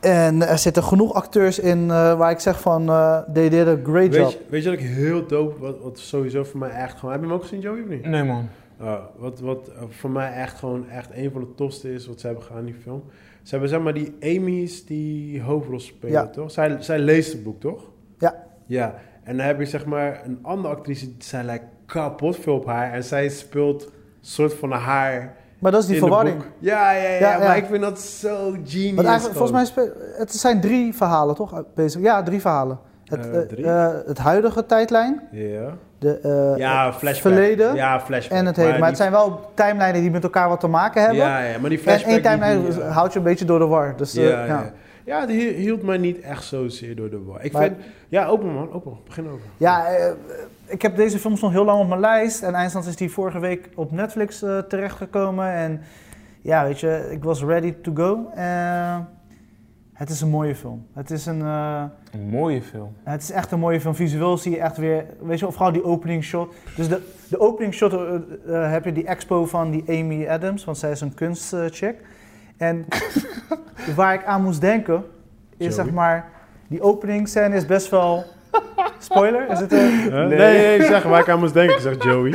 Speaker 3: En er zitten genoeg acteurs in eh, waar ik zeg van, eh they did a great job.
Speaker 1: Weet je, weet je dat ik heel dope, wat, wat sowieso voor mij echt gewoon... Heb je hem ook gezien, Joey, of niet?
Speaker 2: Nee man.
Speaker 1: Uh, wat wat eh, voor mij echt gewoon echt een van de tofste is wat ze hebben gedaan in die film. Ze hebben zeg maar die Amy's die hoofdrol spelen,
Speaker 3: Ja.
Speaker 1: toch? Zij, zij leest het boek, toch?
Speaker 3: Ja.
Speaker 1: Ja. En dan heb je zeg maar een andere actrice, zij lijkt kapot veel op haar. En zij speelt soort van haar
Speaker 3: Maar dat is die
Speaker 1: in
Speaker 3: verwarring.
Speaker 1: de boek. Ja, ja, ja,
Speaker 3: Ja,
Speaker 1: Maar
Speaker 3: ja.
Speaker 1: ik vind dat zo genius.
Speaker 3: Want eigenlijk,
Speaker 1: gewoon.
Speaker 3: volgens mij, spe- het zijn drie verhalen toch? Bezig. Ja, drie verhalen. Het,
Speaker 1: Eh,
Speaker 3: eh,
Speaker 1: drie?
Speaker 3: eh, het huidige tijdlijn,
Speaker 1: Ja,
Speaker 3: de, eh,
Speaker 1: ja
Speaker 3: het
Speaker 1: flashback.
Speaker 3: verleden
Speaker 1: Ja, flashback.
Speaker 3: en het heden. Maar,
Speaker 1: die-
Speaker 3: het zijn wel timelijnen die met elkaar wat te maken hebben.
Speaker 1: Ja, ja, maar die
Speaker 3: en
Speaker 1: flashback...
Speaker 3: één
Speaker 1: die-
Speaker 3: timeline
Speaker 1: die- ja.
Speaker 3: houdt je een beetje door de war. Dus, eh,
Speaker 1: ja,
Speaker 3: ja.
Speaker 1: ja. ja, het hi- hield mij niet echt zozeer door de war. Ik
Speaker 3: Maar-
Speaker 1: vind... Ja, open man, open. Begin over.
Speaker 3: Ja, eh, eh, ik heb deze film nog heel lang op mijn lijst. En eindstand is die vorige week op Netflix eh, terechtgekomen. En ja, weet je, ik was ready to go. Eh, het is een mooie film. Het is een... eh,
Speaker 2: Een mooie film.
Speaker 3: Ja, Het is echt een mooie film. Visueel zie je echt weer, weet je, wel, vooral die opening shot. Dus de, de opening shot eh, eh, heb je die expo van die Amy Adams, want zij is een kunstcheck. en waar ik aan moest denken, is
Speaker 1: Joey?
Speaker 3: zeg maar, die openingscène is best wel. Spoiler? Is het eh, een...
Speaker 1: Huh?
Speaker 2: Nee.
Speaker 1: Nee. nee, ik zeg waar ik aan moest denken. Ik zeg Joey.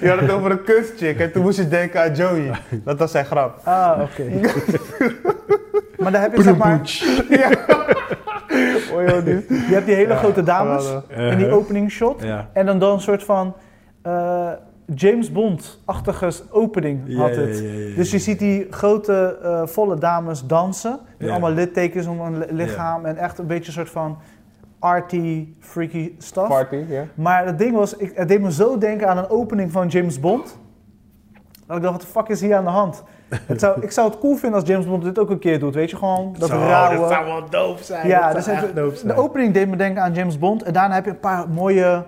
Speaker 2: Je had het over een kunstchick en toen moest je denken aan Joey. Dat was zijn grap.
Speaker 3: Ah, oké. maar daar heb je zeg maar,
Speaker 2: Oh, joh, die-
Speaker 3: je hebt die hele grote dames
Speaker 2: geweldig.
Speaker 3: in die opening shot.
Speaker 1: Ja.
Speaker 3: En dan, dan een soort van eh, James Bond-achtige opening had het. Dus je ziet die grote, eh, volle dames dansen. Met
Speaker 1: Ja.
Speaker 3: allemaal littekens om hun li- lichaam. En echt een beetje een soort van arty, freaky stuff.
Speaker 2: Party, ja.
Speaker 3: Maar het ding was, ik, het deed me zo denken aan een opening van James Bond. Dat ik dacht, wat de fuck is hier aan de hand? Het zou, ik zou het cool vinden als James Bond dit ook een keer doet. Weet je, gewoon dat rauwe.
Speaker 1: Dat zou wel doof zijn.
Speaker 3: Ja,
Speaker 1: dat
Speaker 3: dus
Speaker 1: zou
Speaker 3: het-
Speaker 1: echt doof zijn.
Speaker 3: de opening deed me denken aan James Bond. En daarna heb je een paar mooie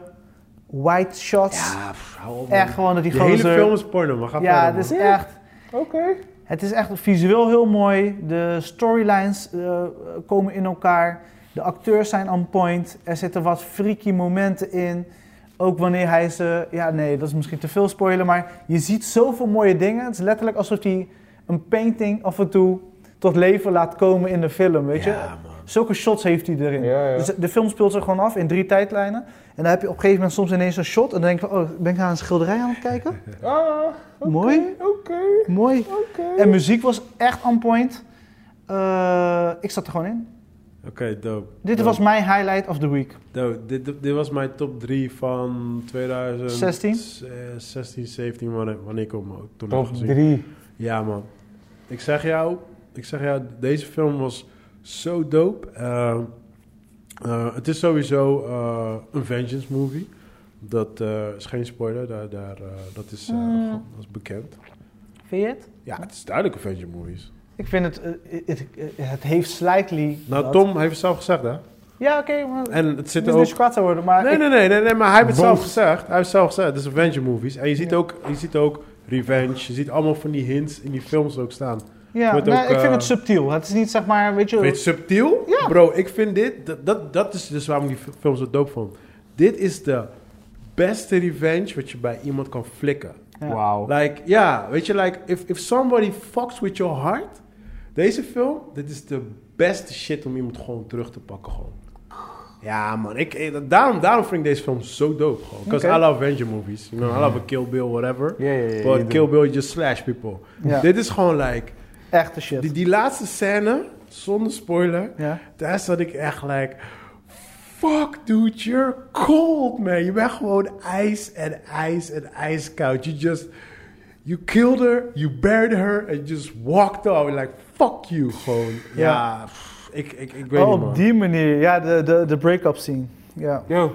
Speaker 3: white shots.
Speaker 1: Ja, pff, hou op, man.
Speaker 3: echt gewoon dat die
Speaker 1: Die hele
Speaker 3: gozer-
Speaker 1: film is porno, maar ga
Speaker 3: Ja, dus
Speaker 1: verder,
Speaker 3: het is
Speaker 1: man.
Speaker 3: echt...
Speaker 2: Oké.
Speaker 3: Het is echt visueel heel mooi. De storylines eh, komen in elkaar. De acteurs zijn on point. Er zitten wat freaky momenten in. Ook wanneer hij ze. Ja, nee, dat is misschien te veel spoiler. Maar je ziet zoveel mooie dingen. Het is letterlijk alsof hij een painting af en toe tot leven laat komen in de film. Weet je?
Speaker 1: Ja, man.
Speaker 3: Zulke shots heeft hij erin.
Speaker 2: Ja, ja.
Speaker 3: Dus de film speelt zich gewoon af in drie tijdlijnen. En dan heb je op een gegeven moment soms ineens een shot. En dan denk je, van, oh, ben ik naar een schilderij aan het kijken?
Speaker 2: Ah, oké,
Speaker 3: Mooi.
Speaker 2: Oké,
Speaker 3: Mooi.
Speaker 2: oké.
Speaker 3: En muziek was echt on point. Eh, ik zat er gewoon in.
Speaker 1: Oké, dope.
Speaker 3: Dit
Speaker 1: Dope.
Speaker 3: was mijn highlight of the week.
Speaker 1: Dope. Dit, dit, dit was mijn top 3 van 2016, 16, 17, wanneer, wanneer ik hem ook toen heb
Speaker 2: Top
Speaker 1: gezien.
Speaker 2: 3.
Speaker 1: Ja, man. Ik zeg jou, ik zeg jou deze film was zo dope. Eh, eh, het is sowieso eh, een vengeance movie. Dat eh, is geen spoiler, daar, daar, eh, dat, is, eh,
Speaker 3: Mm.
Speaker 1: go- dat is bekend.
Speaker 3: Vind je het?
Speaker 1: Ja, het is duidelijk een vengeance movie.
Speaker 3: Ik vind het, eh, het, eh, het heeft slightly...
Speaker 1: Nou,
Speaker 3: dat-
Speaker 1: Tom heeft het zelf gezegd, hè?
Speaker 3: Ja, oké. maar-
Speaker 1: En het
Speaker 3: het
Speaker 1: zit
Speaker 3: is
Speaker 1: er
Speaker 3: niet
Speaker 1: ook...
Speaker 3: kwaad te worden, maar...
Speaker 1: Nee,
Speaker 3: ik-
Speaker 1: nee, nee, nee, nee, maar hij heeft het
Speaker 2: Wolf.
Speaker 1: zelf gezegd. Hij heeft het zelf gezegd, het is een vengeance movies. En je ziet,
Speaker 3: Ja.
Speaker 1: ook, je ziet ook revenge, je ziet allemaal van die hints in die films ook staan.
Speaker 3: Ja,
Speaker 1: Wordt
Speaker 3: nee,
Speaker 1: ook,
Speaker 3: ik vind
Speaker 1: eh,
Speaker 3: het subtiel. Het is niet zeg maar, weet je...
Speaker 1: Weet je, subtiel?
Speaker 3: Ja.
Speaker 1: Bro, ik vind dit... Dat, dat, dat is dus waarom ik die film zo dope vond. Dit is de beste revenge wat je bij iemand kan flikken.
Speaker 3: Ja.
Speaker 2: Wauw.
Speaker 1: Like, ja, weet je, like... If, if somebody fucks with your heart... Deze film, dit is de beste shit om iemand gewoon terug te pakken, gewoon. Ja, man. Ik, ik- daarom, daarom vind ik deze film zo dope, gewoon. Because
Speaker 3: Oké.
Speaker 1: I love Avenger movies. You know, I love a Kill Bill, whatever.
Speaker 2: Ja, ja, ja.
Speaker 1: But Kill Bill, you just slash people.
Speaker 3: Ja.
Speaker 1: Dit is gewoon, like...
Speaker 3: Echte shit.
Speaker 1: Die, die laatste scène, zonder spoiler...
Speaker 3: ja.
Speaker 1: Daar zat ik echt like... Fuck dude, you're cold man. Je bent gewoon ijs en ijs en ijskoud. You just... You killed her, you buried her and you just walked off. Like, fuck you gewoon. Ja, pff, ik, ik, ik weet
Speaker 3: Oh,
Speaker 1: niet
Speaker 3: op
Speaker 1: man.
Speaker 3: die manier. Ja, de, de, de break-up scene. Ja.
Speaker 2: Yo.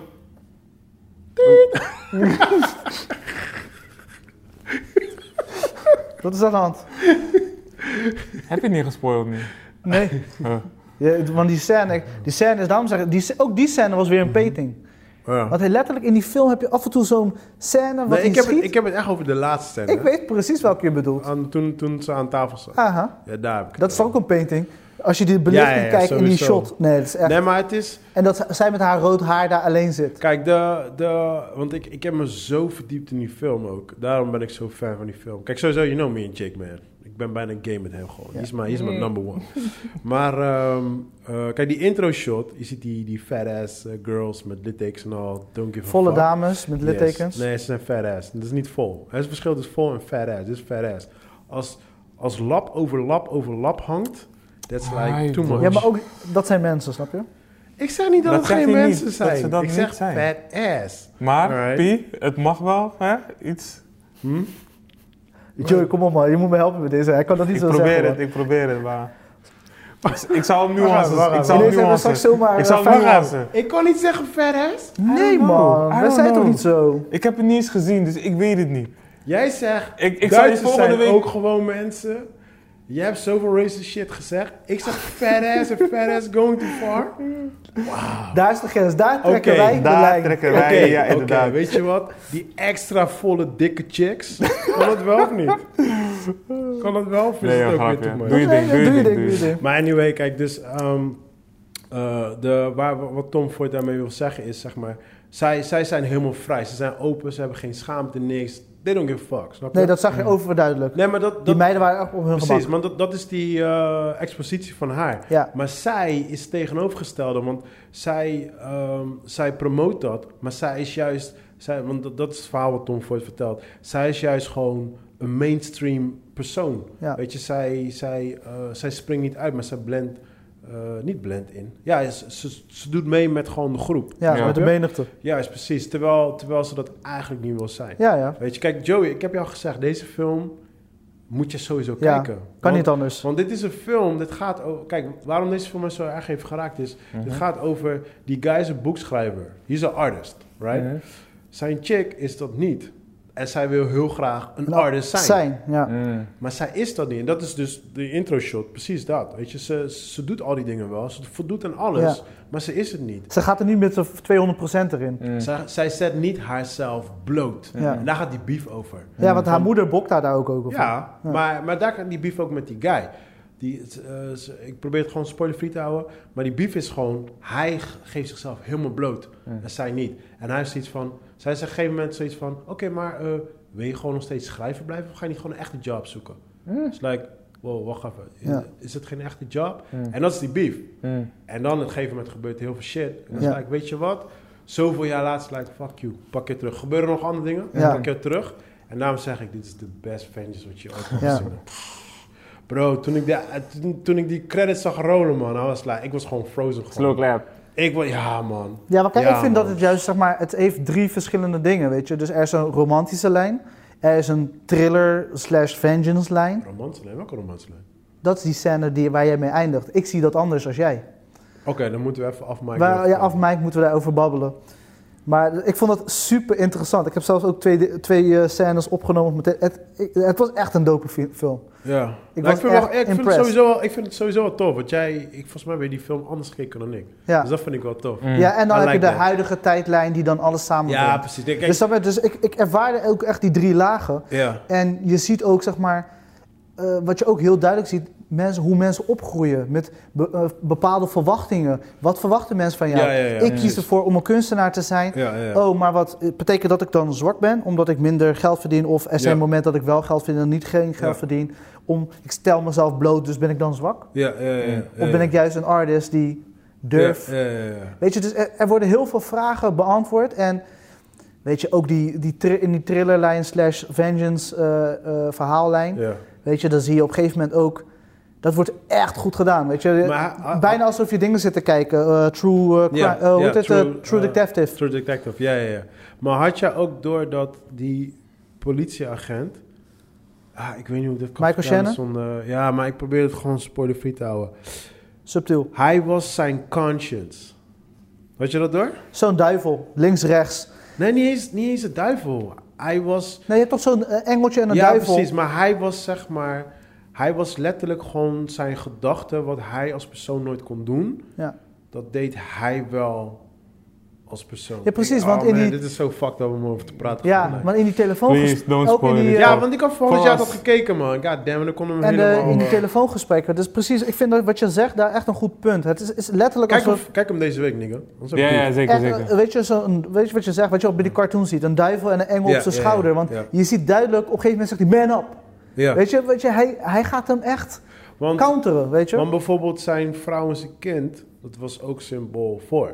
Speaker 3: Wat is dat aan de hand?
Speaker 2: Heb je niet gespoild nu?
Speaker 3: Nee.
Speaker 2: Huh.
Speaker 3: Ja, want die scène, die scène is, daarom zeg ik, die, sc- ook die scène was weer een peting.
Speaker 1: Mhm. Oh Ja.
Speaker 3: Want hij letterlijk in die film heb je af en toe zo'n scène wat
Speaker 1: Nee,
Speaker 3: hij
Speaker 1: ik, heb
Speaker 3: schiet.
Speaker 1: het, ik Oh. heb het echt over de laatste scène.
Speaker 3: Ik weet precies welke je bedoelt.
Speaker 1: Aan, toen, toen ze aan tafel zaten.
Speaker 3: Aha,
Speaker 1: Ja, daar heb ik het
Speaker 3: dat is
Speaker 1: over.
Speaker 3: ook een painting. Als je die belichting
Speaker 1: Ja, ja, ja,
Speaker 3: kijkt in die
Speaker 1: sowieso.
Speaker 3: shot. Nee, dat is echt.
Speaker 1: Nee, maar het is...
Speaker 3: En dat z- zij met haar rood haar daar alleen zit.
Speaker 1: Kijk, de, de, want ik, ik heb me zo verdiept in die film ook. Daarom ben ik zo fan van die film. Kijk, sowieso, you know me en Jake, man. Ik ben bijna game met hem gewoon. Hij is mijn- hij is mijn number one. maar ehm, eh, kijk, die intro shot. Je ziet die, die fat ass eh, girls met littekens en al. Don't give a
Speaker 3: Volle
Speaker 1: fuck.
Speaker 3: dames met
Speaker 1: Yes.
Speaker 3: littekens.
Speaker 1: Nee, ze zijn fat ass. Dat is niet vol. Het verschil tussen vol en fat ass. Dit is fat ass. Als, als lap over lap over lap hangt, that's like
Speaker 2: Ai,
Speaker 1: too much.
Speaker 2: bro.
Speaker 3: Ja, maar ook dat zijn mensen, snap je?
Speaker 1: Ik zeg niet dat,
Speaker 2: Dat
Speaker 1: het
Speaker 2: zegt
Speaker 1: geen
Speaker 2: hij niet,
Speaker 1: mensen
Speaker 2: dat
Speaker 1: zijn.
Speaker 2: ze dat
Speaker 1: ik
Speaker 2: niet
Speaker 1: zeg
Speaker 2: zijn.
Speaker 1: fat ass.
Speaker 2: Maar,
Speaker 1: Alright.
Speaker 2: Pi, het mag wel, hè? Iets.
Speaker 1: Hm?
Speaker 3: Joey, kom op man, je moet me helpen met deze. Hij kan dat niet
Speaker 2: Ik
Speaker 3: zo
Speaker 2: probeer
Speaker 3: zeggen.
Speaker 2: het,
Speaker 3: man.
Speaker 2: ik probeer het, maar... ik, ik zou hem nuances...
Speaker 1: Wacht even,
Speaker 2: Ik zou
Speaker 3: Ineens hebben
Speaker 2: hem
Speaker 3: we straks
Speaker 2: nuances...
Speaker 3: zomaar,
Speaker 2: Ik
Speaker 3: eh,
Speaker 2: zou hem
Speaker 3: vijf-
Speaker 2: nuances...
Speaker 1: Ik kon niet zeggen fat ass.
Speaker 3: Nee
Speaker 2: I don't know. I
Speaker 3: man, we
Speaker 2: don't
Speaker 3: zijn toch
Speaker 2: know.
Speaker 3: niet zo?
Speaker 2: Ik heb het niet eens gezien, dus ik weet het niet.
Speaker 1: Jij zegt,
Speaker 2: Ik, ik zou je
Speaker 1: Duitsers
Speaker 2: volgende
Speaker 1: zijn
Speaker 2: week...
Speaker 1: ook gewoon mensen. Jij hebt zoveel racist shit gezegd. Ik zeg fat ass en fat ass going too far.
Speaker 3: Daar is de grens, daar trekken
Speaker 1: Ah. Oké,
Speaker 3: wij de
Speaker 2: daar
Speaker 3: lijn.
Speaker 2: trekken
Speaker 1: Oké,
Speaker 2: wij, ja,
Speaker 1: oké,
Speaker 2: inderdaad.
Speaker 1: weet je wat? Die extra volle dikke chicks. Kan dat wel of niet? Kan dat wel of is
Speaker 2: Nee,
Speaker 1: het
Speaker 2: joh,
Speaker 1: ook weer
Speaker 2: grapje.
Speaker 1: te mooi?
Speaker 2: Doe je
Speaker 3: Nee,
Speaker 2: ding,
Speaker 3: nee,
Speaker 2: doe je
Speaker 3: ding,
Speaker 2: ding,
Speaker 3: doe je
Speaker 2: doe
Speaker 3: ding.
Speaker 1: Maar anyway, kijk, dus ehm, eh, de, waar, wat Tom Ford daarmee wil zeggen is, zeg maar, zij, zij zijn helemaal vrij. Ze zijn open, ze hebben geen schaamte, niks. They don't give a fuck, snap je?
Speaker 3: Nee, dat zag je overduidelijk.
Speaker 1: nee maar dat,
Speaker 3: Die
Speaker 1: dat,
Speaker 3: meiden waren echt op hun
Speaker 1: Precies,
Speaker 3: gemak.
Speaker 1: want dat, dat is die eh, expositie van haar.
Speaker 3: Ja.
Speaker 1: Maar zij is tegenovergestelde, want zij, ehm, zij promoot dat, maar zij is juist, zij, want dat, dat is het verhaal wat Tom Ford vertelt. Zij is juist gewoon een mainstream persoon.
Speaker 3: Ja.
Speaker 1: Weet je, zij, zij, eh, zij springt niet uit, maar zij blendt, eh, niet blendt in. Ja, ze, ze, ze doet mee met gewoon de groep.
Speaker 3: Ja,
Speaker 2: Ja.
Speaker 3: met de menigte.
Speaker 1: Juist, precies. Terwijl, terwijl ze dat eigenlijk niet wil zijn.
Speaker 3: Ja, ja.
Speaker 1: Weet je, kijk, Joey, ik heb jou gezegd, deze film moet je sowieso
Speaker 3: Ja,
Speaker 1: kijken.
Speaker 3: Kan
Speaker 1: Want-
Speaker 3: niet anders.
Speaker 1: want dit is een film, dit gaat over... Kijk, waarom deze film mij zo erg heeft geraakt is... Het
Speaker 3: Mhm.
Speaker 1: gaat over die guy is een boekschrijver. He's an artist, right?
Speaker 2: Mhm.
Speaker 1: Zijn chick is dat niet. En zij wil heel graag een
Speaker 3: Nou,
Speaker 1: artist zijn.
Speaker 3: Zijn, ja.
Speaker 2: Mm.
Speaker 1: Maar zij is dat niet. En dat is dus de intro shot, precies dat. Weet je, ze, ze doet al die dingen wel. Ze voldoet aan alles,
Speaker 3: Ja.
Speaker 1: maar ze is het niet.
Speaker 3: Ze gaat er niet met z'n 200% erin.
Speaker 2: Mm.
Speaker 1: Zij, zij zet niet haarzelf bloot.
Speaker 3: Ja.
Speaker 1: En daar gaat die beef over.
Speaker 3: Ja, want haar moeder bokt haar daar ook over.
Speaker 1: Nou, Ja,
Speaker 3: Ja.
Speaker 1: Maar, maar daar kan die beef ook met die guy. Die, eh, ze- ik probeer het gewoon spoilerfree te houden. Maar die beef is gewoon... Hij ge- geeft zichzelf helemaal bloot. En zij niet. En hij heeft zoiets van... Zij is op een gegeven moment zoiets van... Oké, maar eh, wil je gewoon nog steeds schrijver blijven? Of ga je niet gewoon een echte job zoeken? It's like... wow, wacht even. Is,
Speaker 3: Ja.
Speaker 1: is het geen echte job?
Speaker 2: Mm.
Speaker 1: En dat is die beef.
Speaker 2: Mm.
Speaker 1: En dan op een gegeven moment gebeurt er heel veel shit. En dan
Speaker 3: Ja.
Speaker 1: sta ik, weet je wat? Zoveel jaar later sta ik, fuck you, pak je terug. Gebeuren nog andere dingen,
Speaker 3: Ja.
Speaker 1: pak je terug. En daarom zeg ik, dit is de best vengeance wat je ooit kan
Speaker 3: Ja.
Speaker 1: zien. Bro, toen ik, die, eh, toen, toen ik die credits zag rollen, man, I was like, ik was gewoon frozen. Gewoon.
Speaker 2: Slow clap.
Speaker 1: Ik was, ja, man.
Speaker 3: Ja, maar kijk,
Speaker 1: Ja,
Speaker 3: ik vind
Speaker 1: man.
Speaker 3: dat het juist, zeg maar, het heeft drie verschillende dingen, weet je. Dus er is een romantische lijn, er is een thriller slash vengeance lijn.
Speaker 1: Romanslijn, welke romanslijn?
Speaker 3: Dat is die scène die, waar jij mee eindigt. Ik zie dat anders als jij.
Speaker 1: Oké, dan moeten we even afmaken.
Speaker 3: Waar, ja, af Mike moeten we daarover babbelen. Maar ik vond dat super interessant. Ik heb zelfs ook twee, twee eh, scènes opgenomen. Met de- het, ik- het was echt een dope fi- film.
Speaker 1: Ja. Nou, Ik,
Speaker 3: was
Speaker 1: vind wel-
Speaker 3: echt
Speaker 1: ik, vind het
Speaker 3: impressed.
Speaker 1: sowieso wel, ik vind het sowieso wel tof. Want jij, ik, volgens mij ben je die film anders gekeken dan ik.
Speaker 3: Ja,
Speaker 1: Dus dat vind ik wel tof.
Speaker 2: Mm.
Speaker 3: ja en dan
Speaker 1: I
Speaker 3: heb je de
Speaker 1: like that.
Speaker 3: huidige tijdlijn die dan alles samenbrengt.
Speaker 1: Ja, precies. Kijk,
Speaker 3: dus dat, werd- dus ik, ik ervaarde ook echt die drie lagen.
Speaker 1: ja.
Speaker 3: En je ziet ook, zeg maar, eh, wat je ook heel duidelijk ziet, mensen, hoe mensen opgroeien met be- eh, bepaalde verwachtingen. Wat verwachten mensen van jou?
Speaker 1: Ja, ja, ja,
Speaker 3: ik
Speaker 1: precies.
Speaker 3: kies ervoor om een kunstenaar te zijn.
Speaker 1: Ja, ja, ja.
Speaker 3: Oh, maar wat eh, betekent dat ik dan zwak ben? Omdat ik minder geld verdien? Of er zijn
Speaker 1: Ja.
Speaker 3: momenten dat ik wel geld verdien en niet geen geld
Speaker 1: Ja.
Speaker 3: verdien? Om, ik stel mezelf bloot, dus ben ik dan zwak?
Speaker 1: Ja, ja, ja, ja.
Speaker 3: Of ben ik juist een artist die durft
Speaker 1: Eh. Ja, ja, ja, ja.
Speaker 3: Weet je, dus er, er worden heel veel vragen beantwoord. En weet je, ook die, die tri- in die thrillerlijn slash vengeance eh, eh, verhaallijn.
Speaker 1: Ja.
Speaker 3: Weet je, dan zie je op een gegeven moment ook... Dat wordt echt goed gedaan, weet je.
Speaker 1: Maar, ah, ah,
Speaker 3: Bijna alsof je dingen zit te kijken. eh, true, eh, cri-
Speaker 1: Ja,
Speaker 3: eh, hoe
Speaker 1: ja,
Speaker 3: heet het? eh,
Speaker 1: True,
Speaker 3: true
Speaker 1: eh,
Speaker 3: Detective.
Speaker 1: True Detective, ja, ja, ja. Maar had jij ook door dat die politieagent... Ah, ik weet niet hoe ik dat kan
Speaker 3: Michael
Speaker 1: vertellen zonder- ja, maar ik probeer het gewoon spoiler-free te houden.
Speaker 3: Subtiel.
Speaker 1: Hij was zijn conscience. Had je dat door?
Speaker 3: Zo'n duivel, links, rechts.
Speaker 1: Nee, niet eens, niet eens de duivel. Hij was...
Speaker 3: Nee, je hebt toch zo'n eh, engeltje en een
Speaker 1: ja,
Speaker 3: duivel.
Speaker 1: precies. Maar hij was zeg maar... Hij was letterlijk gewoon zijn gedachten... wat hij als persoon nooit kon doen...
Speaker 3: Ja.
Speaker 1: dat deed hij wel als persoon.
Speaker 3: Ja, precies,
Speaker 1: Ik-
Speaker 3: want
Speaker 1: oh
Speaker 3: in
Speaker 1: man,
Speaker 3: die-
Speaker 1: dit is zo fucked up om over te praten.
Speaker 3: Ja,
Speaker 1: Gewoon, Oh,
Speaker 3: maar in die telefoon...
Speaker 2: Please, don't
Speaker 3: ook in
Speaker 2: spoil
Speaker 3: die,
Speaker 2: it.
Speaker 3: eh,
Speaker 1: Ja, want ik had vorig
Speaker 2: Pas.
Speaker 1: jaar dat gekeken, man. God damn, dan kon hem
Speaker 3: en eh,
Speaker 1: helemaal...
Speaker 3: in die
Speaker 1: eh,
Speaker 3: telefoongesprekken. Dus precies, ik vind dat wat je zegt daar echt een goed punt. Het is, is letterlijk
Speaker 1: kijk,
Speaker 3: alsof...
Speaker 1: hem, kijk hem deze week, nigga. Anders heb
Speaker 2: Ja,
Speaker 1: ik
Speaker 2: ja,
Speaker 1: het.
Speaker 2: zeker,
Speaker 3: En, eh,
Speaker 2: zeker.
Speaker 3: weet, je, zo'n- weet je wat je zegt, wat je ook bij die cartoon ziet? Een duivel en een engel
Speaker 1: Ja,
Speaker 3: op zijn
Speaker 1: ja, ja,
Speaker 3: schouder. Want
Speaker 1: ja.
Speaker 3: je ziet duidelijk, op een gegeven moment zegt hij man up.
Speaker 1: Ja,
Speaker 3: Weet je, weet je hij, hij gaat hem echt
Speaker 1: want,
Speaker 3: counteren, weet je?
Speaker 1: want bijvoorbeeld zijn vrouw en zijn kind... dat was ook symbool voor.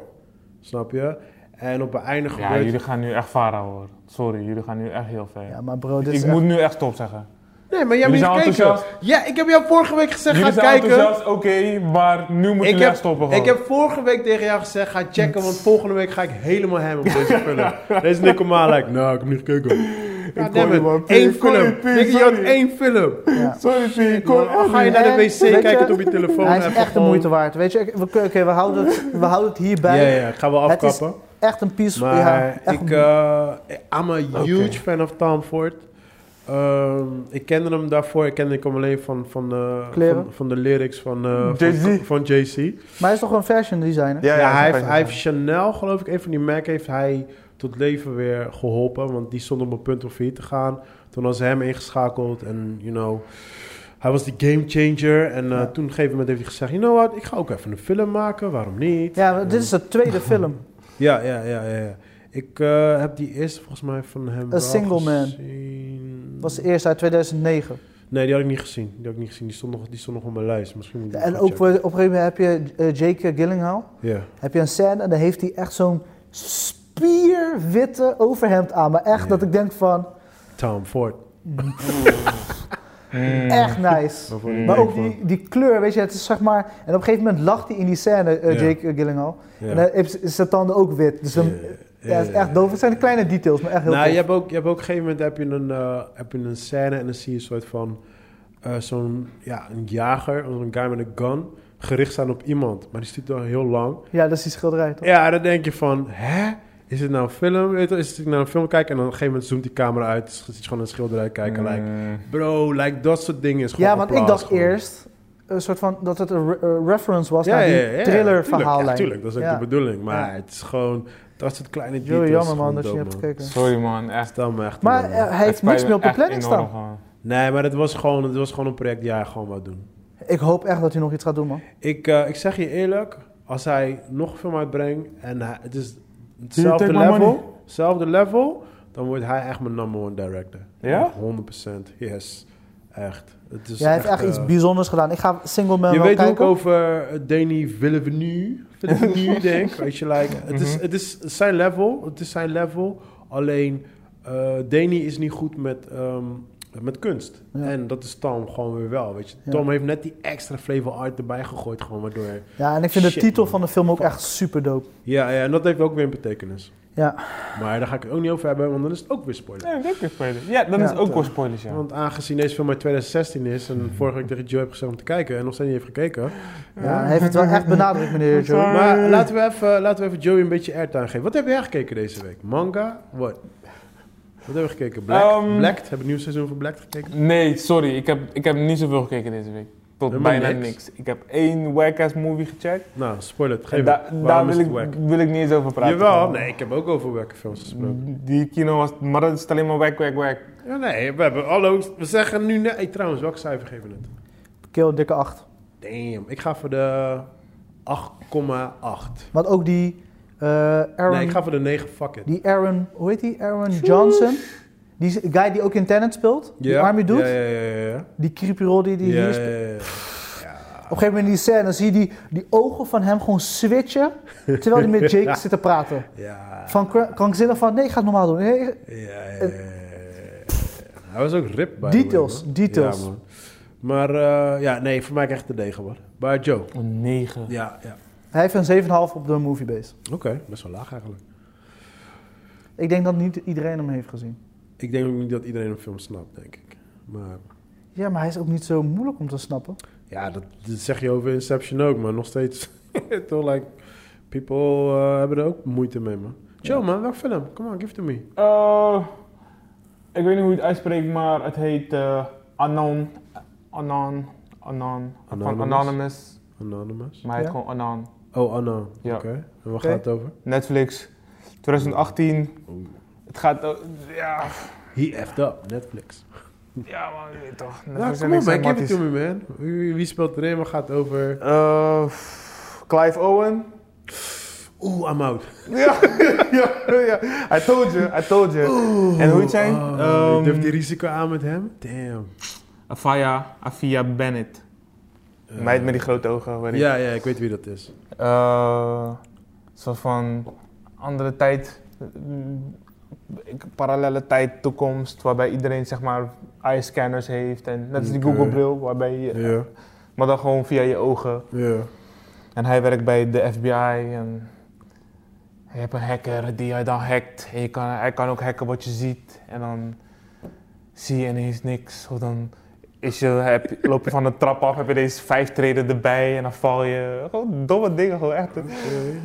Speaker 1: Snap je? En op een einde
Speaker 2: Ja,
Speaker 1: gebeurt...
Speaker 2: jullie gaan nu echt Farah hoor. Sorry, jullie gaan nu echt heel ver.
Speaker 3: eh, ja, dus, eh, maar bro, dit
Speaker 2: ik
Speaker 3: is
Speaker 2: moet
Speaker 3: echt-
Speaker 2: nu echt stop zeggen.
Speaker 1: Nee, maar jij
Speaker 2: Jullie
Speaker 1: bent
Speaker 2: zijn
Speaker 1: niet gekeken.
Speaker 2: enthousiast.
Speaker 1: Ja, ik heb jou vorige week gezegd,
Speaker 2: jullie
Speaker 1: ga
Speaker 2: zijn
Speaker 1: kijken.
Speaker 2: enthousiast, oké, maar nu moet
Speaker 1: Ik
Speaker 2: je echt
Speaker 1: heb,
Speaker 2: stoppen gewoon.
Speaker 1: ik heb vorige week tegen jou gezegd, ga checken, want volgende week ga ik helemaal hem op deze film. deze Nico Malek, nou, ik heb niet gekeken. God damn
Speaker 2: hoor je,
Speaker 1: it,
Speaker 2: man.
Speaker 1: één
Speaker 2: Ik hoor je,
Speaker 1: film.
Speaker 2: Piet,
Speaker 1: Nico, je had
Speaker 2: sorry.
Speaker 1: één film.
Speaker 3: ja.
Speaker 2: Sorry, P, ik
Speaker 1: Kom,
Speaker 2: hoor
Speaker 1: dan
Speaker 2: echt
Speaker 1: Oh, ga je
Speaker 2: niet.
Speaker 1: naar de
Speaker 3: En,
Speaker 1: wc,
Speaker 3: oh, weet
Speaker 1: kijk
Speaker 3: je,
Speaker 1: het op je telefoon.
Speaker 3: Hij is
Speaker 1: even
Speaker 3: echt de
Speaker 1: gewoon-
Speaker 3: moeite waard, weet je? Ik- we- Oké, we, houden het, we houden het
Speaker 1: Ja,
Speaker 3: hierbij.
Speaker 1: ja, ja, gaan we
Speaker 3: Het is
Speaker 1: afkappen.
Speaker 3: echt een piece.
Speaker 1: Maar
Speaker 3: ja, echt
Speaker 1: ik,
Speaker 3: een-
Speaker 1: eh I'm a huge
Speaker 2: Oké.
Speaker 1: fan of Tom Ford. Ehm, ik kende hem daarvoor, ik kende hem alleen van, van, eh,
Speaker 3: Kleren?
Speaker 1: van, van de lyrics van, eh, van,
Speaker 2: Jay-Z.
Speaker 1: van Jay-Z.
Speaker 3: Maar hij is toch een fashion designer?
Speaker 1: Ja,
Speaker 2: dat is
Speaker 1: hij,
Speaker 2: een
Speaker 1: heeft,
Speaker 2: fijn
Speaker 1: hij heeft Chanel, geloof ik, een van die merken heeft hij tot leven weer geholpen. Want die stond op een punt om failliet te gaan. Toen was hem ingeschakeld en, you know, hij was die game changer. En eh,
Speaker 3: Ja.
Speaker 1: toen op een gegeven moment heeft hij gezegd, you know what, ik ga ook even een film maken, waarom niet?
Speaker 3: Ja, maar dit is de tweede film.
Speaker 1: Ja, ja, ja, ja. ja. Ik eh, heb die eerste volgens mij van hem wel
Speaker 3: Single Man.
Speaker 1: gezien.
Speaker 3: Dat was de eerste uit 2009.
Speaker 1: Nee, die had ik niet gezien. Die had ik niet gezien. Die stond nog, die stond nog op mijn lijst. Misschien moet ik die
Speaker 3: En
Speaker 1: gaan
Speaker 3: ook
Speaker 1: checken.
Speaker 3: voor- op een gegeven moment heb je eh, Jake Gyllenhaal.
Speaker 1: Ja.
Speaker 3: heb je een scène en dan heeft hij echt zo'n spierwitte overhemd aan. Maar echt
Speaker 1: Ja.
Speaker 3: dat ik denk van,
Speaker 1: Tom Ford.
Speaker 2: Mm.
Speaker 3: echt nice.
Speaker 1: Waarvoor ik
Speaker 3: Maar
Speaker 1: denk
Speaker 3: ook
Speaker 1: van-
Speaker 3: die, die kleur, weet je, het is zeg maar... En op een gegeven moment lacht hij in die scène, eh,
Speaker 1: Ja.
Speaker 3: Jake Gyllenhaal.
Speaker 1: Ja.
Speaker 3: En dan is is zijn tanden ook wit. Dus dan,
Speaker 1: Ja,
Speaker 3: ja,
Speaker 1: ja,
Speaker 3: het is
Speaker 1: ja,
Speaker 3: echt doof. Het zijn de kleine details, maar echt heel
Speaker 1: Nou,
Speaker 3: tof.
Speaker 1: je hebt ook, je hebt ook op een gegeven moment heb je een, eh, heb je een scène en dan zie je een soort van eh, zo'n ja, een jager, of een guy met een gun, gericht staan op iemand. Maar die stuurt dan heel lang.
Speaker 3: Ja, dat is die schilderij, toch?
Speaker 1: Ja, dan denk je van, hè? Is het nou een film? Weet je wel, Is het naar een film kijken? En dan op een gegeven moment zoomt die camera uit. Dus je ziet gewoon een schilderij kijken. Like,
Speaker 2: Mm.
Speaker 1: bro, like, dat soort dingen is gewoon
Speaker 3: Ja, want ik
Speaker 1: applaus
Speaker 3: dacht
Speaker 1: gewoon.
Speaker 3: eerst een soort van dat het een re- eh, reference was
Speaker 1: Ja,
Speaker 3: naar die
Speaker 1: ja, ja, ja,
Speaker 3: thriller
Speaker 1: Tuurlijk, ja,
Speaker 3: verhaallijn.
Speaker 1: tuurlijk, dat is ook
Speaker 3: Ja.
Speaker 1: de bedoeling. Maar
Speaker 3: Ja.
Speaker 1: het is gewoon, dat soort kleine
Speaker 3: Joey,
Speaker 1: details.
Speaker 3: jammer
Speaker 1: gewoon
Speaker 3: man dat je
Speaker 1: dom,
Speaker 3: niet hebt gekeken.
Speaker 2: Sorry man, echt.
Speaker 1: Stel me echt
Speaker 3: Maar
Speaker 1: teleur,
Speaker 3: eh,
Speaker 1: man.
Speaker 3: hij
Speaker 2: het
Speaker 3: heeft
Speaker 2: spijt
Speaker 3: niks
Speaker 2: me
Speaker 3: meer op de
Speaker 2: echt
Speaker 3: planning
Speaker 2: enorm
Speaker 3: staan.
Speaker 2: gewoon.
Speaker 1: Nee, maar het was gewoon, het was gewoon een project die hij gewoon wou doen.
Speaker 3: Ik hoop echt dat hij nog iets gaat doen, man.
Speaker 1: Ik, eh, ik zeg je eerlijk, als hij nog een film uitbrengt en hij- het is
Speaker 2: take
Speaker 1: hetzelfde
Speaker 2: my money?
Speaker 1: level, hetzelfde level, dan wordt hij echt mijn number one director.
Speaker 2: Ja?
Speaker 1: 100%, yes. Echt. Het is
Speaker 4: Jij heeft echt
Speaker 1: eh,
Speaker 4: iets bijzonders gedaan. Ik ga Single Man
Speaker 1: Je
Speaker 4: wel
Speaker 1: weet hoe ik
Speaker 4: kijken.
Speaker 1: over eh, Danny Villeneuve, Villeneuve denk. Weet je, like, het,
Speaker 2: Mhm.
Speaker 1: is, het is zijn level. Het is zijn level. Alleen, eh Danny is niet goed met, ehm, met kunst.
Speaker 4: Ja.
Speaker 1: En dat is Tom gewoon weer wel, weet je.
Speaker 4: Ja.
Speaker 1: Tom heeft net die extra flavor art erbij gegooid, gewoon waardoor...
Speaker 4: Ja, en ik vind de
Speaker 1: Shit,
Speaker 4: titel
Speaker 1: man.
Speaker 4: van de film ook
Speaker 1: Fuck.
Speaker 4: echt super dope.
Speaker 1: Ja, ja, en dat heeft ook weer een betekenis.
Speaker 4: Ja.
Speaker 1: Maar daar ga ik het ook niet over hebben, want dan is het ook weer spoiler.
Speaker 2: Ja, dat is spoilers. Ja, dan
Speaker 4: Ja,
Speaker 2: is het ook
Speaker 1: toch.
Speaker 2: wel spoilers, ja. Hmm.
Speaker 1: Want aangezien deze film uit 2016 is en vorige week tegen Joe heb gezegd om te kijken en nog steeds niet heeft gekeken.
Speaker 4: Ja, hij heeft het wel echt benadrukt, meneer Joe.
Speaker 1: Maar laten we, even, laten we even Joey een beetje airtime geven. Wat heb jij gekeken deze week? Manga? Wat? Wat hebben we gekeken? Black?
Speaker 2: Ehm,
Speaker 1: Blacked? Hebben we een nieuw seizoen van Blacked gekeken?
Speaker 2: Nee, sorry. Ik heb, ik heb niet zoveel gekeken deze week. Tot
Speaker 1: Helemaal
Speaker 2: bijna
Speaker 1: niks.
Speaker 2: niks. Ik heb één whack-ass movie gecheckt.
Speaker 1: Nou, spoiler het. Geef
Speaker 2: En
Speaker 1: het.
Speaker 2: da- daar
Speaker 1: Waarom
Speaker 2: wil
Speaker 1: is het
Speaker 2: ik,
Speaker 1: wack?
Speaker 2: wil ik niet eens over praten. Hmm.
Speaker 1: Jawel, nee, ik heb ook over wacke films gesproken.
Speaker 2: Die kino was... Maar dat is alleen maar wack, wack, wack.
Speaker 1: Ja, nee, we hebben hallo, we zeggen nu... Nee, trouwens, welk cijfer geven we het?
Speaker 4: Kill dikke 8.
Speaker 1: Damn, ik ga voor de 8,8.
Speaker 4: Want ook die eh, Aaron,
Speaker 1: Nee, ik ga voor de 9, fuck it.
Speaker 4: die Aaron, hoe heet die? Aaron Johnson. Die is- guy die ook in Tenet speelt, die Army doet.
Speaker 1: Ja, ja, ja, ja, ja.
Speaker 4: Die creepy rol die, die
Speaker 1: Ja,
Speaker 4: hier
Speaker 1: ja,
Speaker 4: speelt.
Speaker 1: ja, ja.
Speaker 4: Op een gegeven moment in die scène dan zie je die, die ogen van hem gewoon switchen. Terwijl hij met Jake zit te praten.
Speaker 1: Ja.
Speaker 4: Van kra- krankzinnig van, nee, ik ga het normaal doen. Nee,
Speaker 1: Ja, ja, ja, ja, ja. Hij was ook rip bij
Speaker 4: Details, details.
Speaker 1: Maar eh, ja, nee, voor mij krijgt het de degen hoor. Maar Joe.
Speaker 2: Een negen.
Speaker 1: Ja, ja.
Speaker 4: hij heeft een 7,5 op de moviebase.
Speaker 1: Oké, best wel laag eigenlijk.
Speaker 4: Ik denk dat niet iedereen hem heeft gezien.
Speaker 1: Ik denk ook niet dat iedereen een film snapt, denk ik. Maar
Speaker 4: Ja, maar hij is ook niet zo moeilijk om te snappen.
Speaker 1: ja, dat, dat zeg je over Inception ook, maar nog steeds. toch, like, people eh, hebben er ook moeite mee, man. Joe, man, welk film? Come on, give it to me.
Speaker 2: Eh, ik weet niet hoe je het uitspreekt, maar het heet eh, Anon. Anon. Anon. Van
Speaker 1: Anonymous?
Speaker 2: Anonymous.
Speaker 1: Anonymous.
Speaker 2: Maar hij heet
Speaker 4: Ja.
Speaker 2: gewoon Anon.
Speaker 1: Oh, Anno.
Speaker 2: Ja.
Speaker 1: Oké. En waar
Speaker 4: Oké.
Speaker 1: gaat het over?
Speaker 2: Netflix. 2018.
Speaker 1: Oeh.
Speaker 2: Het gaat... eh, ja,
Speaker 1: He effed up, Netflix.
Speaker 2: ja man, je weet toch.
Speaker 1: Nou,
Speaker 2: Netflix en
Speaker 1: kom op,
Speaker 2: ik zijn
Speaker 1: man, give it
Speaker 2: matties.
Speaker 1: to me, man. Wie, wie speelt erin? Waar gaat het over?
Speaker 2: Eh, pff, Clive Owen.
Speaker 1: Oeh, I'm out.
Speaker 2: Ja, ja, ja. I told you, I told you. en hoe het zijn?
Speaker 1: Oh,
Speaker 2: Ehm,
Speaker 1: je durft die risico aan met hem? Damn.
Speaker 2: Afia, Afia Bennett.
Speaker 1: Eh,
Speaker 2: Meid met die grote ogen, weet ik.
Speaker 1: Ja, ja, ik weet wie dat is.
Speaker 2: Eh, soort van andere tijd, mm, ik- parallele tijd, toekomst, waarbij iedereen zeg maar eye-scanners heeft en net als die
Speaker 1: Oké.
Speaker 2: Google-bril, waarbij je,
Speaker 1: Ja,
Speaker 2: maar dan gewoon via je ogen.
Speaker 1: ja.
Speaker 2: En hij werkt bij de FBI en je hebt een hacker die hij dan hackt en je kan, hij kan ook hacken wat je ziet en dan zie je ineens niks of dan is je, heb, loop je van de trap af, heb je deze vijf treden erbij en dan val je. Gewoon domme dingen, gewoon echt.
Speaker 1: Oké.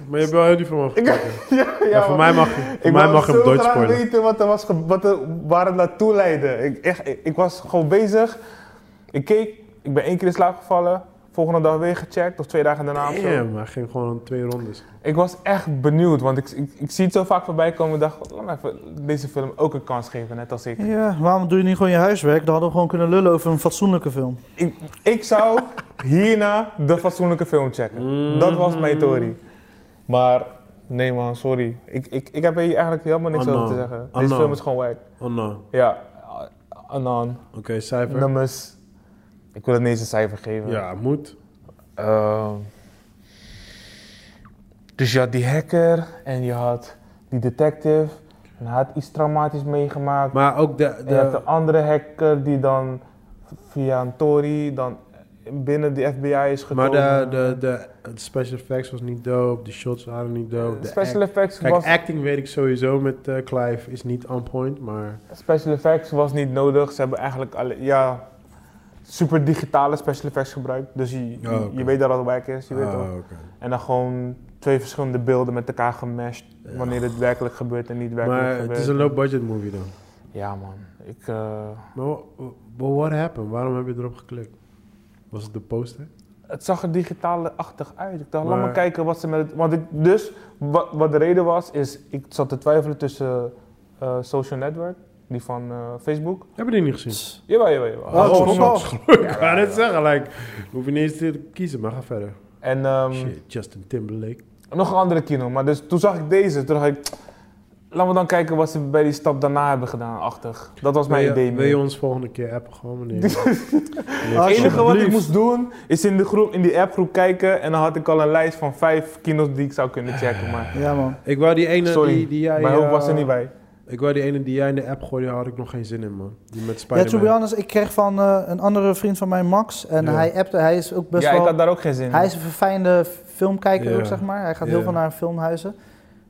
Speaker 1: Maar je hebt wel heel die van me
Speaker 2: Ik-
Speaker 1: gekeken.
Speaker 2: ja, ja,
Speaker 1: Ja, voor
Speaker 2: man.
Speaker 1: mij mag je, voor mij
Speaker 2: ik wou
Speaker 1: mag je
Speaker 2: zo
Speaker 1: hem Duits
Speaker 2: graag
Speaker 1: spoilen.
Speaker 2: weten wat er was ge- wat er, waar het naartoe leidde. Ik, echt, ik, ik was gewoon bezig. Ik keek, ik ben één keer in slaap gevallen. Volgende dag weer gecheckt, of twee dagen daarna. of zo.
Speaker 1: Damn, hij ging gewoon twee rondes.
Speaker 2: Ik was echt benieuwd, want ik, ik, ik zie het zo vaak voorbij komen. Ik dacht, "Oh, laat me even deze film ook een kans geven, net als ik.
Speaker 4: Ja, waarom doe je niet gewoon je huiswerk? Dan hadden we gewoon kunnen lullen over een fatsoenlijke film.
Speaker 2: Ik, ik zou hierna de fatsoenlijke film checken. Dat was mijn theorie. Maar nee man, sorry. Ik, ik, ik heb hier eigenlijk helemaal niks
Speaker 1: Anon.
Speaker 2: over te zeggen. Deze
Speaker 1: Anon.
Speaker 2: film is gewoon wack.
Speaker 1: Oh no.
Speaker 2: Ja, Anon,
Speaker 1: Oké, cijfer.
Speaker 2: nummers. Ik wil het niet eens een cijfer geven.
Speaker 1: Ja, moet.
Speaker 2: Ehm, dus je had die hacker en je had die detective. En hij had iets traumatisch meegemaakt.
Speaker 1: Maar ook de...
Speaker 2: en je had de
Speaker 1: de
Speaker 2: andere hacker die dan via een Tory dan binnen de FBI is
Speaker 1: maar
Speaker 2: gekomen.
Speaker 1: de, de, de, de special effects was niet dope, de shots waren niet dope. De
Speaker 2: special
Speaker 1: act-
Speaker 2: effects
Speaker 1: Kijk,
Speaker 2: was,
Speaker 1: acting weet ik sowieso met eh, Clive is niet on point, maar...
Speaker 2: special effects was niet nodig. Ze hebben eigenlijk alle, ja, super digitale special effects gebruikt. Dus je, je,
Speaker 1: Oh, oké.
Speaker 2: je weet dat het werk is. Je weet toch?
Speaker 1: Ah, oké.
Speaker 2: En dan gewoon twee verschillende beelden met elkaar gemashed. Wanneer het werkelijk gebeurt en niet werkelijk
Speaker 1: Maar
Speaker 2: gebeurt.
Speaker 1: het is een low-budget movie dan.
Speaker 2: Ja man, ik... eh,
Speaker 1: Maar wa- wa- what happened? Waarom heb je erop geklikt? Was het de poster?
Speaker 2: het zag er digitaal-achtig uit. Ik dacht, laat
Speaker 1: Maar-
Speaker 2: maar kijken wat ze met het... Want ik, dus, wat, wat de reden was, is ik zat te twijfelen tussen eh, Social Network, die van eh, Facebook.
Speaker 1: Heb je die niet gezien?
Speaker 2: Jawel, jawel, jawel.
Speaker 1: Oh,
Speaker 2: Gewoon-
Speaker 1: sorry.
Speaker 2: gewoon-
Speaker 1: Ik ga net zeggen, like, hoef je niet eens te kiezen, maar ga verder.
Speaker 2: En ehm,
Speaker 1: Shit, Justin Timberlake.
Speaker 2: nog een andere kino, maar dus toen zag ik deze. Toen dacht ik, laten we dan kijken wat ze bij die stap daarna hebben gedaan, achtig. Dat was mijn
Speaker 1: Wil je-
Speaker 2: idee.
Speaker 1: Wil je
Speaker 2: meer.
Speaker 1: ons volgende keer appen gewoon wanneer? Wanneer-
Speaker 2: Het enige wat ik
Speaker 3: Alsjeblieft.
Speaker 2: moest doen, is in, de groep, in die appgroep kijken en dan had ik al een lijst van vijf kino's die ik zou kunnen checken. Maar
Speaker 3: Ja, man.
Speaker 1: Ik wou die ene
Speaker 2: Sorry,
Speaker 1: die, die jij...
Speaker 2: mijn hoofd was er
Speaker 1: eh,
Speaker 2: niet bij.
Speaker 1: Ik wou die ene die jij in de app gooide, daar had ik nog geen zin in, man. Die met
Speaker 3: Ja, to be
Speaker 1: Spider-Man.
Speaker 3: honest, ik kreeg van eh, een andere vriend van mij, Max. En
Speaker 1: Ja.
Speaker 3: hij appte, hij is ook best
Speaker 2: Ja,
Speaker 3: wel...
Speaker 2: ik had daar ook geen zin in.
Speaker 3: Hij is een verfijnde filmkijker
Speaker 1: Ja.
Speaker 3: ook, zeg maar. Hij gaat
Speaker 1: Ja.
Speaker 3: heel veel naar filmhuizen.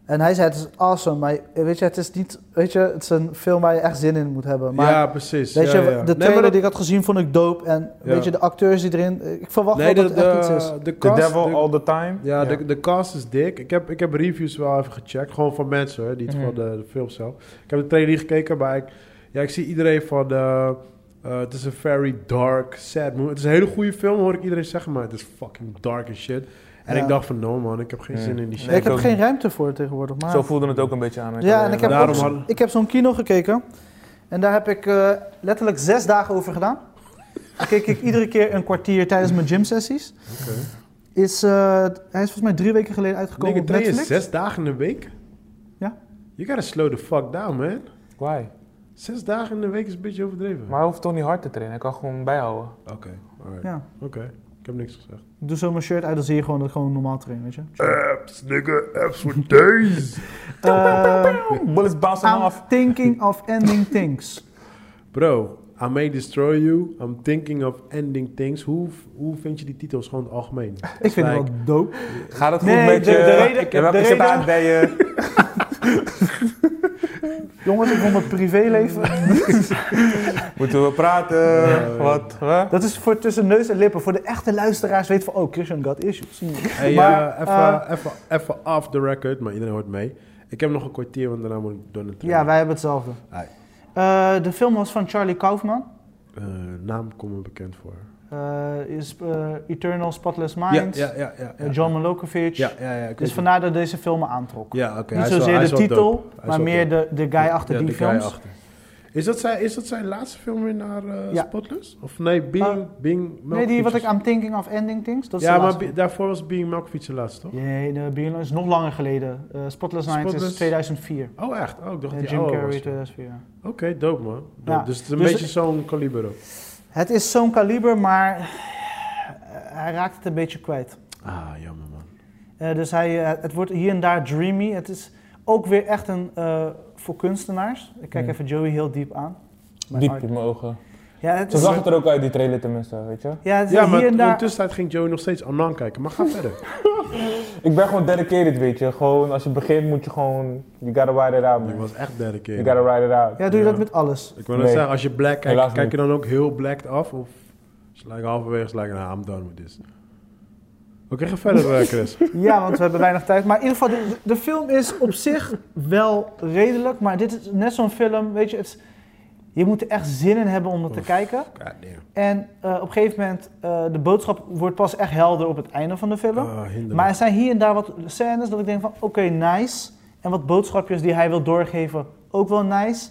Speaker 3: En hij zei, het is awesome, maar weet je, het is niet... Weet je, het is een film waar je echt zin in moet hebben. Maar
Speaker 1: ja, precies.
Speaker 3: weet
Speaker 1: ja,
Speaker 3: je,
Speaker 1: ja.
Speaker 3: de trailer
Speaker 1: Nee, maar dat-
Speaker 3: die ik had gezien vond ik dope. En
Speaker 1: Ja.
Speaker 3: weet je, de acteurs die erin... Ik verwacht
Speaker 1: Nee,
Speaker 3: wel
Speaker 1: de,
Speaker 3: dat het echt iets is.
Speaker 1: de, de
Speaker 2: The
Speaker 1: cast...
Speaker 2: Devil
Speaker 1: de-
Speaker 2: All The Time.
Speaker 1: ja, De, de cast is dik. Ik heb, ik heb reviews wel even gecheckt. Gewoon van mensen, hè, niet
Speaker 2: Mhm.
Speaker 1: van de, de film zelf. Ik heb de trailer niet gekeken, maar ik, ja, ik zie iedereen van... eh, eh, het is een very dark, sad movie. Het is een hele goede film, hoor ik iedereen zeggen. Maar het is fucking dark as shit. En
Speaker 3: Ja.
Speaker 1: ik dacht van, no man, ik heb geen
Speaker 2: Ja.
Speaker 1: zin in die shit.
Speaker 3: Ja,
Speaker 2: Nee,
Speaker 3: ik heb
Speaker 2: ik ook
Speaker 3: geen
Speaker 2: niet.
Speaker 3: ruimte voor tegenwoordig. Maar...
Speaker 2: Zo voelde het ook een beetje aan.
Speaker 3: Ja, en ik heb,
Speaker 1: Daarom
Speaker 3: ook zo-
Speaker 1: hadden-
Speaker 3: ik heb zo'n kino gekeken. En daar heb ik eh, letterlijk zes dagen over gedaan. Daar keek ik iedere keer een kwartier tijdens mijn gymsessies.
Speaker 1: Oké.
Speaker 3: Is, eh, hij is volgens mij drie weken geleden uitgekomen
Speaker 1: Nigga,
Speaker 3: op
Speaker 1: train je
Speaker 3: Netflix.
Speaker 1: zes dagen in de week?
Speaker 3: Ja.
Speaker 1: You gotta slow the fuck down, man.
Speaker 2: Why?
Speaker 1: Zes dagen in de week is een beetje overdreven.
Speaker 2: Maar hij hoeft toch niet hard te trainen, hij kan gewoon bijhouden.
Speaker 1: Oké, alright.
Speaker 3: Ja.
Speaker 1: Oké, ik heb niks gezegd.
Speaker 3: Ik Doe zo mijn shirt uit, dan zie je gewoon dat ik gewoon normaal train, weet je.
Speaker 1: Apps, nigga, apps for days.
Speaker 3: Eh,
Speaker 2: Bullets bouncing
Speaker 3: I'm
Speaker 2: off.
Speaker 3: thinking of ending things.
Speaker 1: Bro, I may destroy you. I'm thinking of ending things. Hoe, hoe vind je die titels gewoon in het algemeen?
Speaker 3: Ik vind het
Speaker 1: Like-
Speaker 3: wel dope.
Speaker 2: Gaat het goed
Speaker 5: Nee,
Speaker 2: met
Speaker 5: de-
Speaker 2: je?
Speaker 5: de reden-
Speaker 2: En welke
Speaker 5: de
Speaker 2: zit
Speaker 5: reden-
Speaker 2: aan bij je?
Speaker 3: Jongens, ik vond mijn privéleven.
Speaker 2: Moeten we praten? Wat? Wat?
Speaker 3: Dat is voor tussen neus en lippen. Voor de echte luisteraars weet van, oh, Christian got issues.
Speaker 1: Hey,
Speaker 3: Maar,
Speaker 1: eh, even
Speaker 3: eh,
Speaker 1: even- even off the record, maar iedereen hoort mee. Ik heb nog een kwartier, want daarna moet ik door naar
Speaker 3: Ja, wij hebben hetzelfde.
Speaker 1: Ai.
Speaker 3: Eh, de film was van Charlie Kaufman.
Speaker 1: Eh, naam komt me bekend voor.
Speaker 3: Eh, is eh, Eternal Spotless
Speaker 1: Ja, ja,
Speaker 3: Mind.
Speaker 1: ja, ja, ja,
Speaker 3: eh, John Malkovich.
Speaker 1: Ja, ja, ja. ik weet
Speaker 3: Dus
Speaker 1: het.
Speaker 3: vandaar dat deze film me aantrok.
Speaker 1: Ja, oké.
Speaker 3: Niet
Speaker 1: hij is wel-
Speaker 3: zozeer
Speaker 1: hij is
Speaker 3: de
Speaker 1: wel dope.
Speaker 3: titel,
Speaker 1: Hij is
Speaker 3: maar
Speaker 1: wel
Speaker 3: meer de, de guy achter
Speaker 1: Ja,
Speaker 3: die
Speaker 1: de guy
Speaker 3: films.
Speaker 1: achter. Is dat, zijn, is dat zijn laatste film weer naar eh,
Speaker 3: Ja. Eh,
Speaker 1: Spotless? Of nee, Being... Being
Speaker 3: nee, die
Speaker 1: Malkovich
Speaker 3: wat
Speaker 1: is-
Speaker 3: ik aan Thinking of Ending Things. Dat is
Speaker 1: Ja,
Speaker 3: de
Speaker 1: maar
Speaker 3: laatste
Speaker 1: Be- daarvoor was Being Malkovich de laatste, toch?
Speaker 3: film. Jee, de Beyond is nog langer geleden. Eh, Spotless Night is
Speaker 1: Spotless-
Speaker 3: 2004.
Speaker 1: Oh, echt? Oh, ik dacht
Speaker 3: Eh,
Speaker 1: dat die
Speaker 3: Jim
Speaker 1: ouder
Speaker 3: Carrey
Speaker 1: was.
Speaker 3: 2004. ja.
Speaker 1: Oké, dope, man. Dope.
Speaker 3: Ja.
Speaker 1: Dus het is een
Speaker 3: Dus-
Speaker 1: beetje zo'n kaliber ook.
Speaker 3: Het is zo'n kaliber, maar eh, hij raakt het een beetje kwijt.
Speaker 1: Ah, jammer, man.
Speaker 3: Eh, dus hij, eh, het wordt hier en daar dreamy. Het is ook weer echt een eh, voor kunstenaars. Ik kijk
Speaker 2: Hmm.
Speaker 3: even Joey heel diep aan. Mijn
Speaker 2: Diep
Speaker 3: art.
Speaker 2: in mijn ogen.
Speaker 3: Ja, het
Speaker 2: Zo
Speaker 3: is,
Speaker 2: zag het er ook uit, die trailer tenminste, weet je.
Speaker 3: ja, het is
Speaker 1: Ja, maar
Speaker 3: hier en
Speaker 1: in de
Speaker 3: daar.
Speaker 1: tussentijd ging Joey nog steeds Anan kijken. Maar ga verder.
Speaker 2: Ik ben gewoon dedicated, weet je. Gewoon, als je begint moet je gewoon... You gotta ride it out,
Speaker 1: Ik
Speaker 2: man.
Speaker 1: was echt derde keer.
Speaker 2: You gotta ride it out.
Speaker 3: Ja, doe je
Speaker 1: Ja.
Speaker 3: dat met alles?
Speaker 1: Ik wil net
Speaker 2: Nee.
Speaker 1: zeggen, als je black kijkt,
Speaker 2: Helaas
Speaker 1: kijk je dan ook heel blacked af? Of is het like halverwege, is het like, nah, I'm done with this. Oké, ga verder, eh, Chris.
Speaker 3: Ja, want we hebben weinig tijd. Maar in ieder geval, de, de film is op zich wel redelijk. Maar dit is net zo'n film, weet je. Het, is- je moet er echt zin in hebben om dat te
Speaker 1: Oef.
Speaker 3: kijken.
Speaker 1: Goddamn.
Speaker 3: En eh, op een gegeven moment, eh, de boodschap wordt pas echt helder op het einde van de film.
Speaker 1: Ah, hinderlijk.
Speaker 3: Maar er zijn hier en daar wat scènes dat ik denk van, oké, nice. En wat boodschapjes die hij wil doorgeven, ook wel nice.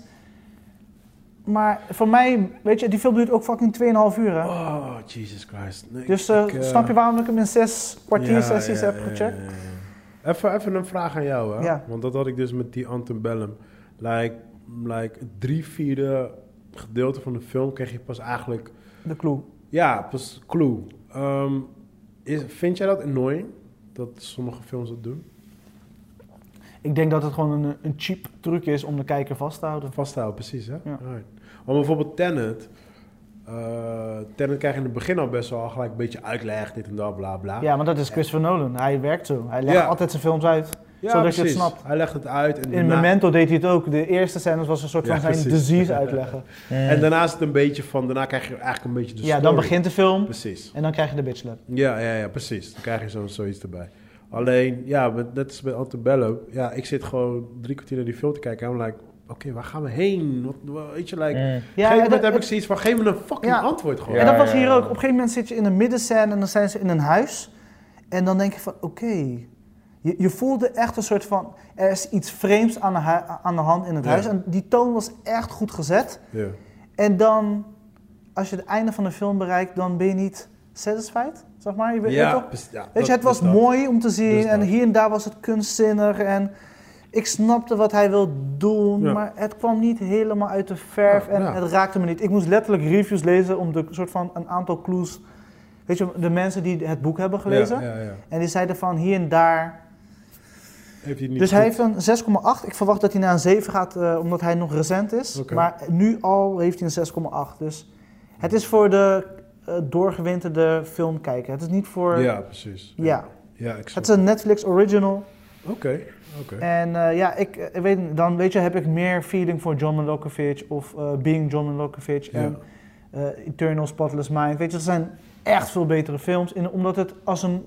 Speaker 3: Maar voor mij, weet je, die film duurt ook fucking 2,5 uur, hè?
Speaker 1: Oh, Jesus Christ. Nee,
Speaker 3: dus eh,
Speaker 1: ik, eh,
Speaker 3: snap je waarom ik hem in zes
Speaker 1: ja,
Speaker 3: kwartiersessies
Speaker 1: ja,
Speaker 3: heb
Speaker 1: ja,
Speaker 3: gecheckt?
Speaker 1: ja, ja. Even, even een vraag aan jou, hè?
Speaker 3: Ja.
Speaker 1: Want dat had ik dus met die Antebellum. Like, like het drie vierde gedeelte van de film kreeg je pas eigenlijk...
Speaker 3: De clue.
Speaker 1: Ja, pas clue. Ehm, is, vind jij dat annoying? Dat sommige films dat doen?
Speaker 3: Ik denk dat het gewoon een, een cheap truc is om de kijker vast te houden.
Speaker 1: Vasthouden, precies, hè?
Speaker 3: Ja.
Speaker 1: Right. Want bijvoorbeeld Tenet... eh Tenet krijg je in het begin al best wel gelijk een beetje uitleg, dit en dat, bla bla.
Speaker 3: Ja, maar dat is Christopher Nolan. Hij werkt zo. Hij legt
Speaker 1: Ja.
Speaker 3: altijd zijn films uit.
Speaker 1: Ja,
Speaker 3: zodat je
Speaker 1: precies.
Speaker 3: het snapt.
Speaker 1: Hij legt het uit. En
Speaker 3: In
Speaker 1: daarna-
Speaker 3: Memento deed hij het ook. De eerste scène was een soort
Speaker 1: Ja,
Speaker 3: van zijn
Speaker 1: precies.
Speaker 3: disease uitleggen.
Speaker 2: Mm,
Speaker 1: En daarna is het een beetje van, daarna krijg je eigenlijk een beetje de
Speaker 3: ja,
Speaker 1: story.
Speaker 3: dan begint de film
Speaker 1: Precies.
Speaker 3: en dan krijg je de bitch slap.
Speaker 1: Ja, ja, ja, precies. Dan krijg je zo, zoiets erbij. Alleen, ja, met- net als bij Antebellum. Ja, ik zit gewoon drie kwartier naar die film te kijken. En I'm like, oké, waar gaan we heen? Wat, wat- weet je, like... Op
Speaker 2: Mm.
Speaker 1: een gegeven moment
Speaker 3: dat-
Speaker 1: heb ik zoiets van, geef me een fucking
Speaker 3: Ja.
Speaker 1: antwoord gewoon.
Speaker 2: Ja.
Speaker 3: en dat was
Speaker 2: ja,
Speaker 3: hier
Speaker 2: ja.
Speaker 3: ook. Op een gegeven moment zit je in een middenscène en dan zijn ze in een huis. En dan denk je van, oké. Je, je voelde echt een soort van, er is iets vreemds aan de, hui- aan de hand in het
Speaker 1: Ja.
Speaker 3: huis. En die toon was echt goed gezet.
Speaker 1: Ja.
Speaker 3: En dan, als je het einde van de film bereikt, dan ben je niet satisfied, zeg maar. Je bent- je
Speaker 1: Ja,
Speaker 3: bent toch-
Speaker 1: precies, ja,
Speaker 3: weet
Speaker 1: dat-
Speaker 3: je, het was
Speaker 1: dat-
Speaker 3: mooi om te zien
Speaker 1: Dus
Speaker 3: en
Speaker 1: dat.
Speaker 3: hier en daar was het kunstzinnig. En Ik snapte wat hij wil doen,
Speaker 1: Ja.
Speaker 3: maar het kwam niet helemaal uit de verf
Speaker 1: Ja,
Speaker 3: en
Speaker 1: ja.
Speaker 3: het raakte me niet. Ik moest letterlijk reviews lezen om de soort van een aantal clues. Weet je, de mensen die het boek hebben gelezen.
Speaker 1: Ja, ja, ja.
Speaker 3: En die zeiden van hier en daar.
Speaker 1: Heeft hij niet
Speaker 3: dus hij
Speaker 1: goed-
Speaker 3: heeft een 6,8. Ik verwacht dat hij naar een 7 gaat, eh, omdat hij nog recent is.
Speaker 1: Oké.
Speaker 3: Maar nu al heeft hij een 6,8. Dus het is voor de eh, doorgewinterde filmkijker. Het is niet voor...
Speaker 1: Ja, precies.
Speaker 3: ja.
Speaker 1: ja ik snap
Speaker 3: Het is een Netflix original.
Speaker 1: het. Oké, oké.
Speaker 3: En eh, ja, ik, eh, weet, niet, dan weet je, heb ik meer feeling voor John Malkovich of eh, Being John Malkovich en eh, Eternal Spotless Mind. Weet je, dat zijn echt veel betere films, in, omdat het als een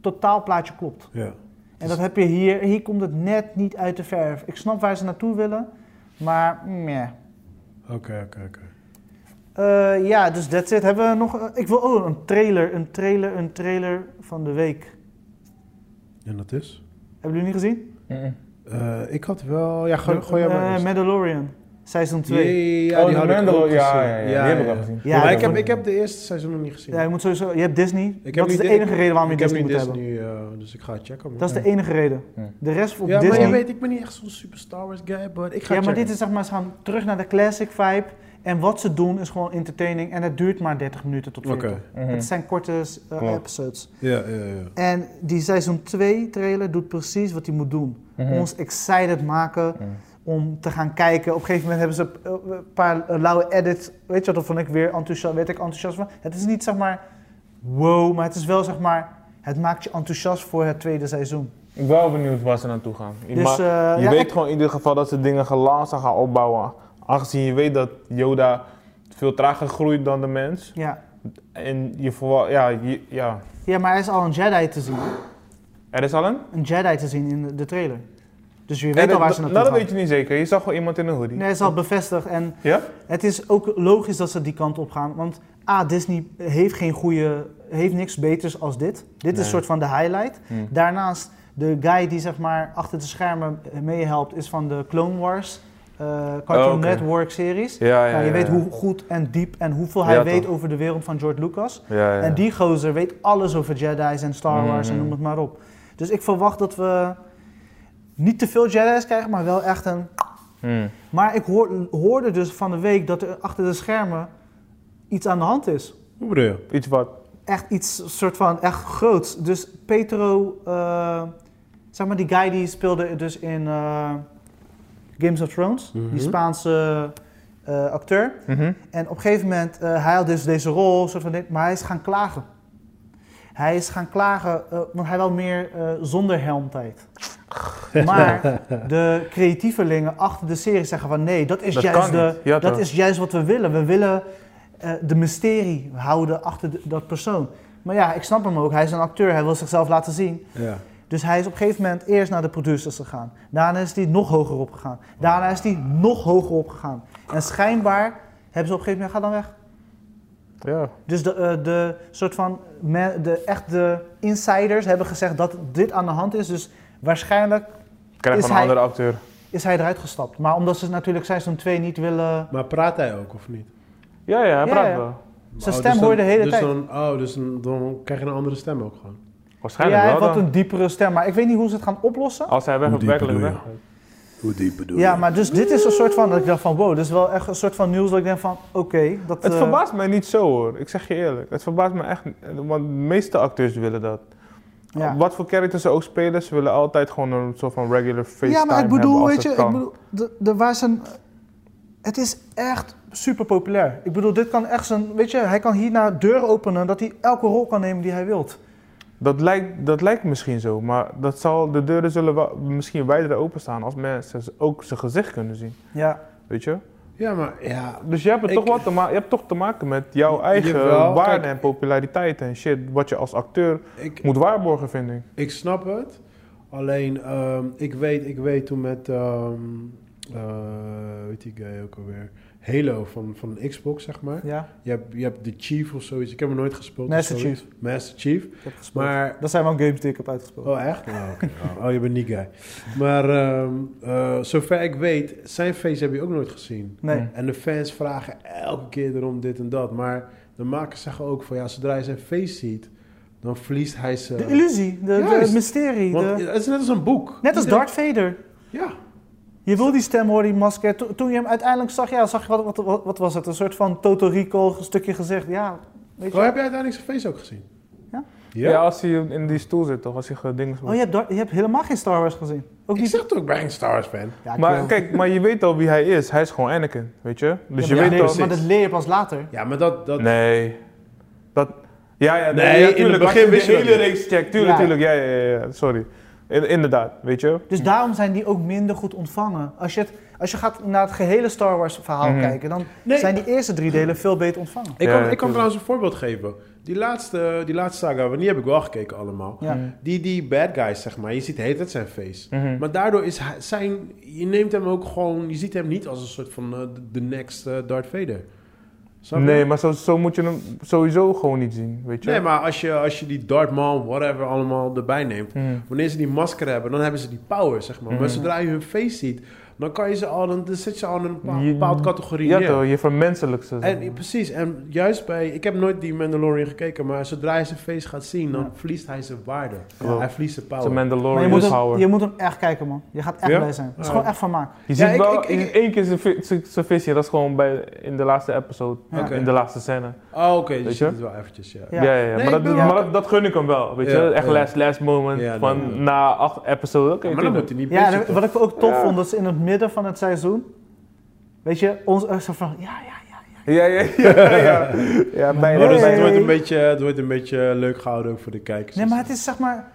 Speaker 3: totaalplaatje klopt.
Speaker 1: Ja.
Speaker 3: En dat heb je hier, hier komt het net niet uit de verf. Ik snap waar ze naartoe willen, maar meh.
Speaker 1: Oké, oké, oké.
Speaker 3: Eh, ja, dus that's it. Hebben we nog, eh, ik wil, oh, een trailer, een trailer, een trailer van de week.
Speaker 1: En dat is?
Speaker 3: Hebben jullie niet gezien?
Speaker 2: mm,
Speaker 1: Eh, ik had wel... Ja, gooi, gooi jij maar
Speaker 3: Eh
Speaker 1: eerst.
Speaker 3: Mandalorian, seizoen 2.
Speaker 1: Jee, ja,
Speaker 2: oh,
Speaker 1: die
Speaker 2: de
Speaker 1: had ik
Speaker 2: Mandalor-
Speaker 1: ook
Speaker 2: ja,
Speaker 1: gezien.
Speaker 2: ja, ja, die heb ik al gezien.
Speaker 3: Ja,
Speaker 1: maar
Speaker 3: dat
Speaker 1: ik heb,
Speaker 3: was-
Speaker 1: ik heb de eerste seizoen nog niet gezien.
Speaker 3: Ja, je, moet sowieso, je hebt Disney.
Speaker 1: heb
Speaker 3: dat is
Speaker 1: niet
Speaker 3: de
Speaker 1: Di-
Speaker 3: enige reden waarom je
Speaker 1: ik heb
Speaker 3: Disney
Speaker 1: niet
Speaker 3: moet
Speaker 1: Disney,
Speaker 3: hebben.
Speaker 1: eh, dus ik ga het checken. man.
Speaker 3: Dat is de enige reden.
Speaker 2: Ja.
Speaker 3: De rest op
Speaker 1: ja,
Speaker 3: Disney...
Speaker 1: maar je weet, ik ben niet echt zo'n super Star Wars guy, but ik ga
Speaker 3: ja,
Speaker 1: het
Speaker 3: maar
Speaker 1: checken.
Speaker 3: dit is zeg maar, ze gaan terug naar de classic vibe. En wat ze doen is gewoon entertaining. En het duurt maar 30 minuten tot 40.
Speaker 1: Oké,
Speaker 2: Mhm.
Speaker 3: Het zijn korte eh,
Speaker 2: Klopt.
Speaker 3: episodes.
Speaker 1: ja, ja, ja.
Speaker 3: En die seizoen 2 trailer doet precies wat hij moet doen.
Speaker 2: Mhm.
Speaker 3: Ons excited maken
Speaker 2: Mhm.
Speaker 3: om te gaan kijken. Op een gegeven moment hebben ze eh, een paar eh, lauwe edits. Weet je wat, dan vond ik weer enthousiast, werd ik enthousiast van. Het is niet zeg maar wow, maar het is wel zeg maar... Het maakt je enthousiast voor het tweede seizoen.
Speaker 2: Ik ben wel benieuwd waar ze naartoe gaan. Je
Speaker 3: Dus,
Speaker 2: ma-
Speaker 3: eh,
Speaker 2: je
Speaker 3: ja,
Speaker 2: weet
Speaker 3: ik-
Speaker 2: gewoon in ieder geval dat ze dingen gelazen gaan opbouwen. Aangezien je weet dat Yoda veel trager groeit dan de mens.
Speaker 3: Ja.
Speaker 2: En je verwacht, ja, je- ja.
Speaker 3: ja, maar er is al een Jedi te zien.
Speaker 2: Er is al een?
Speaker 3: Een Jedi te zien in de trailer. Dus je
Speaker 2: Ja,
Speaker 3: weet al
Speaker 2: dat-
Speaker 3: waar ze
Speaker 2: dat-
Speaker 3: naartoe
Speaker 2: Nou,
Speaker 3: gaan.
Speaker 2: dat weet je niet zeker. Je zag wel iemand in een hoodie.
Speaker 3: Nee, het is al bevestigd. En
Speaker 2: Ja?
Speaker 3: het is ook logisch dat ze die kant op gaan. Want A, Disney heeft geen goede... Heeft niks beters als dit. Dit is
Speaker 2: Nee.
Speaker 3: een soort van de highlight.
Speaker 2: Hm.
Speaker 3: Daarnaast, de guy die zeg maar achter de schermen meehelpt... is van de Clone Wars eh, Cartoon
Speaker 2: Oh, oké.
Speaker 3: Network series.
Speaker 2: Ja, ja,
Speaker 3: Nou, je
Speaker 2: ja,
Speaker 3: weet
Speaker 2: ja.
Speaker 3: hoe goed en diep en hoeveel hij
Speaker 2: Ja,
Speaker 3: weet
Speaker 2: toch.
Speaker 3: over de wereld van George Lucas.
Speaker 2: Ja, ja, ja.
Speaker 3: En die gozer weet alles over Jedi's en Star Wars en
Speaker 2: Mhm.
Speaker 3: noem het maar op. Dus ik verwacht dat we niet te veel Jedi's krijgen, maar wel echt een.
Speaker 2: Hm.
Speaker 3: Maar ik hoor- hoorde dus van de week dat er achter de schermen iets aan de hand is.
Speaker 1: Hoe bedoel je?
Speaker 2: Iets wat.
Speaker 3: Echt iets soort van echt groots. Dus Petro, eh, zeg maar die guy die speelde dus in eh, Games of Thrones,
Speaker 1: Mhm.
Speaker 3: die Spaanse eh, acteur.
Speaker 2: Mhm.
Speaker 3: En op een gegeven moment, eh, hij had dus deze rol, een soort van dit, maar hij is gaan klagen. Hij is gaan klagen, eh, want hij wil meer eh, zonder helmtijd. Maar de creatievelingen achter de serie zeggen van nee, dat is,
Speaker 2: Dat
Speaker 3: juist,
Speaker 2: kan
Speaker 3: de,
Speaker 2: niet. Ja,
Speaker 3: dat
Speaker 2: toch.
Speaker 3: is juist wat we willen. We willen eh, de mysterie houden achter de- dat persoon. Maar ja, ik snap hem ook. Hij is een acteur, hij wil zichzelf laten zien.
Speaker 1: Ja.
Speaker 3: Dus hij is op een gegeven moment eerst naar de producers gegaan. Daarna is hij nog hoger opgegaan. Daarna is hij nog hoger opgegaan. En schijnbaar hebben ze op een gegeven moment, ga dan weg.
Speaker 2: Ja.
Speaker 3: Dus de, eh, de soort van, me- de echte insiders hebben gezegd dat dit aan de hand is. Dus waarschijnlijk
Speaker 2: Krijg
Speaker 3: Is
Speaker 2: van een
Speaker 3: hij-
Speaker 2: andere acteur.
Speaker 3: is hij eruit gestapt. Maar omdat ze natuurlijk seizoen 2 niet willen...
Speaker 1: Maar praat hij ook, of niet?
Speaker 2: Ja, ja, hij
Speaker 3: Ja,
Speaker 2: praat
Speaker 3: ja.
Speaker 2: wel.
Speaker 3: Zijn
Speaker 1: Oh,
Speaker 3: stem
Speaker 1: dus
Speaker 3: hoor je
Speaker 1: dan-
Speaker 3: de hele
Speaker 1: dus
Speaker 3: tijd.
Speaker 1: Dan, oh, dus dan, dan krijg je een andere stem ook gewoon.
Speaker 2: Waarschijnlijk
Speaker 3: ja, hij
Speaker 2: wel.
Speaker 3: heeft
Speaker 2: dan.
Speaker 3: wat een diepere stem. Maar ik weet niet hoe ze het gaan oplossen.
Speaker 2: Als hij
Speaker 1: Hoe
Speaker 2: weg,
Speaker 1: diep
Speaker 2: werkelijk
Speaker 1: bedoel
Speaker 2: weg.
Speaker 1: je? Hoe diep bedoel
Speaker 3: Ja, maar dus dit is een soort van, dat ik dacht van wow, dit is wel echt een soort van nieuws dat ik denk van oké. dat,
Speaker 2: Het
Speaker 3: eh,
Speaker 2: verbaast mij niet zo hoor. Ik zeg je eerlijk. Het verbaast me echt. niet. Want de meeste acteurs willen dat.
Speaker 3: ja.
Speaker 2: Wat voor characters ze ook spelen, ze willen altijd gewoon een soort van regular FaceTime
Speaker 3: Ja, maar ik
Speaker 2: hebben
Speaker 3: bedoel,
Speaker 2: als
Speaker 3: weet je,
Speaker 2: het
Speaker 3: ik
Speaker 2: kan.
Speaker 3: bedoel, de, de, waar zijn, het is echt super populair. Ik bedoel, dit kan echt zijn, weet je, hij kan hierna deuren openen dat hij elke rol kan nemen die hij wilt.
Speaker 2: Dat lijkt, dat lijkt misschien zo, maar dat zal, de deuren zullen wel, misschien wijder openstaan als mensen z- ook zijn gezicht kunnen zien.
Speaker 3: Ja,
Speaker 2: Weet je?
Speaker 1: Ja, maar ja,
Speaker 2: Dus je hebt, het
Speaker 1: Ik-
Speaker 2: toch, wat te ma- je hebt toch te maken met jouw eigen
Speaker 1: Jawel,
Speaker 2: waarde
Speaker 1: kijk.
Speaker 2: en populariteit en shit, wat je als acteur
Speaker 1: ik,
Speaker 2: moet waarborgen, vind ik.
Speaker 1: ik snap het. Alleen, ehm, ik, weet, ik weet toen met, ehm eh, weet die guy ook alweer, Halo van, van Xbox, zeg maar.
Speaker 3: ja,
Speaker 1: Je hebt, je hebt de Chief of zoiets. Ik heb hem nooit gespeeld. of
Speaker 3: Master
Speaker 1: zoiets. Master Chief.
Speaker 3: ik heb gespeeld.
Speaker 1: Maar...
Speaker 3: Dat zijn wel games die ik heb uitgespeeld.
Speaker 1: Oh, echt? Oh, oké. Oh, oh, je bent niet guy. Maar ehm, eh, zover ik weet, zijn face heb je ook nooit gezien.
Speaker 3: Nee.
Speaker 2: Hm.
Speaker 1: En de fans vragen elke keer erom dit en dat. Maar de makers zeggen ook van ja, zodra je zijn face ziet, dan verliest hij
Speaker 3: De
Speaker 1: zijn...
Speaker 3: illusie, de, de-
Speaker 1: Juist.
Speaker 3: het mysterie.
Speaker 1: Want
Speaker 3: de-
Speaker 1: het is net als een boek.
Speaker 3: net als
Speaker 1: Iedereen-
Speaker 3: Darth Vader.
Speaker 1: Ja,
Speaker 3: Je wil die stem horen, die masker. To- toen je hem uiteindelijk zag, ja, zag je wat, wat, wat, wat was het? Een soort van Totorico stukje gezegd. Ja, weet
Speaker 1: Oh,
Speaker 3: je.
Speaker 1: heb jij uiteindelijk zijn face ook gezien?
Speaker 3: Ja?
Speaker 2: Ja,
Speaker 1: Ja.
Speaker 2: als hij in die stoel zit, toch? Als hij gedings
Speaker 3: Oh, je hebt, Dar- je hebt helemaal geen Star Wars gezien. Ook
Speaker 1: Ik
Speaker 3: niet.
Speaker 1: zat ook bij een Star Wars fan.
Speaker 3: Ja, ik
Speaker 2: Maar
Speaker 3: wil-
Speaker 2: kijk, maar je weet al wie hij is. Hij is gewoon Anakin, weet je? Dus je
Speaker 3: Ja, maar-
Speaker 2: weet
Speaker 3: nee,
Speaker 2: al...
Speaker 3: Maar dat leer je pas later.
Speaker 1: Ja, maar dat... dat
Speaker 2: Nee. Dat... Ja, ja,
Speaker 1: Nee,
Speaker 2: ja,
Speaker 1: in
Speaker 2: tuurlijk,
Speaker 1: het
Speaker 2: als
Speaker 1: begin
Speaker 2: je
Speaker 1: wist je
Speaker 2: de
Speaker 1: dat
Speaker 2: hele
Speaker 1: niet.
Speaker 2: reeks check. Tuurlijk,
Speaker 3: Ja.
Speaker 2: tuurlijk. Ja, ja, ja, ja, Sorry. In- inderdaad, weet je?
Speaker 3: Dus daarom zijn die ook minder goed ontvangen. Als je, het, als je gaat naar het gehele Star Wars verhaal
Speaker 2: Mhm.
Speaker 3: kijken, dan
Speaker 1: Nee.
Speaker 3: zijn die eerste drie delen veel beter ontvangen.
Speaker 1: Ik
Speaker 2: Ja,
Speaker 1: kan, ik
Speaker 2: natuurlijk.
Speaker 1: kan trouwens een voorbeeld geven. Die laatste, die laatste saga, want die heb ik wel gekeken allemaal.
Speaker 3: Ja.
Speaker 1: Die, die bad guys, zeg maar. Je ziet heet het zijn face.
Speaker 2: Mhm.
Speaker 1: Maar daardoor is hij, zijn... Je neemt hem ook gewoon... Je ziet hem niet als een soort van eh, de next eh, Darth Vader. Snap je?
Speaker 2: Nee, maar zo, zo moet je hem sowieso gewoon niet zien, weet je?
Speaker 1: Nee, maar als je, als je die Darth Maul, whatever, allemaal erbij neemt...
Speaker 2: Mhm.
Speaker 1: Wanneer ze die masker hebben, dan hebben ze die power, zeg maar. Maar
Speaker 2: Mhm.
Speaker 1: zodra je hun face ziet, dan kan je ze al... Dan, dan zit je al in een bepaal-
Speaker 2: Je-
Speaker 1: bepaalde categorie
Speaker 2: Ja,
Speaker 1: neer.
Speaker 2: toch? Je vermenselijkt ze. zeg
Speaker 1: En,
Speaker 2: maar.
Speaker 1: precies, en juist bij... Ik heb nooit die Mandalorian gekeken, maar zodra je zijn face gaat zien, dan
Speaker 3: Ja.
Speaker 1: verliest hij zijn waarde.
Speaker 2: Klopt.
Speaker 1: Hij verliest zijn
Speaker 2: De
Speaker 1: power.
Speaker 3: Maar je
Speaker 2: Mandalorian
Speaker 3: moet, hem,
Speaker 2: power.
Speaker 3: je moet hem echt kijken, man. Je gaat echt
Speaker 1: Ja?
Speaker 3: blij zijn. Het is
Speaker 1: Ja.
Speaker 3: gewoon echt van maak.
Speaker 2: Je
Speaker 1: Ja,
Speaker 2: ziet
Speaker 1: ik-
Speaker 2: wel
Speaker 1: ik- ik-
Speaker 2: in één keer zijn vi- zijn- zijn visje. Dat is gewoon bij, in de laatste episode.
Speaker 3: Ja.
Speaker 1: Oké.
Speaker 2: In de laatste scène.
Speaker 1: Oh, oké, je
Speaker 2: Weet
Speaker 1: ziet
Speaker 2: je?
Speaker 1: het wel eventjes, ja.
Speaker 3: Ja.
Speaker 2: Ja, ja, ja.
Speaker 1: Nee,
Speaker 2: maar,
Speaker 1: ik
Speaker 2: dat,
Speaker 1: ben
Speaker 2: maar
Speaker 1: wel-
Speaker 2: dat, dat gun ik hem wel, weet je.
Speaker 1: Ja,
Speaker 2: Echt
Speaker 1: ja.
Speaker 2: last, last moment
Speaker 1: Ja,
Speaker 2: van
Speaker 1: nee, nee.
Speaker 2: na acht episodes. Oké,
Speaker 1: maar dan
Speaker 2: tuurlijk.
Speaker 1: moet hij niet
Speaker 3: Ja,
Speaker 1: bitchen,
Speaker 3: en
Speaker 1: toch?
Speaker 3: wat ik ook tof
Speaker 2: Ja.
Speaker 3: vond, dat ze in het midden van het seizoen, weet je, ons eh, zo van, ja, ja, ja.
Speaker 2: Ja, ja, ja. ja. ja bijna.
Speaker 1: Maar dus
Speaker 3: Nee.
Speaker 1: het, wordt een beetje, het wordt een beetje leuk gehouden ook voor de kijkers.
Speaker 3: Nee, maar het is zeg maar,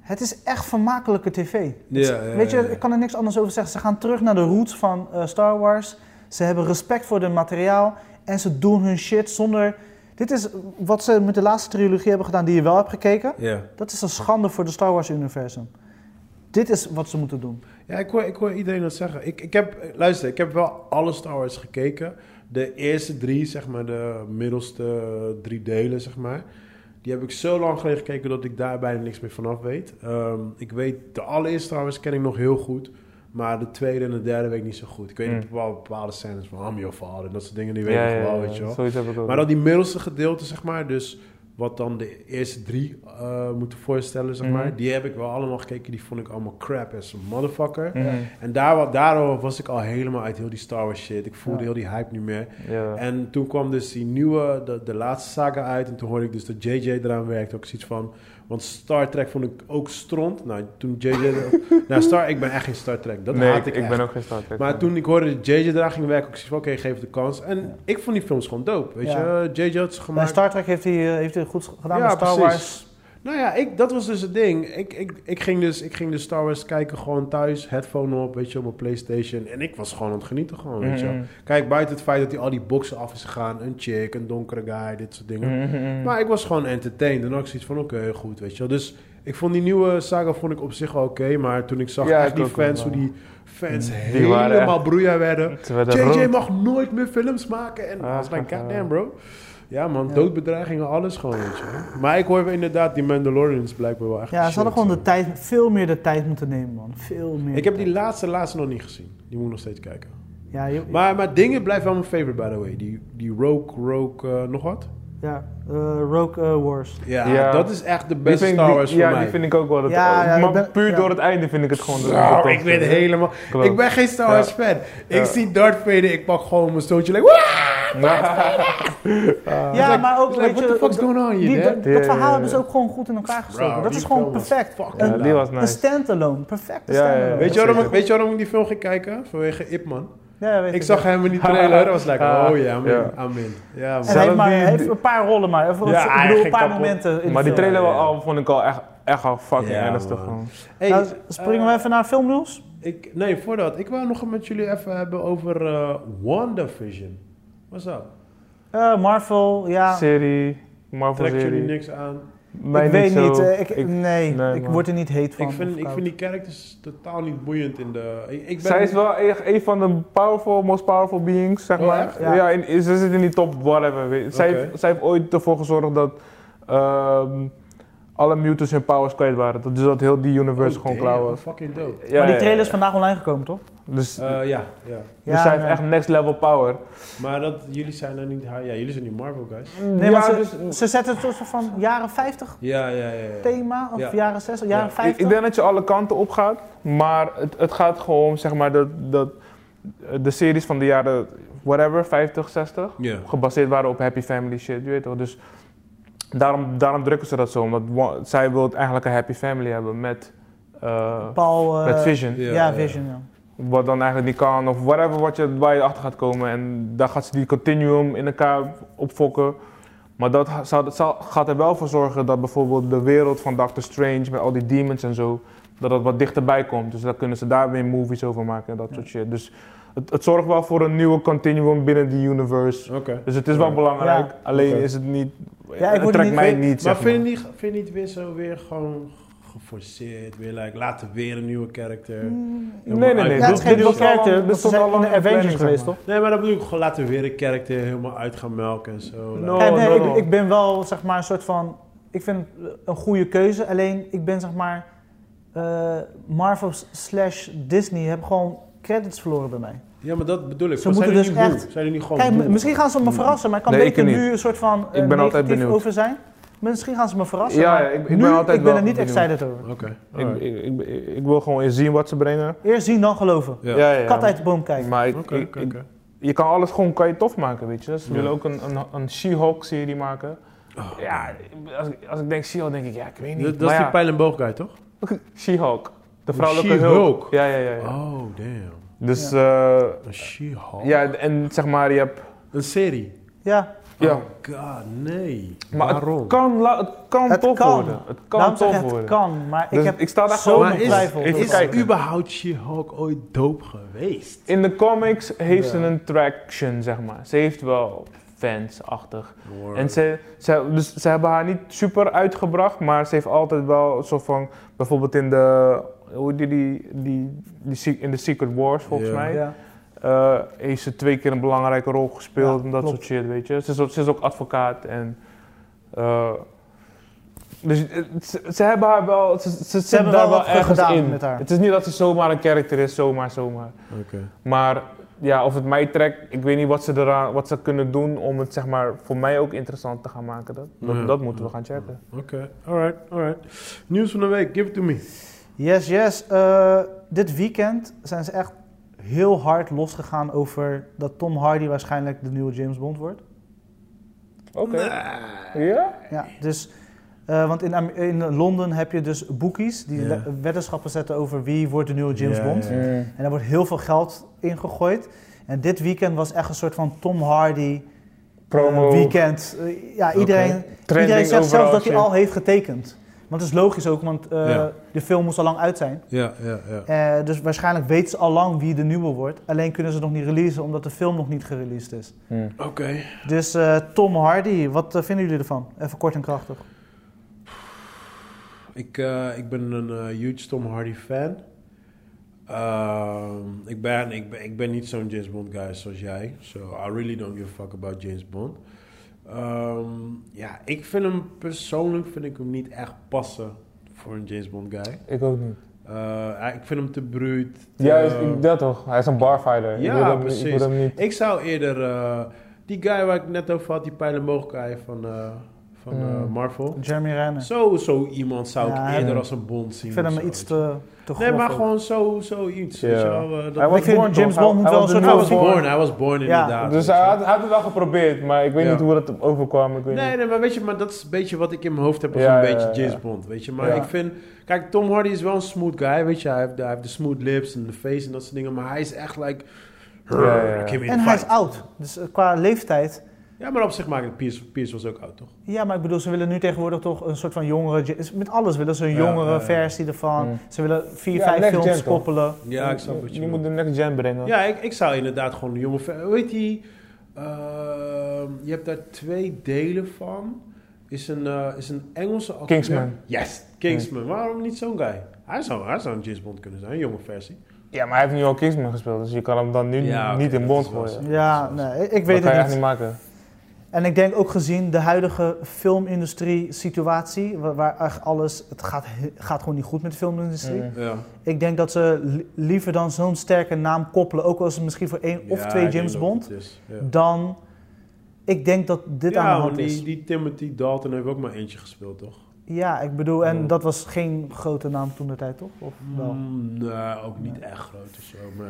Speaker 3: het is echt vermakelijke tv.
Speaker 1: Ja,
Speaker 3: Het is-
Speaker 1: ja, ja,
Speaker 3: weet je,
Speaker 1: ja.
Speaker 3: ik kan er niks anders over zeggen. Ze gaan terug naar de roots van eh, Star Wars. Ze hebben respect voor hun materiaal en ze doen hun shit zonder... Dit is wat ze met de laatste trilogie hebben gedaan die je wel hebt gekeken.
Speaker 1: Ja,
Speaker 3: Dat is een schande voor de Star Wars-universum. Dit is wat ze moeten doen.
Speaker 1: ja ik, hoor, ik hoor iedereen dat zeggen. Ik, ik heb, luister, ik heb wel alle Star Wars gekeken. De eerste drie, zeg maar, de middelste drie delen, zeg maar. Die heb ik zo lang geleden gekeken dat ik daar bijna niks meer vanaf weet. Ehm, ik weet, de allereerste Star Wars ken ik nog heel goed. Maar de tweede en de derde weet ik niet zo goed. Ik weet
Speaker 2: Mm.
Speaker 1: nog bepaalde, bepaalde scènes van I'm your father en dat soort dingen. Die weet
Speaker 2: Ja,
Speaker 1: ik
Speaker 2: ja,
Speaker 1: wel,
Speaker 2: ja,
Speaker 1: weet je wel.
Speaker 2: Zoiets heb ik ook.
Speaker 1: Maar dan die middelste gedeelte, zeg maar, dus wat dan de eerste drie eh, moeten voorstellen, zeg
Speaker 2: Mhm.
Speaker 1: maar, die heb ik wel allemaal gekeken. Die vond ik allemaal crap as a motherfucker.
Speaker 2: Mhm.
Speaker 1: En daar, wa- daardoor was ik al helemaal uit heel die Star Wars shit. Ik voelde
Speaker 3: Ja.
Speaker 1: heel die hype niet meer.
Speaker 2: Ja.
Speaker 1: En toen kwam dus die nieuwe, de, de laatste saga uit. En toen hoorde ik dus dat JJ eraan werkte. Ook zoiets van. Want Star Trek vond ik ook stront. Nou, toen JJ. er- nou, Star, ik ben echt geen Star Trek. Dat
Speaker 2: nee,
Speaker 1: haat
Speaker 2: ik,
Speaker 1: ik,
Speaker 2: ik
Speaker 1: echt.
Speaker 2: ben ook geen Star Trek.
Speaker 1: Maar
Speaker 2: fan.
Speaker 1: toen ik hoorde dat JJ eraan ging werken, ik zei van oké, geef het de kans. En
Speaker 3: Ja.
Speaker 1: ik vond die films gewoon dope, weet
Speaker 3: Ja.
Speaker 1: je. JJ had ze
Speaker 3: Bij
Speaker 1: gemaakt.
Speaker 3: Star Trek heeft hij, eh, heeft hij goed gedaan,
Speaker 1: Ja,
Speaker 3: maar Star
Speaker 1: precies.
Speaker 3: Wars...
Speaker 1: Nou ja, ik, dat was dus het ding. Ik, ik, ik, ging dus, ik ging dus Star Wars kijken gewoon thuis, headphone op, weet je, op mijn Playstation. En ik was gewoon aan het genieten gewoon, weet je.
Speaker 3: Mm-hmm.
Speaker 2: Mhm.
Speaker 1: Kijk, buiten het feit dat hij al die boxen af is gegaan. Een chick, een donkere guy, dit soort dingen.
Speaker 3: Mm-hmm.
Speaker 2: Mhm.
Speaker 1: Maar ik was gewoon entertained. En dan had ik zoiets van, oké, goed, weet je wel. Dus ik vond die nieuwe saga vond ik op zich wel oké. maar toen ik zag
Speaker 2: Ja,
Speaker 1: echt
Speaker 2: ik
Speaker 1: die
Speaker 2: ook wel.
Speaker 1: fans, hoe die fans
Speaker 3: Mm.
Speaker 2: Die waren echt-
Speaker 1: helemaal broeia werden.
Speaker 2: Ze werden
Speaker 1: JJ
Speaker 2: rood.
Speaker 1: mag nooit meer films maken. En
Speaker 2: Ah,
Speaker 1: I was like,
Speaker 2: ah,
Speaker 1: goddamn
Speaker 2: ah.
Speaker 1: bro. Ja man,
Speaker 3: Ja.
Speaker 1: doodbedreigingen, alles gewoon, weet je wel. Maar ik hoor inderdaad, die Mandalorians blijkbaar wel echt
Speaker 3: Ja, ze
Speaker 1: shit
Speaker 3: hadden gewoon de
Speaker 1: zijn.
Speaker 3: tijd, veel meer de tijd moeten nemen, man. Veel meer.
Speaker 1: Ik heb
Speaker 3: de
Speaker 1: die
Speaker 3: tijd.
Speaker 1: laatste, laatste nog niet gezien. Die moet ik nog steeds kijken.
Speaker 3: Ja, je-
Speaker 1: Maar, maar dingen blijft wel mijn favorite, by the way. Die, die Rogue, Rogue, eh, nog wat?
Speaker 3: ja eh, Rogue eh, Wars.
Speaker 1: Ja,
Speaker 2: Ja.
Speaker 1: dat is echt de
Speaker 2: Die
Speaker 1: beste
Speaker 2: vind ik-
Speaker 1: Star
Speaker 2: die-
Speaker 1: Wars voor
Speaker 2: ja,
Speaker 1: mij.
Speaker 2: die vind ik ook wel. Dat,
Speaker 3: Ja, ja, ik
Speaker 2: maar
Speaker 3: ben-
Speaker 2: puur
Speaker 3: ja.
Speaker 2: door het einde vind ik het gewoon. de- de
Speaker 1: Zo,
Speaker 2: tofste.
Speaker 1: Nou, ik weet helemaal...
Speaker 2: Klopt.
Speaker 1: Ik ben geen Star
Speaker 2: Ja.
Speaker 1: Wars fan. Ik
Speaker 2: Ja.
Speaker 1: zie Darth Vader, ik pak gewoon mijn stootje. Like, "Wah!"
Speaker 3: ja, maar ook,
Speaker 1: It's like,
Speaker 3: weet
Speaker 1: what the
Speaker 3: je...
Speaker 1: fuck's
Speaker 3: dat-
Speaker 1: going on
Speaker 3: die-
Speaker 1: here,
Speaker 3: dat,
Speaker 1: dad?
Speaker 3: dat
Speaker 2: Oh, Ja,
Speaker 3: verhaal
Speaker 2: ja,
Speaker 3: hebben ze
Speaker 2: ja.
Speaker 3: ook gewoon goed in elkaar gestoken.
Speaker 1: Bro,
Speaker 3: dat is
Speaker 1: die
Speaker 3: gewoon
Speaker 1: film was
Speaker 3: perfect.
Speaker 1: fucking
Speaker 2: Ja,
Speaker 3: Een,
Speaker 2: die was
Speaker 3: een
Speaker 2: nice.
Speaker 3: standalone, perfecte
Speaker 2: Ja, ja, ja.
Speaker 3: standalone.
Speaker 1: Weet je,
Speaker 2: Ja,
Speaker 1: waarom ik,
Speaker 2: zeker.
Speaker 1: weet je waarom ik die film ging kijken? Vanwege Ip Man.
Speaker 3: Ja, weet
Speaker 1: Ik zag hem in die trailer. Dat was lekker. Oh ja, I'm in. I'm in. Ja, man.
Speaker 3: En hij
Speaker 2: Zelfs
Speaker 3: heeft, maar,
Speaker 2: die-
Speaker 3: hij heeft een paar rollen maar. Of-
Speaker 2: Ja,
Speaker 3: ik bedoel, een
Speaker 2: eigenlijk
Speaker 3: paar
Speaker 2: kapot.
Speaker 3: momenten in de
Speaker 2: Maar die
Speaker 3: film.
Speaker 2: trailer
Speaker 1: Ja, ja, ja.
Speaker 2: al vond ik al echt, echt al fucking
Speaker 1: Ja,
Speaker 2: ernstig.
Speaker 1: man.
Speaker 2: gewoon.
Speaker 1: Hey,
Speaker 3: Nou, springen we
Speaker 1: eh,
Speaker 3: even naar filmnieuws?
Speaker 1: ik, nee, voordat. Ik wou nog met jullie even hebben over eh, WandaVision. What's up?
Speaker 3: Eh, Marvel, ja.
Speaker 2: Serie, Marvel
Speaker 1: Trekt jullie
Speaker 2: serie.
Speaker 1: niks aan?
Speaker 2: Mij
Speaker 3: ik weet
Speaker 2: zo.
Speaker 3: niet. eh, ik,
Speaker 2: Ik-
Speaker 3: nee,
Speaker 2: nee,
Speaker 3: ik
Speaker 2: man.
Speaker 3: word er niet heet van.
Speaker 1: Ik
Speaker 3: of
Speaker 1: vind, ik
Speaker 3: koud.
Speaker 1: vind die characters totaal niet boeiend in de... Ik, ik ben,
Speaker 2: Zij is wel echt een van de powerful, most powerful beings, zeg
Speaker 1: Oh,
Speaker 2: maar.
Speaker 1: echt?
Speaker 3: Ja.
Speaker 2: Ja, in, ze zit in die top whatever. weet je. Zij,
Speaker 1: Oké.
Speaker 2: heeft, zij heeft ooit ervoor gezorgd dat ehm, alle mutants hun powers kwijt waren. Dat- Dus dat heel die universe
Speaker 1: Oh,
Speaker 2: gewoon
Speaker 1: damn,
Speaker 2: klaar was.
Speaker 1: Fucking dope.
Speaker 2: Ja,
Speaker 3: maar die
Speaker 2: ja,
Speaker 3: trailer is
Speaker 2: ja.
Speaker 3: vandaag online gekomen, toch?
Speaker 2: Dus,
Speaker 1: Eh, ja, ja.
Speaker 2: dus zij heeft
Speaker 3: nee.
Speaker 2: echt next level power.
Speaker 1: Maar dat, jullie zijn er niet... Ja, jullie zijn die Marvel guys.
Speaker 3: Nee,
Speaker 2: Ja,
Speaker 3: maar ze,
Speaker 2: dus-
Speaker 3: ze zetten het een soort van jaren 50
Speaker 1: Ja, ja, ja. ja.
Speaker 3: thema, of
Speaker 1: Ja.
Speaker 3: jaren 60, jaren
Speaker 1: Ja.
Speaker 2: Ik,
Speaker 3: 50.
Speaker 2: ik denk dat je alle kanten op gaat, maar het, het gaat gewoon om, zeg maar dat, dat de series van de jaren whatever, 50, 60,
Speaker 1: Ja.
Speaker 2: gebaseerd waren op happy family shit, je weet toch. Dus daarom, daarom drukken ze dat zo, omdat wa- zij wil eigenlijk een happy family hebben met, eh,
Speaker 3: Paul, eh,
Speaker 2: met Vision.
Speaker 1: Ja,
Speaker 3: Ja,
Speaker 1: ja.
Speaker 3: Vision, ja.
Speaker 2: Wat dan eigenlijk niet kan, of whatever wat je, waar je achter gaat komen. En daar gaat ze die continuum in elkaar opfokken. Maar dat ha- zou, dat zal- gaat er wel voor zorgen dat bijvoorbeeld de wereld van Doctor Strange met al die demons en zo, dat dat wat dichterbij komt. Dus daar kunnen ze daar weer movies over maken en dat soort shit. Dus het, het zorgt wel voor een nieuwe continuum binnen die universe.
Speaker 1: Oké.
Speaker 2: Dus het is wel
Speaker 1: Ja.
Speaker 2: belangrijk,
Speaker 3: Ja.
Speaker 2: alleen
Speaker 1: Oké.
Speaker 2: is het niet.
Speaker 3: ik
Speaker 2: het
Speaker 3: word
Speaker 2: trekt
Speaker 3: niet-
Speaker 2: mij
Speaker 3: ik-
Speaker 2: niet,
Speaker 1: Maar
Speaker 2: zeg maar.
Speaker 1: vind je niet, vind je niet weer zo weer gewoon geforceerd? Weer like, laten weer een nieuwe character.
Speaker 2: Nee, nee, nee.
Speaker 1: Ja,
Speaker 2: Dit-
Speaker 3: Ja, het is
Speaker 2: dit
Speaker 3: geen nieuwe
Speaker 2: was al lang-
Speaker 3: character,
Speaker 2: dit
Speaker 3: dat ze
Speaker 2: stond al
Speaker 3: zijn in
Speaker 2: lang
Speaker 3: de
Speaker 2: in de
Speaker 3: Avengers
Speaker 2: planning, zeg
Speaker 3: geweest,
Speaker 2: maar.
Speaker 3: toch?
Speaker 1: Nee, maar dat bedoel ik gewoon laten weer een character helemaal uit gaan melken en zo.
Speaker 2: No,
Speaker 3: Kijk, nee,
Speaker 2: no,
Speaker 3: ik,
Speaker 2: no.
Speaker 3: ik ben wel, zeg maar, een soort van... Ik vind het een goede keuze, alleen ik ben, zeg maar... eh, Marvel slash Disney hebben gewoon credits verloren bij mij.
Speaker 1: Ja, maar dat bedoel ik.
Speaker 3: Ze
Speaker 1: Maar
Speaker 3: moeten
Speaker 1: zijn jullie
Speaker 3: dus
Speaker 1: niet moe? Zijn jullie niet gewoon
Speaker 3: Kijk,
Speaker 1: moe?
Speaker 3: m- misschien gaan ze me verrassen, maar ik kan
Speaker 2: Oh, Nee,
Speaker 3: beter
Speaker 2: ik niet.
Speaker 3: nu een soort van eh,
Speaker 2: Ik ben altijd
Speaker 3: negatief
Speaker 2: benieuwd.
Speaker 3: over zijn. Misschien gaan ze me verrassen,
Speaker 2: Ja,
Speaker 3: maar
Speaker 2: ja, ik- ik
Speaker 3: nu,
Speaker 2: ben altijd
Speaker 3: ik ben
Speaker 2: wel
Speaker 3: er niet
Speaker 2: benieuwd.
Speaker 3: excited over.
Speaker 1: Oké.
Speaker 2: Ik,
Speaker 1: alright.
Speaker 2: ik, ik, ik wil gewoon eens zien wat ze brengen.
Speaker 3: Eerst zien, dan geloven.
Speaker 1: Ja.
Speaker 2: ja, ja.
Speaker 3: Kat uit de boom kijken.
Speaker 2: Maar ik,
Speaker 1: Oké,
Speaker 2: ik-
Speaker 1: oké,
Speaker 2: ik-
Speaker 1: oké.
Speaker 2: je kan alles gewoon kan je tof maken, weet je. Dus Ze
Speaker 1: Ja.
Speaker 2: willen ook een, een, een She-Hulk serie maken.
Speaker 1: Oh.
Speaker 2: Ja, als ik, als ik denk She-Hulk, denk ik, ja, ik weet niet.
Speaker 1: Dat, dat is
Speaker 2: Maar
Speaker 1: die pijl en boog guy, toch?
Speaker 2: ja, She-Hulk. De vrouwelijke
Speaker 1: She-Hulk.
Speaker 2: hulp. Ja, ja, ja. ja.
Speaker 1: Oh, damn.
Speaker 2: Dus, ja.
Speaker 1: Een She-Hulk.
Speaker 2: ja, en zeg maar, je hebt...
Speaker 1: Een serie.
Speaker 3: Ja,
Speaker 2: Ja.
Speaker 1: Oh god, nee.
Speaker 2: Maar
Speaker 1: Waarom?
Speaker 2: het kan, la- het kan
Speaker 3: Het
Speaker 2: tof
Speaker 3: kan.
Speaker 2: worden. Het kan
Speaker 3: daarom zeg
Speaker 2: tof
Speaker 3: ik, het
Speaker 2: worden.
Speaker 3: kan, maar ik
Speaker 2: Dus
Speaker 3: heb
Speaker 2: ik sta daar
Speaker 3: zo
Speaker 2: gewoon
Speaker 1: Maar
Speaker 3: mijn
Speaker 1: is-
Speaker 3: twijfels.
Speaker 2: is-
Speaker 3: over.
Speaker 1: Is
Speaker 2: kijken.
Speaker 1: überhaupt She-Hulk ooit doop geweest?
Speaker 2: In de comics heeft ze
Speaker 1: Ja.
Speaker 2: een traction, zeg maar. Ze heeft wel fans-achtig. En ze, ze, dus ze hebben haar niet super uitgebracht, maar ze heeft altijd wel een soort van, bijvoorbeeld in de, hoe die, die, die, die se- in de Secret Wars volgens
Speaker 1: Ja.
Speaker 2: mij,
Speaker 3: Ja.
Speaker 2: eh, heeft ze twee keer een belangrijke rol gespeeld
Speaker 3: Ja,
Speaker 2: en dat
Speaker 3: klopt.
Speaker 2: soort shit, weet je. Ze is, ook- ze is ook advocaat en, eh, dus eh, ze, ze hebben haar wel, ze, ze, zit
Speaker 3: hebben
Speaker 2: daar
Speaker 3: wel
Speaker 2: wel,
Speaker 3: wat voor
Speaker 2: ergens
Speaker 3: gedaan
Speaker 2: in.
Speaker 3: met haar.
Speaker 2: Het is niet dat ze zomaar een karakter is, zomaar, zomaar.
Speaker 1: Oké.
Speaker 2: Maar ja, of het mij trekt, ik weet niet wat ze, eraan, wat ze kunnen doen om het zeg maar, voor mij ook interessant te gaan maken. Dat, dat,
Speaker 1: Ja.
Speaker 2: dat moeten we gaan checken.
Speaker 1: Oké, alright, alright. Nieuws van de week, give it to me.
Speaker 3: Yes, yes. Eh, dit weekend zijn ze echt heel hard losgegaan over dat Tom Hardy waarschijnlijk de nieuwe James Bond wordt.
Speaker 2: Oké. Ja?
Speaker 3: Ja, dus, eh, want in, Am- in Londen heb je dus boekies die
Speaker 1: Ja.
Speaker 3: le- weddenschappen zetten over wie wordt de nieuwe James
Speaker 1: Ja,
Speaker 3: Bond.
Speaker 1: ja.
Speaker 3: En daar wordt heel veel geld in gegooid. En dit weekend was echt een soort van Tom Hardy
Speaker 2: Promo.
Speaker 3: eh, weekend. Eh, ja, iedereen,
Speaker 2: Trending
Speaker 3: iedereen zegt zelfs
Speaker 2: overal
Speaker 3: dat hij
Speaker 2: shit.
Speaker 3: al heeft getekend. Want dat is logisch ook, want eh,
Speaker 1: Ja.
Speaker 3: de film moest al lang uit zijn.
Speaker 1: Ja, ja, ja.
Speaker 3: Eh, dus waarschijnlijk weten ze al lang wie de nieuwe wordt. Alleen kunnen ze het nog niet releasen, omdat de film nog niet gereleased is.
Speaker 2: Hm.
Speaker 1: Oké.
Speaker 3: Dus eh, Tom Hardy, wat eh, vinden jullie ervan? Even kort en krachtig.
Speaker 1: Ik, eh, ik ben een eh, huge Tom Hardy fan. Ehm, ik, ben, ik, ben, ik ben niet zo'n James Bond guy zoals jij. So I really don't give a fuck about James Bond. Ehm, ja, ik vind hem persoonlijk vind ik hem niet echt passen voor een James Bond guy.
Speaker 2: Ik ook niet.
Speaker 1: Eh, ik vind hem te bruut. te-
Speaker 2: Juist, ik- dat toch? Hij is een barfighter.
Speaker 1: Ja,
Speaker 2: ik wil hem,
Speaker 1: precies.
Speaker 2: Ik wil hem niet.
Speaker 1: Ik zou eerder eh, die guy waar ik net over had, die pijlenboogguy van, eh, van eh,
Speaker 2: Mm.
Speaker 1: Marvel.
Speaker 3: Jeremy Renner.
Speaker 1: Zo, zo iemand zou
Speaker 3: Hmm. Ja,
Speaker 1: ik
Speaker 3: hij-
Speaker 1: eerder als een Bond zien.
Speaker 3: Ik vind
Speaker 1: of
Speaker 3: hem
Speaker 1: zo,
Speaker 3: iets
Speaker 1: weet
Speaker 3: te, te
Speaker 1: je. Nee, maar
Speaker 3: grof ook.
Speaker 1: gewoon zo, zo iets.
Speaker 2: Ja.
Speaker 1: weet je wel, eh, dat-
Speaker 2: Hij was
Speaker 3: Ik vind
Speaker 2: born,
Speaker 3: James
Speaker 2: toch?
Speaker 3: Bond
Speaker 2: Hij-
Speaker 3: moet
Speaker 2: hij
Speaker 3: wel
Speaker 2: was
Speaker 3: een
Speaker 1: I
Speaker 2: de
Speaker 1: was
Speaker 2: nieuwe
Speaker 1: born, hij was born inderdaad.
Speaker 2: Dus
Speaker 1: weet
Speaker 2: hij
Speaker 1: je
Speaker 2: had, hij had het wel geprobeerd, maar ik weet
Speaker 1: Ja.
Speaker 2: niet hoe dat overkwam. Ik weet
Speaker 1: Nee,
Speaker 2: niet.
Speaker 1: nee, maar weet je, maar dat is een beetje wat ik in mijn hoofd heb als
Speaker 2: Ja,
Speaker 1: een
Speaker 2: ja,
Speaker 1: beetje
Speaker 2: ja,
Speaker 1: James
Speaker 2: ja.
Speaker 1: Bond, weet je. Maar
Speaker 3: Ja.
Speaker 1: ik vind, kijk, Tom Hardy is wel een smooth guy, weet je. Hij heeft, de- hij heeft de smooth lips en de face en dat soort dingen, maar hij is echt like,
Speaker 2: Ja, ja, ja.
Speaker 1: "Give me the
Speaker 3: En hij is
Speaker 1: fight."
Speaker 3: oud. Dus eh, qua leeftijd.
Speaker 1: Ja, maar op zich maakt het, Pierce, Pierce was ook oud, toch?
Speaker 3: Ja, maar ik bedoel, ze willen nu tegenwoordig toch een soort van jongere... Ja- Met alles willen ze een
Speaker 1: Ja,
Speaker 3: jongere
Speaker 1: ja, ja.
Speaker 3: versie ervan.
Speaker 2: Mm.
Speaker 3: Ze willen vier,
Speaker 2: Ja,
Speaker 3: vijf
Speaker 2: next gen
Speaker 3: films
Speaker 2: toch?
Speaker 3: koppelen.
Speaker 1: Ja, ik snap wat je
Speaker 2: Die
Speaker 1: bedoelt.
Speaker 2: moet de next gen brengen.
Speaker 1: Ja, ik, ik zou inderdaad gewoon een jonge... ver- Hoe heet die? Ehm, je hebt daar twee delen van. Is een, eh, is een Engelse acteur.
Speaker 2: Kingsman.
Speaker 1: Yes, Kingsman. Waarom niet zo'n guy? Hij zou, hij zou een James Bond kunnen zijn, een jonge versie.
Speaker 2: Ja, maar hij heeft nu al Kingsman gespeeld, dus je kan hem dan nu
Speaker 1: Ja, oké,
Speaker 2: niet in
Speaker 1: dat
Speaker 2: Bond
Speaker 1: is wel zo.
Speaker 2: gooien.
Speaker 3: Ja, nee, ik- ik weet
Speaker 2: dat kan je
Speaker 3: het
Speaker 2: echt
Speaker 3: niet.
Speaker 2: niet maken.
Speaker 3: En ik denk ook gezien de huidige filmindustrie-situatie, wa- waar echt alles, het gaat, he- gaat gewoon niet goed met de filmindustrie.
Speaker 2: Mm.
Speaker 1: Ja.
Speaker 3: Ik denk dat ze li- liever dan zo'n sterke naam koppelen, ook al is het misschien voor één of
Speaker 1: Ja,
Speaker 3: twee
Speaker 1: ik denk
Speaker 3: James
Speaker 1: dat
Speaker 3: Bond,
Speaker 1: het is, ja.
Speaker 3: dan ik denk dat dit
Speaker 1: ja,
Speaker 3: aan de
Speaker 1: want
Speaker 3: hand is.
Speaker 1: die, die Timothy Dalton heeft ook maar eentje gespeeld, toch?
Speaker 3: Ja, ik bedoel, en
Speaker 1: Hmm.
Speaker 3: dat was geen grote naam toen de tijd, toch? Of wel?
Speaker 1: Mm, nee, ook niet echt groot of zo. Maar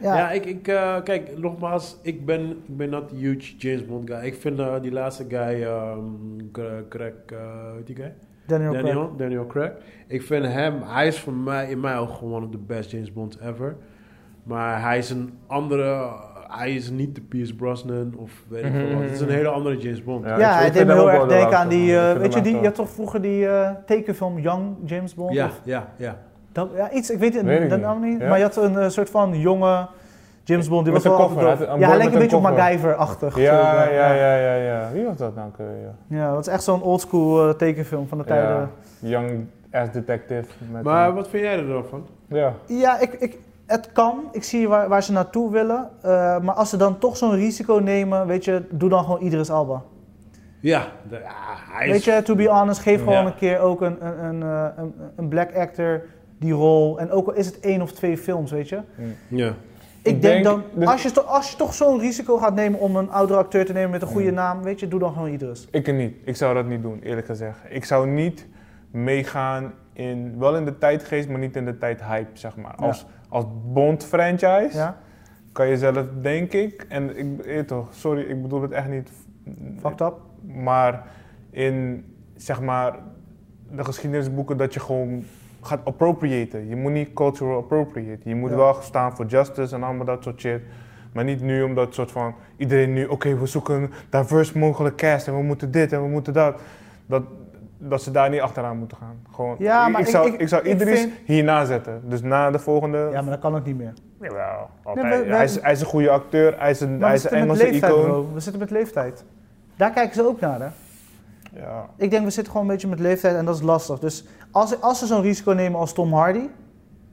Speaker 1: ja,
Speaker 3: Ja,
Speaker 1: ja. ik, ik eh, kijk, nogmaals, ik ben, ik ben not a huge James Bond guy. Ik vind eh, die laatste guy, ehm, Cra- Craig, eh, hoe heet die guy?
Speaker 3: Daniel Craig.
Speaker 1: Daniel, Daniel Craig. Ik vind hem, hij is voor mij, in mijn ogen gewoon de best James Bond ever. Maar hij is een andere, hij is niet de Pierce Brosnan of weet ik veel wat. Het is een hele andere James Bond.
Speaker 2: Ja,
Speaker 3: Mhm. Ja,
Speaker 2: ik- ik
Speaker 3: hij
Speaker 2: vind
Speaker 3: deed me
Speaker 2: hem
Speaker 3: heel
Speaker 2: ook
Speaker 3: erg
Speaker 2: wel de
Speaker 3: denken aan
Speaker 2: laatste,
Speaker 3: die,
Speaker 2: man. Ik
Speaker 3: eh,
Speaker 2: vind
Speaker 3: weet je
Speaker 2: hem
Speaker 3: die,
Speaker 2: echt
Speaker 3: je had toch vroeger die eh, tekenfilm Young James Bond?
Speaker 1: ja,
Speaker 3: Of,
Speaker 1: ja. ja.
Speaker 3: dat, ja, iets, ik weet het
Speaker 2: Weet ik
Speaker 3: niet, dat
Speaker 2: niet.
Speaker 3: naam niet.
Speaker 2: Ja.
Speaker 3: Maar je had een eh, soort van jonge James Bond, die
Speaker 2: Met
Speaker 3: was
Speaker 2: een
Speaker 3: wel
Speaker 2: koffer,
Speaker 3: altijd
Speaker 2: hij had
Speaker 3: dof.
Speaker 2: een
Speaker 3: Ja, hij
Speaker 2: boy
Speaker 3: leek een
Speaker 2: met
Speaker 3: beetje
Speaker 2: een
Speaker 3: op
Speaker 2: koffer.
Speaker 3: MacGyver-achtig. zo,
Speaker 2: Ja, ja, ja, ja, ja. Wie was dat nou? ook weer, Ja.
Speaker 3: Ja, dat is echt zo'n oldschool eh, tekenfilm van de tijden.
Speaker 2: Ja, Young ass detective. Met
Speaker 1: Maar
Speaker 2: een-
Speaker 1: wat vind jij er dan van?
Speaker 2: ja.
Speaker 3: Ja, ik, ik, het kan. Ik zie waar, waar ze naartoe willen. Eh, maar als ze dan toch zo'n risico nemen, weet je, doe dan gewoon Idris Alba.
Speaker 1: Ja, de- ja, hij
Speaker 3: Weet
Speaker 1: is...
Speaker 3: je, to be honest, geef gewoon
Speaker 2: Ja.
Speaker 3: een keer ook een, een, een, eh, een, een black actor die rol. En ook al is het één of twee films, weet je.
Speaker 1: Ja.
Speaker 3: Ik,
Speaker 2: Ik
Speaker 3: denk,
Speaker 2: denk
Speaker 3: dan,
Speaker 2: dus-
Speaker 3: als je, to- als je toch zo'n risico gaat nemen om een oudere acteur te nemen met een goede naam, weet je, doe dan gewoon Idris.
Speaker 2: Ik niet. Ik zou dat niet doen, eerlijk gezegd. Ik zou niet meegaan in, wel in de tijdgeest, maar niet in de tijdhype, zeg maar.
Speaker 3: Ja.
Speaker 2: Als, als Bond-franchise
Speaker 3: Ja?
Speaker 2: kan je zelf, denk ik, en ik, eh, toch, sorry, ik bedoel het echt niet,
Speaker 3: Fucked up.
Speaker 2: maar in, zeg maar, de geschiedenisboeken dat je gewoon gaat appropriëten. Je moet niet cultural appropriate. Je moet
Speaker 3: Ja.
Speaker 2: wel staan voor justice en allemaal dat soort shit. Maar niet nu omdat soort van iedereen nu, oké, we zoeken een diverse mogelijke cast en we moeten dit en we moeten dat. Dat, dat ze daar niet achteraan moeten gaan. Gewoon,
Speaker 3: Ja,
Speaker 2: ik,
Speaker 3: maar
Speaker 2: ik
Speaker 3: ik-
Speaker 2: zou,
Speaker 3: ik-
Speaker 2: ik, zou
Speaker 3: ik
Speaker 2: Idris
Speaker 3: vind-
Speaker 2: hierna zetten. Dus na de volgende.
Speaker 3: Ja, maar dat kan ook niet meer.
Speaker 2: Jawel, altijd.
Speaker 3: Nee, we- we-
Speaker 2: hij, is, hij is een goede acteur, hij is een,
Speaker 3: Maar
Speaker 2: hij
Speaker 3: we
Speaker 2: is een
Speaker 3: zitten met
Speaker 2: Engelse
Speaker 3: leeftijd,
Speaker 2: icoon.
Speaker 3: bro. We zitten met leeftijd. Daar kijken ze ook naar, hè.
Speaker 2: Ja.
Speaker 3: Ik denk, we zitten gewoon een beetje met leeftijd en dat is lastig. Dus als, als ze zo'n risico nemen als Tom Hardy,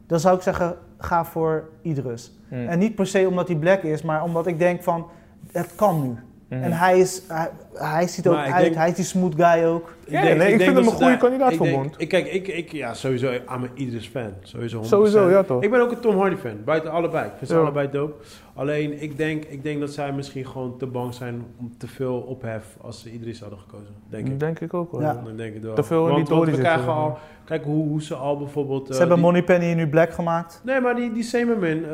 Speaker 3: dan zou ik zeggen, ga voor Idris.
Speaker 2: Mm.
Speaker 3: En niet per se omdat hij black is, maar omdat ik denk van, het kan nu.
Speaker 2: Mhm.
Speaker 1: Mm.
Speaker 3: En hij, is, hij, hij ziet er ook
Speaker 1: Maar ik
Speaker 3: uit,
Speaker 1: denk-
Speaker 3: hij is die smooth guy ook.
Speaker 2: Ja, nee, ik vind
Speaker 1: dat
Speaker 2: hem een
Speaker 1: ze
Speaker 2: goede
Speaker 1: daar-
Speaker 2: kandidaat
Speaker 1: ik
Speaker 2: voor
Speaker 1: denk-
Speaker 2: Bond.
Speaker 1: Ik, kijk, ik, ik, ja, sowieso, I'm an Idris fan. Sowieso, 100%.
Speaker 2: Sowieso, ja toch?
Speaker 1: Ik ben ook een Tom Hardy fan, buiten allebei. Ik vind ze
Speaker 2: Ja.
Speaker 1: allebei dope. Alleen, ik denk, ik denk dat zij misschien gewoon te bang zijn om te veel ophef als ze Idris hadden gekozen. Denk ik.
Speaker 2: ook wel.
Speaker 3: Ja.
Speaker 1: Dan denk ik wel.
Speaker 2: Te veel in
Speaker 1: want,
Speaker 2: die
Speaker 1: want we
Speaker 2: tory
Speaker 1: krijgen
Speaker 2: zitten.
Speaker 1: al... Kijk hoe, hoe ze al bijvoorbeeld... eh,
Speaker 3: Ze hebben
Speaker 1: die-
Speaker 3: Moneypenny nu black gemaakt.
Speaker 1: Nee, maar die, die Semermin, eh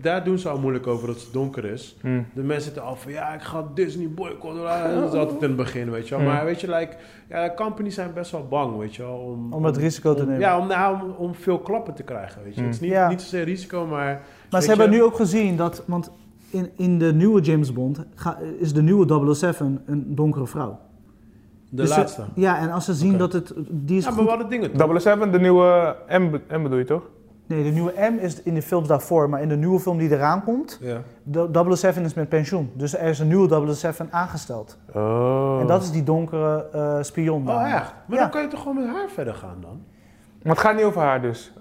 Speaker 1: daar doen ze al moeilijk over dat het donker is.
Speaker 2: Mm.
Speaker 1: De mensen zitten af van, ja, ik ga Disney boycotten. Ah, Dat is altijd in het begin, weet je wel.
Speaker 2: Hmm.
Speaker 1: Maar weet je, like, ja, companies zijn best wel bang, weet je wel. Om,
Speaker 3: Om het risico te
Speaker 1: om-
Speaker 3: nemen. Mm.
Speaker 1: Ja, om, nou, om, om veel klappen te krijgen, weet je.
Speaker 2: Hmm.
Speaker 1: Het is niet,
Speaker 3: Ja.
Speaker 1: niet zozeer risico, maar...
Speaker 3: Maar
Speaker 1: weet
Speaker 3: ze hebben
Speaker 1: je-
Speaker 3: nu ook gezien dat, want in, in de nieuwe James Bond ga- is de nieuwe 007 een donkere vrouw.
Speaker 1: De
Speaker 3: Dus ze-
Speaker 1: laatste.
Speaker 3: Ja, en als ze zien
Speaker 1: Oké.
Speaker 3: dat het, die is
Speaker 1: Ja, maar
Speaker 3: goed-
Speaker 1: wat hadden dingen toch?
Speaker 2: 007, de nieuwe M, be- M bedoel je toch?
Speaker 3: Nee, de nieuwe M is in de films daarvoor, maar in de nieuwe film die eraan komt,
Speaker 1: Ja.
Speaker 3: de 007 is met pensioen. Dus er is een nieuwe 007 aangesteld.
Speaker 2: Oh.
Speaker 3: En dat is die donkere eh, spion. dan.
Speaker 1: Oh, echt? Maar
Speaker 3: Ja.
Speaker 1: dan kan je toch gewoon met haar verder gaan dan?
Speaker 2: Maar het gaat niet over haar dus.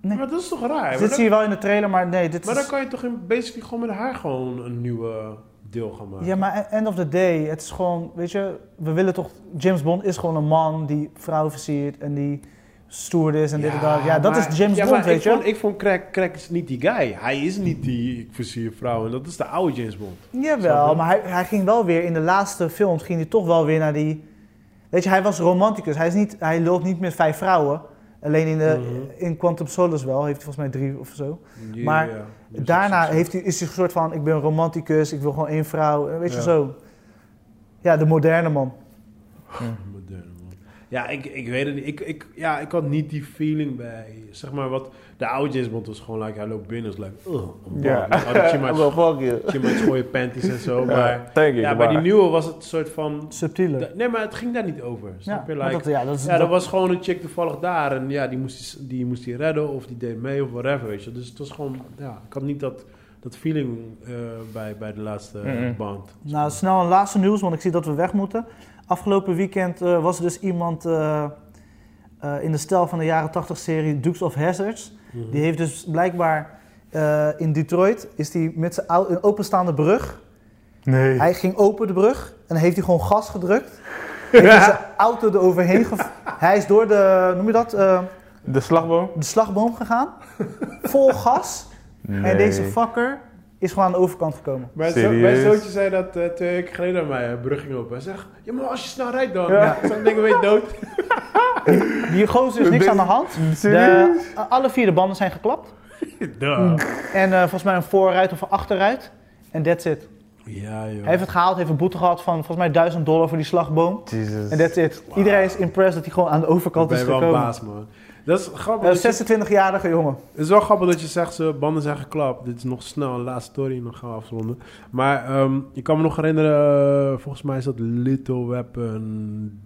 Speaker 3: Nee.
Speaker 1: Maar dat is toch raar? Maar
Speaker 3: Dit
Speaker 1: dan,
Speaker 3: zie je wel in de trailer, maar nee, dit
Speaker 1: maar
Speaker 3: is...
Speaker 1: dan kan je toch in, basically gewoon met haar gewoon een nieuwe deel gaan maken?
Speaker 3: Ja, maar e-, end of the day, het is gewoon, weet je, we willen toch... James Bond is gewoon een man die vrouwen versiert en die stoer is en dit en dat. Ja, dat
Speaker 1: maar-
Speaker 3: is James
Speaker 1: ja,
Speaker 3: Bond,
Speaker 1: maar
Speaker 3: weet
Speaker 1: ik
Speaker 3: je.
Speaker 1: Vond, ik vond Craig, Craig is niet die guy. Hij is niet die ik versier vrouw. En dat is de oude James Bond. Snap
Speaker 3: Jawel,
Speaker 1: je?
Speaker 3: maar hij, hij ging wel weer, in de laatste films ging hij toch wel weer naar die... Weet je, hij was romanticus. Hij, is niet, hij loopt niet met vijf vrouwen. Alleen in, de,
Speaker 1: Mhm.
Speaker 3: in Quantum Solace wel, heeft hij volgens mij drie of zo.
Speaker 1: Die,
Speaker 3: Maar
Speaker 1: ja, die
Speaker 3: Daarna
Speaker 1: is-
Speaker 3: heeft hij, is hij een soort van, ik ben een romanticus, ik wil gewoon één vrouw, weet je
Speaker 2: Ja.
Speaker 3: zo. Ja, de moderne man.
Speaker 1: Moderne man. Ja, ik, ik weet het niet. Ik, ik, ja, ik had niet die feeling bij... Zeg maar wat... De oude James Bond was gewoon like... Hij loopt binnen. is like... Ugh, een
Speaker 2: Ja.
Speaker 1: bal. Al die
Speaker 2: Well,
Speaker 1: chima's-
Speaker 2: fuck you.
Speaker 1: chima's gooien panties en zo.
Speaker 2: Ja,
Speaker 1: Maar
Speaker 2: thank you.
Speaker 1: ja, bij die
Speaker 2: bye.
Speaker 1: nieuwe was het een soort van...
Speaker 3: Subtieler.
Speaker 1: Nee, maar het ging daar niet over.
Speaker 3: ja,
Speaker 1: Snap je?
Speaker 3: maar
Speaker 1: Like,
Speaker 3: dat, ja, dat is,
Speaker 1: Ja,
Speaker 3: dat-
Speaker 1: er was gewoon een chick toevallig daar en ja, die moest die, die moest die redden of die deed mee of whatever, weet je. Dus het was gewoon, ja, ik had niet dat, dat feeling eh, bij, bij de laatste
Speaker 2: Mhm.
Speaker 1: band.
Speaker 3: Nou, snel een laatste nieuws, want ik zie dat we weg moeten. Afgelopen weekend eh, was er dus iemand eh, eh, in de stijl van de jaren 80 serie Dukes of Hazards.
Speaker 1: Mhm.
Speaker 3: Die heeft dus blijkbaar eh, in Detroit, is die met zijn ou- een openstaande brug,
Speaker 2: Nee.
Speaker 3: Hij ging open de brug en heeft hij gewoon gas gedrukt. Heeft hij zijn auto eroverheen gev- Hij is door de, noem je dat, eh,
Speaker 2: De slagboom?
Speaker 3: de slagboom gegaan. Vol gas. En deze fucker is gewoon aan de overkant gekomen.
Speaker 1: Mijn, zo,
Speaker 2: Serieus?
Speaker 1: mijn zoontje zei dat eh, twee weken geleden aan mij, een brug ging open. Hij zegt, ja maar als je snel rijdt dan,
Speaker 2: Ja.
Speaker 1: dan denk ik ben je dood.
Speaker 3: Die gozer is niks
Speaker 2: Dit-
Speaker 3: aan de hand.
Speaker 2: Serieus?
Speaker 3: De- eh, alle vier de banden zijn geklapt.
Speaker 1: Duh.
Speaker 3: En eh, volgens mij een voorruit of een achterruit. En that's it.
Speaker 1: Ja joh.
Speaker 3: Hij heeft het gehaald, heeft een boete gehad van volgens mij 1000 dollar voor die slagboom.
Speaker 2: Jesus.
Speaker 3: En that's it. Iedereen is impressed dat hij gewoon aan de
Speaker 1: dat
Speaker 3: overkant
Speaker 1: ben
Speaker 3: is
Speaker 1: je wel een
Speaker 3: gekomen.
Speaker 1: baas man. Dat is grappig.
Speaker 3: Een
Speaker 1: dat je-
Speaker 3: 26-jarige jongen.
Speaker 1: Het is wel grappig dat je zegt, ze banden zijn geklapt. Dit is nog snel, een laatste story, nog gaan we afronden. Maar ehm ik kan me nog herinneren, eh, volgens mij is dat Little Weapon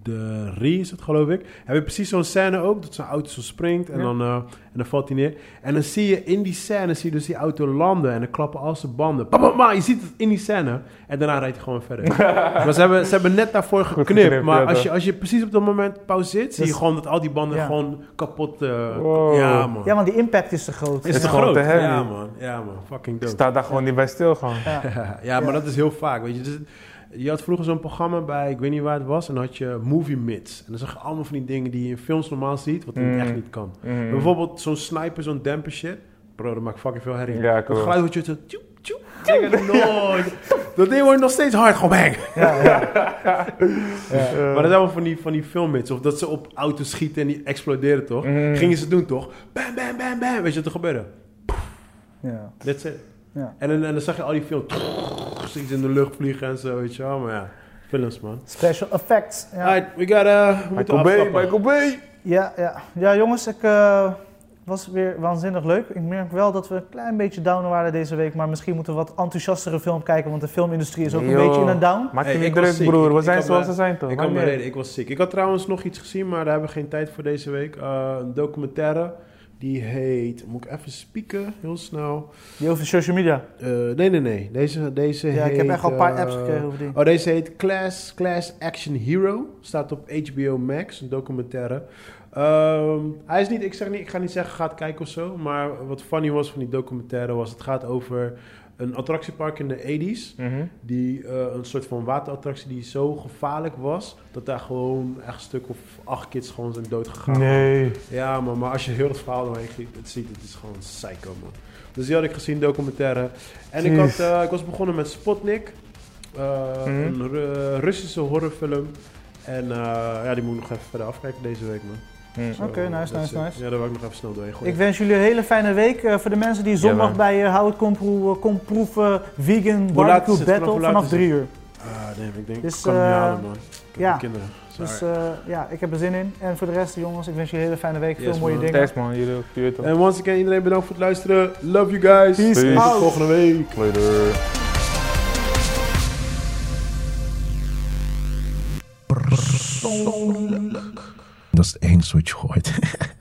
Speaker 1: 3, is het geloof ik. Heb je precies zo'n scène ook, dat zijn auto zo springt en,
Speaker 3: Ja.
Speaker 1: dan, eh, en dan valt hij neer. En dan zie je in die scène, zie je dus die auto landen en dan klappen al zijn banden. Bam, bam, bam, je ziet het in die scène en daarna rijdt hij gewoon verder. maar ze hebben, ze hebben net daarvoor geknipt,
Speaker 2: geknipt,
Speaker 1: maar
Speaker 2: ja,
Speaker 1: als,
Speaker 2: toch?
Speaker 1: je, als je precies op dat moment pauzeert, zie je
Speaker 3: Dus-
Speaker 1: gewoon dat al die banden
Speaker 3: Ja.
Speaker 1: gewoon kapot... eh,
Speaker 2: Wow.
Speaker 1: Ja man.
Speaker 3: Ja, want die impact is te groot.
Speaker 1: Is
Speaker 2: Ja.
Speaker 1: het groot?
Speaker 2: Grote herrie.
Speaker 1: Ja man, ja man, fucking dope.
Speaker 2: Staat daar gewoon niet bij stil gewoon.
Speaker 1: ja, maar dat is heel vaak, weet je. Dus het- je had vroeger zo'n programma bij, ik weet niet waar het was, en dan had je movie mits. En dan zag je allemaal van die dingen die je in films normaal ziet, wat
Speaker 2: Mm.
Speaker 1: het echt niet kan.
Speaker 2: Mm.
Speaker 1: Bijvoorbeeld zo'n sniper, zo'n demper shit. Bro, dat maakt fucking veel herrie.
Speaker 2: Ja,
Speaker 1: Dat
Speaker 2: cool.
Speaker 1: geluid wat je zo... tjoep, tjoep, tjoep. Nooit. Dat ding wordt nog steeds hard, gewoon bang.
Speaker 2: Eh,
Speaker 1: Maar dat zijn wel van die, van die filmmits. Of dat ze op auto's schieten en die exploderen, toch?
Speaker 2: Mm.
Speaker 1: Gingen ze doen, toch? Bam, bam, bam, bam. Weet je wat er gebeurde?
Speaker 3: Ja.
Speaker 1: That's it.
Speaker 3: Ja.
Speaker 1: En, dan- en dan zag je al die films iets in de lucht vliegen en zo, weet je wel. Maar ja, films, man.
Speaker 3: Special effects. Ja,
Speaker 1: Alright, we gotta... We moeten
Speaker 2: Michael Bay,
Speaker 1: afstappen.
Speaker 2: Michael Bay!
Speaker 3: ja, ja. ja jongens, ik eh, was weer waanzinnig leuk. Ik merk wel dat we een klein beetje down waren deze week. Maar misschien moeten we wat enthousiastere film kijken. Want de filmindustrie is ook een
Speaker 2: Yo.
Speaker 3: beetje in een down.
Speaker 2: Maak je
Speaker 1: Hey,
Speaker 2: niet
Speaker 1: ik was
Speaker 2: druk
Speaker 1: ziek.
Speaker 2: broer, we
Speaker 1: Ik
Speaker 2: zijn
Speaker 1: had
Speaker 2: zoals
Speaker 1: me-
Speaker 2: ze zijn toch?
Speaker 1: Ik had mijn
Speaker 2: Maakt niet uit.
Speaker 1: reden, ik was ziek. Ik had trouwens nog iets gezien, maar daar hebben we geen tijd voor deze week. Eh, een documentaire, die heet... Moet ik even spieken, heel snel.
Speaker 3: Die over social media.
Speaker 1: Eh, nee, nee, nee. Deze, deze
Speaker 3: Ja, ik heb
Speaker 1: heet,
Speaker 3: echt al een paar
Speaker 1: eh,
Speaker 3: apps gekregen over die.
Speaker 1: Oh, deze heet Class, Class Action Hero. Staat op HBO Max, een documentaire. Ehm, hij is niet, ik, zeg niet, ik ga niet zeggen, ga het kijken of zo. Maar wat funny was van die documentaire was... het gaat over een attractiepark in de 80s.
Speaker 2: Mhm.
Speaker 1: Die, eh, een soort van waterattractie die zo gevaarlijk was... dat daar gewoon echt een stuk of acht kids gewoon zijn dood gegaan.
Speaker 2: Nee.
Speaker 1: Ja, man, maar als je heel het verhaal doorheen gie- het ziet, het is gewoon psycho, man. Dus die had ik gezien, documentaire. En ik, had,
Speaker 2: Jeez.
Speaker 1: eh, ik was begonnen met Spotnik, eh,
Speaker 2: Mhm.
Speaker 1: een Ru- Russische horrorfilm. En eh, ja, die moet ik nog even verder afkijken deze week, man.
Speaker 2: Mm.
Speaker 1: Zo,
Speaker 3: Oké,
Speaker 1: that's
Speaker 3: nice, nice,
Speaker 1: it.
Speaker 3: nice.
Speaker 1: Ja, daar wil ik nog even snel doorheen gooien.
Speaker 3: Ik wens jullie een hele fijne week. Eh, voor de mensen die zondag
Speaker 2: man.
Speaker 3: bij eh How It Kom Proe- eh, Kom Proeven Vegan
Speaker 1: Hoe laat is
Speaker 3: Barbecue
Speaker 1: het? Vanaf
Speaker 3: Battle
Speaker 1: hoe laat
Speaker 3: vanaf
Speaker 1: is het?
Speaker 3: 3 uur.
Speaker 1: Ah, nee, ik denk,
Speaker 3: Dus,
Speaker 1: ik kan het niet
Speaker 3: eh,
Speaker 1: halen, man. Ik heb
Speaker 3: ja.
Speaker 1: ja. kinderen. Sorry.
Speaker 3: Dus eh, ja, ik heb er zin in. En voor de rest, jongens, ik wens jullie een hele fijne week.
Speaker 1: Yes,
Speaker 3: Veel mooie
Speaker 1: man.
Speaker 3: dingen.
Speaker 2: Thanks man, jullie ook. Je weet
Speaker 3: eh,
Speaker 2: toch.
Speaker 1: En once again, iedereen bedankt voor het luisteren. Love you guys.
Speaker 2: Peace
Speaker 1: Tot
Speaker 2: out.
Speaker 1: volgende week.
Speaker 2: Later.
Speaker 6: Dat is het engste wat je hoort.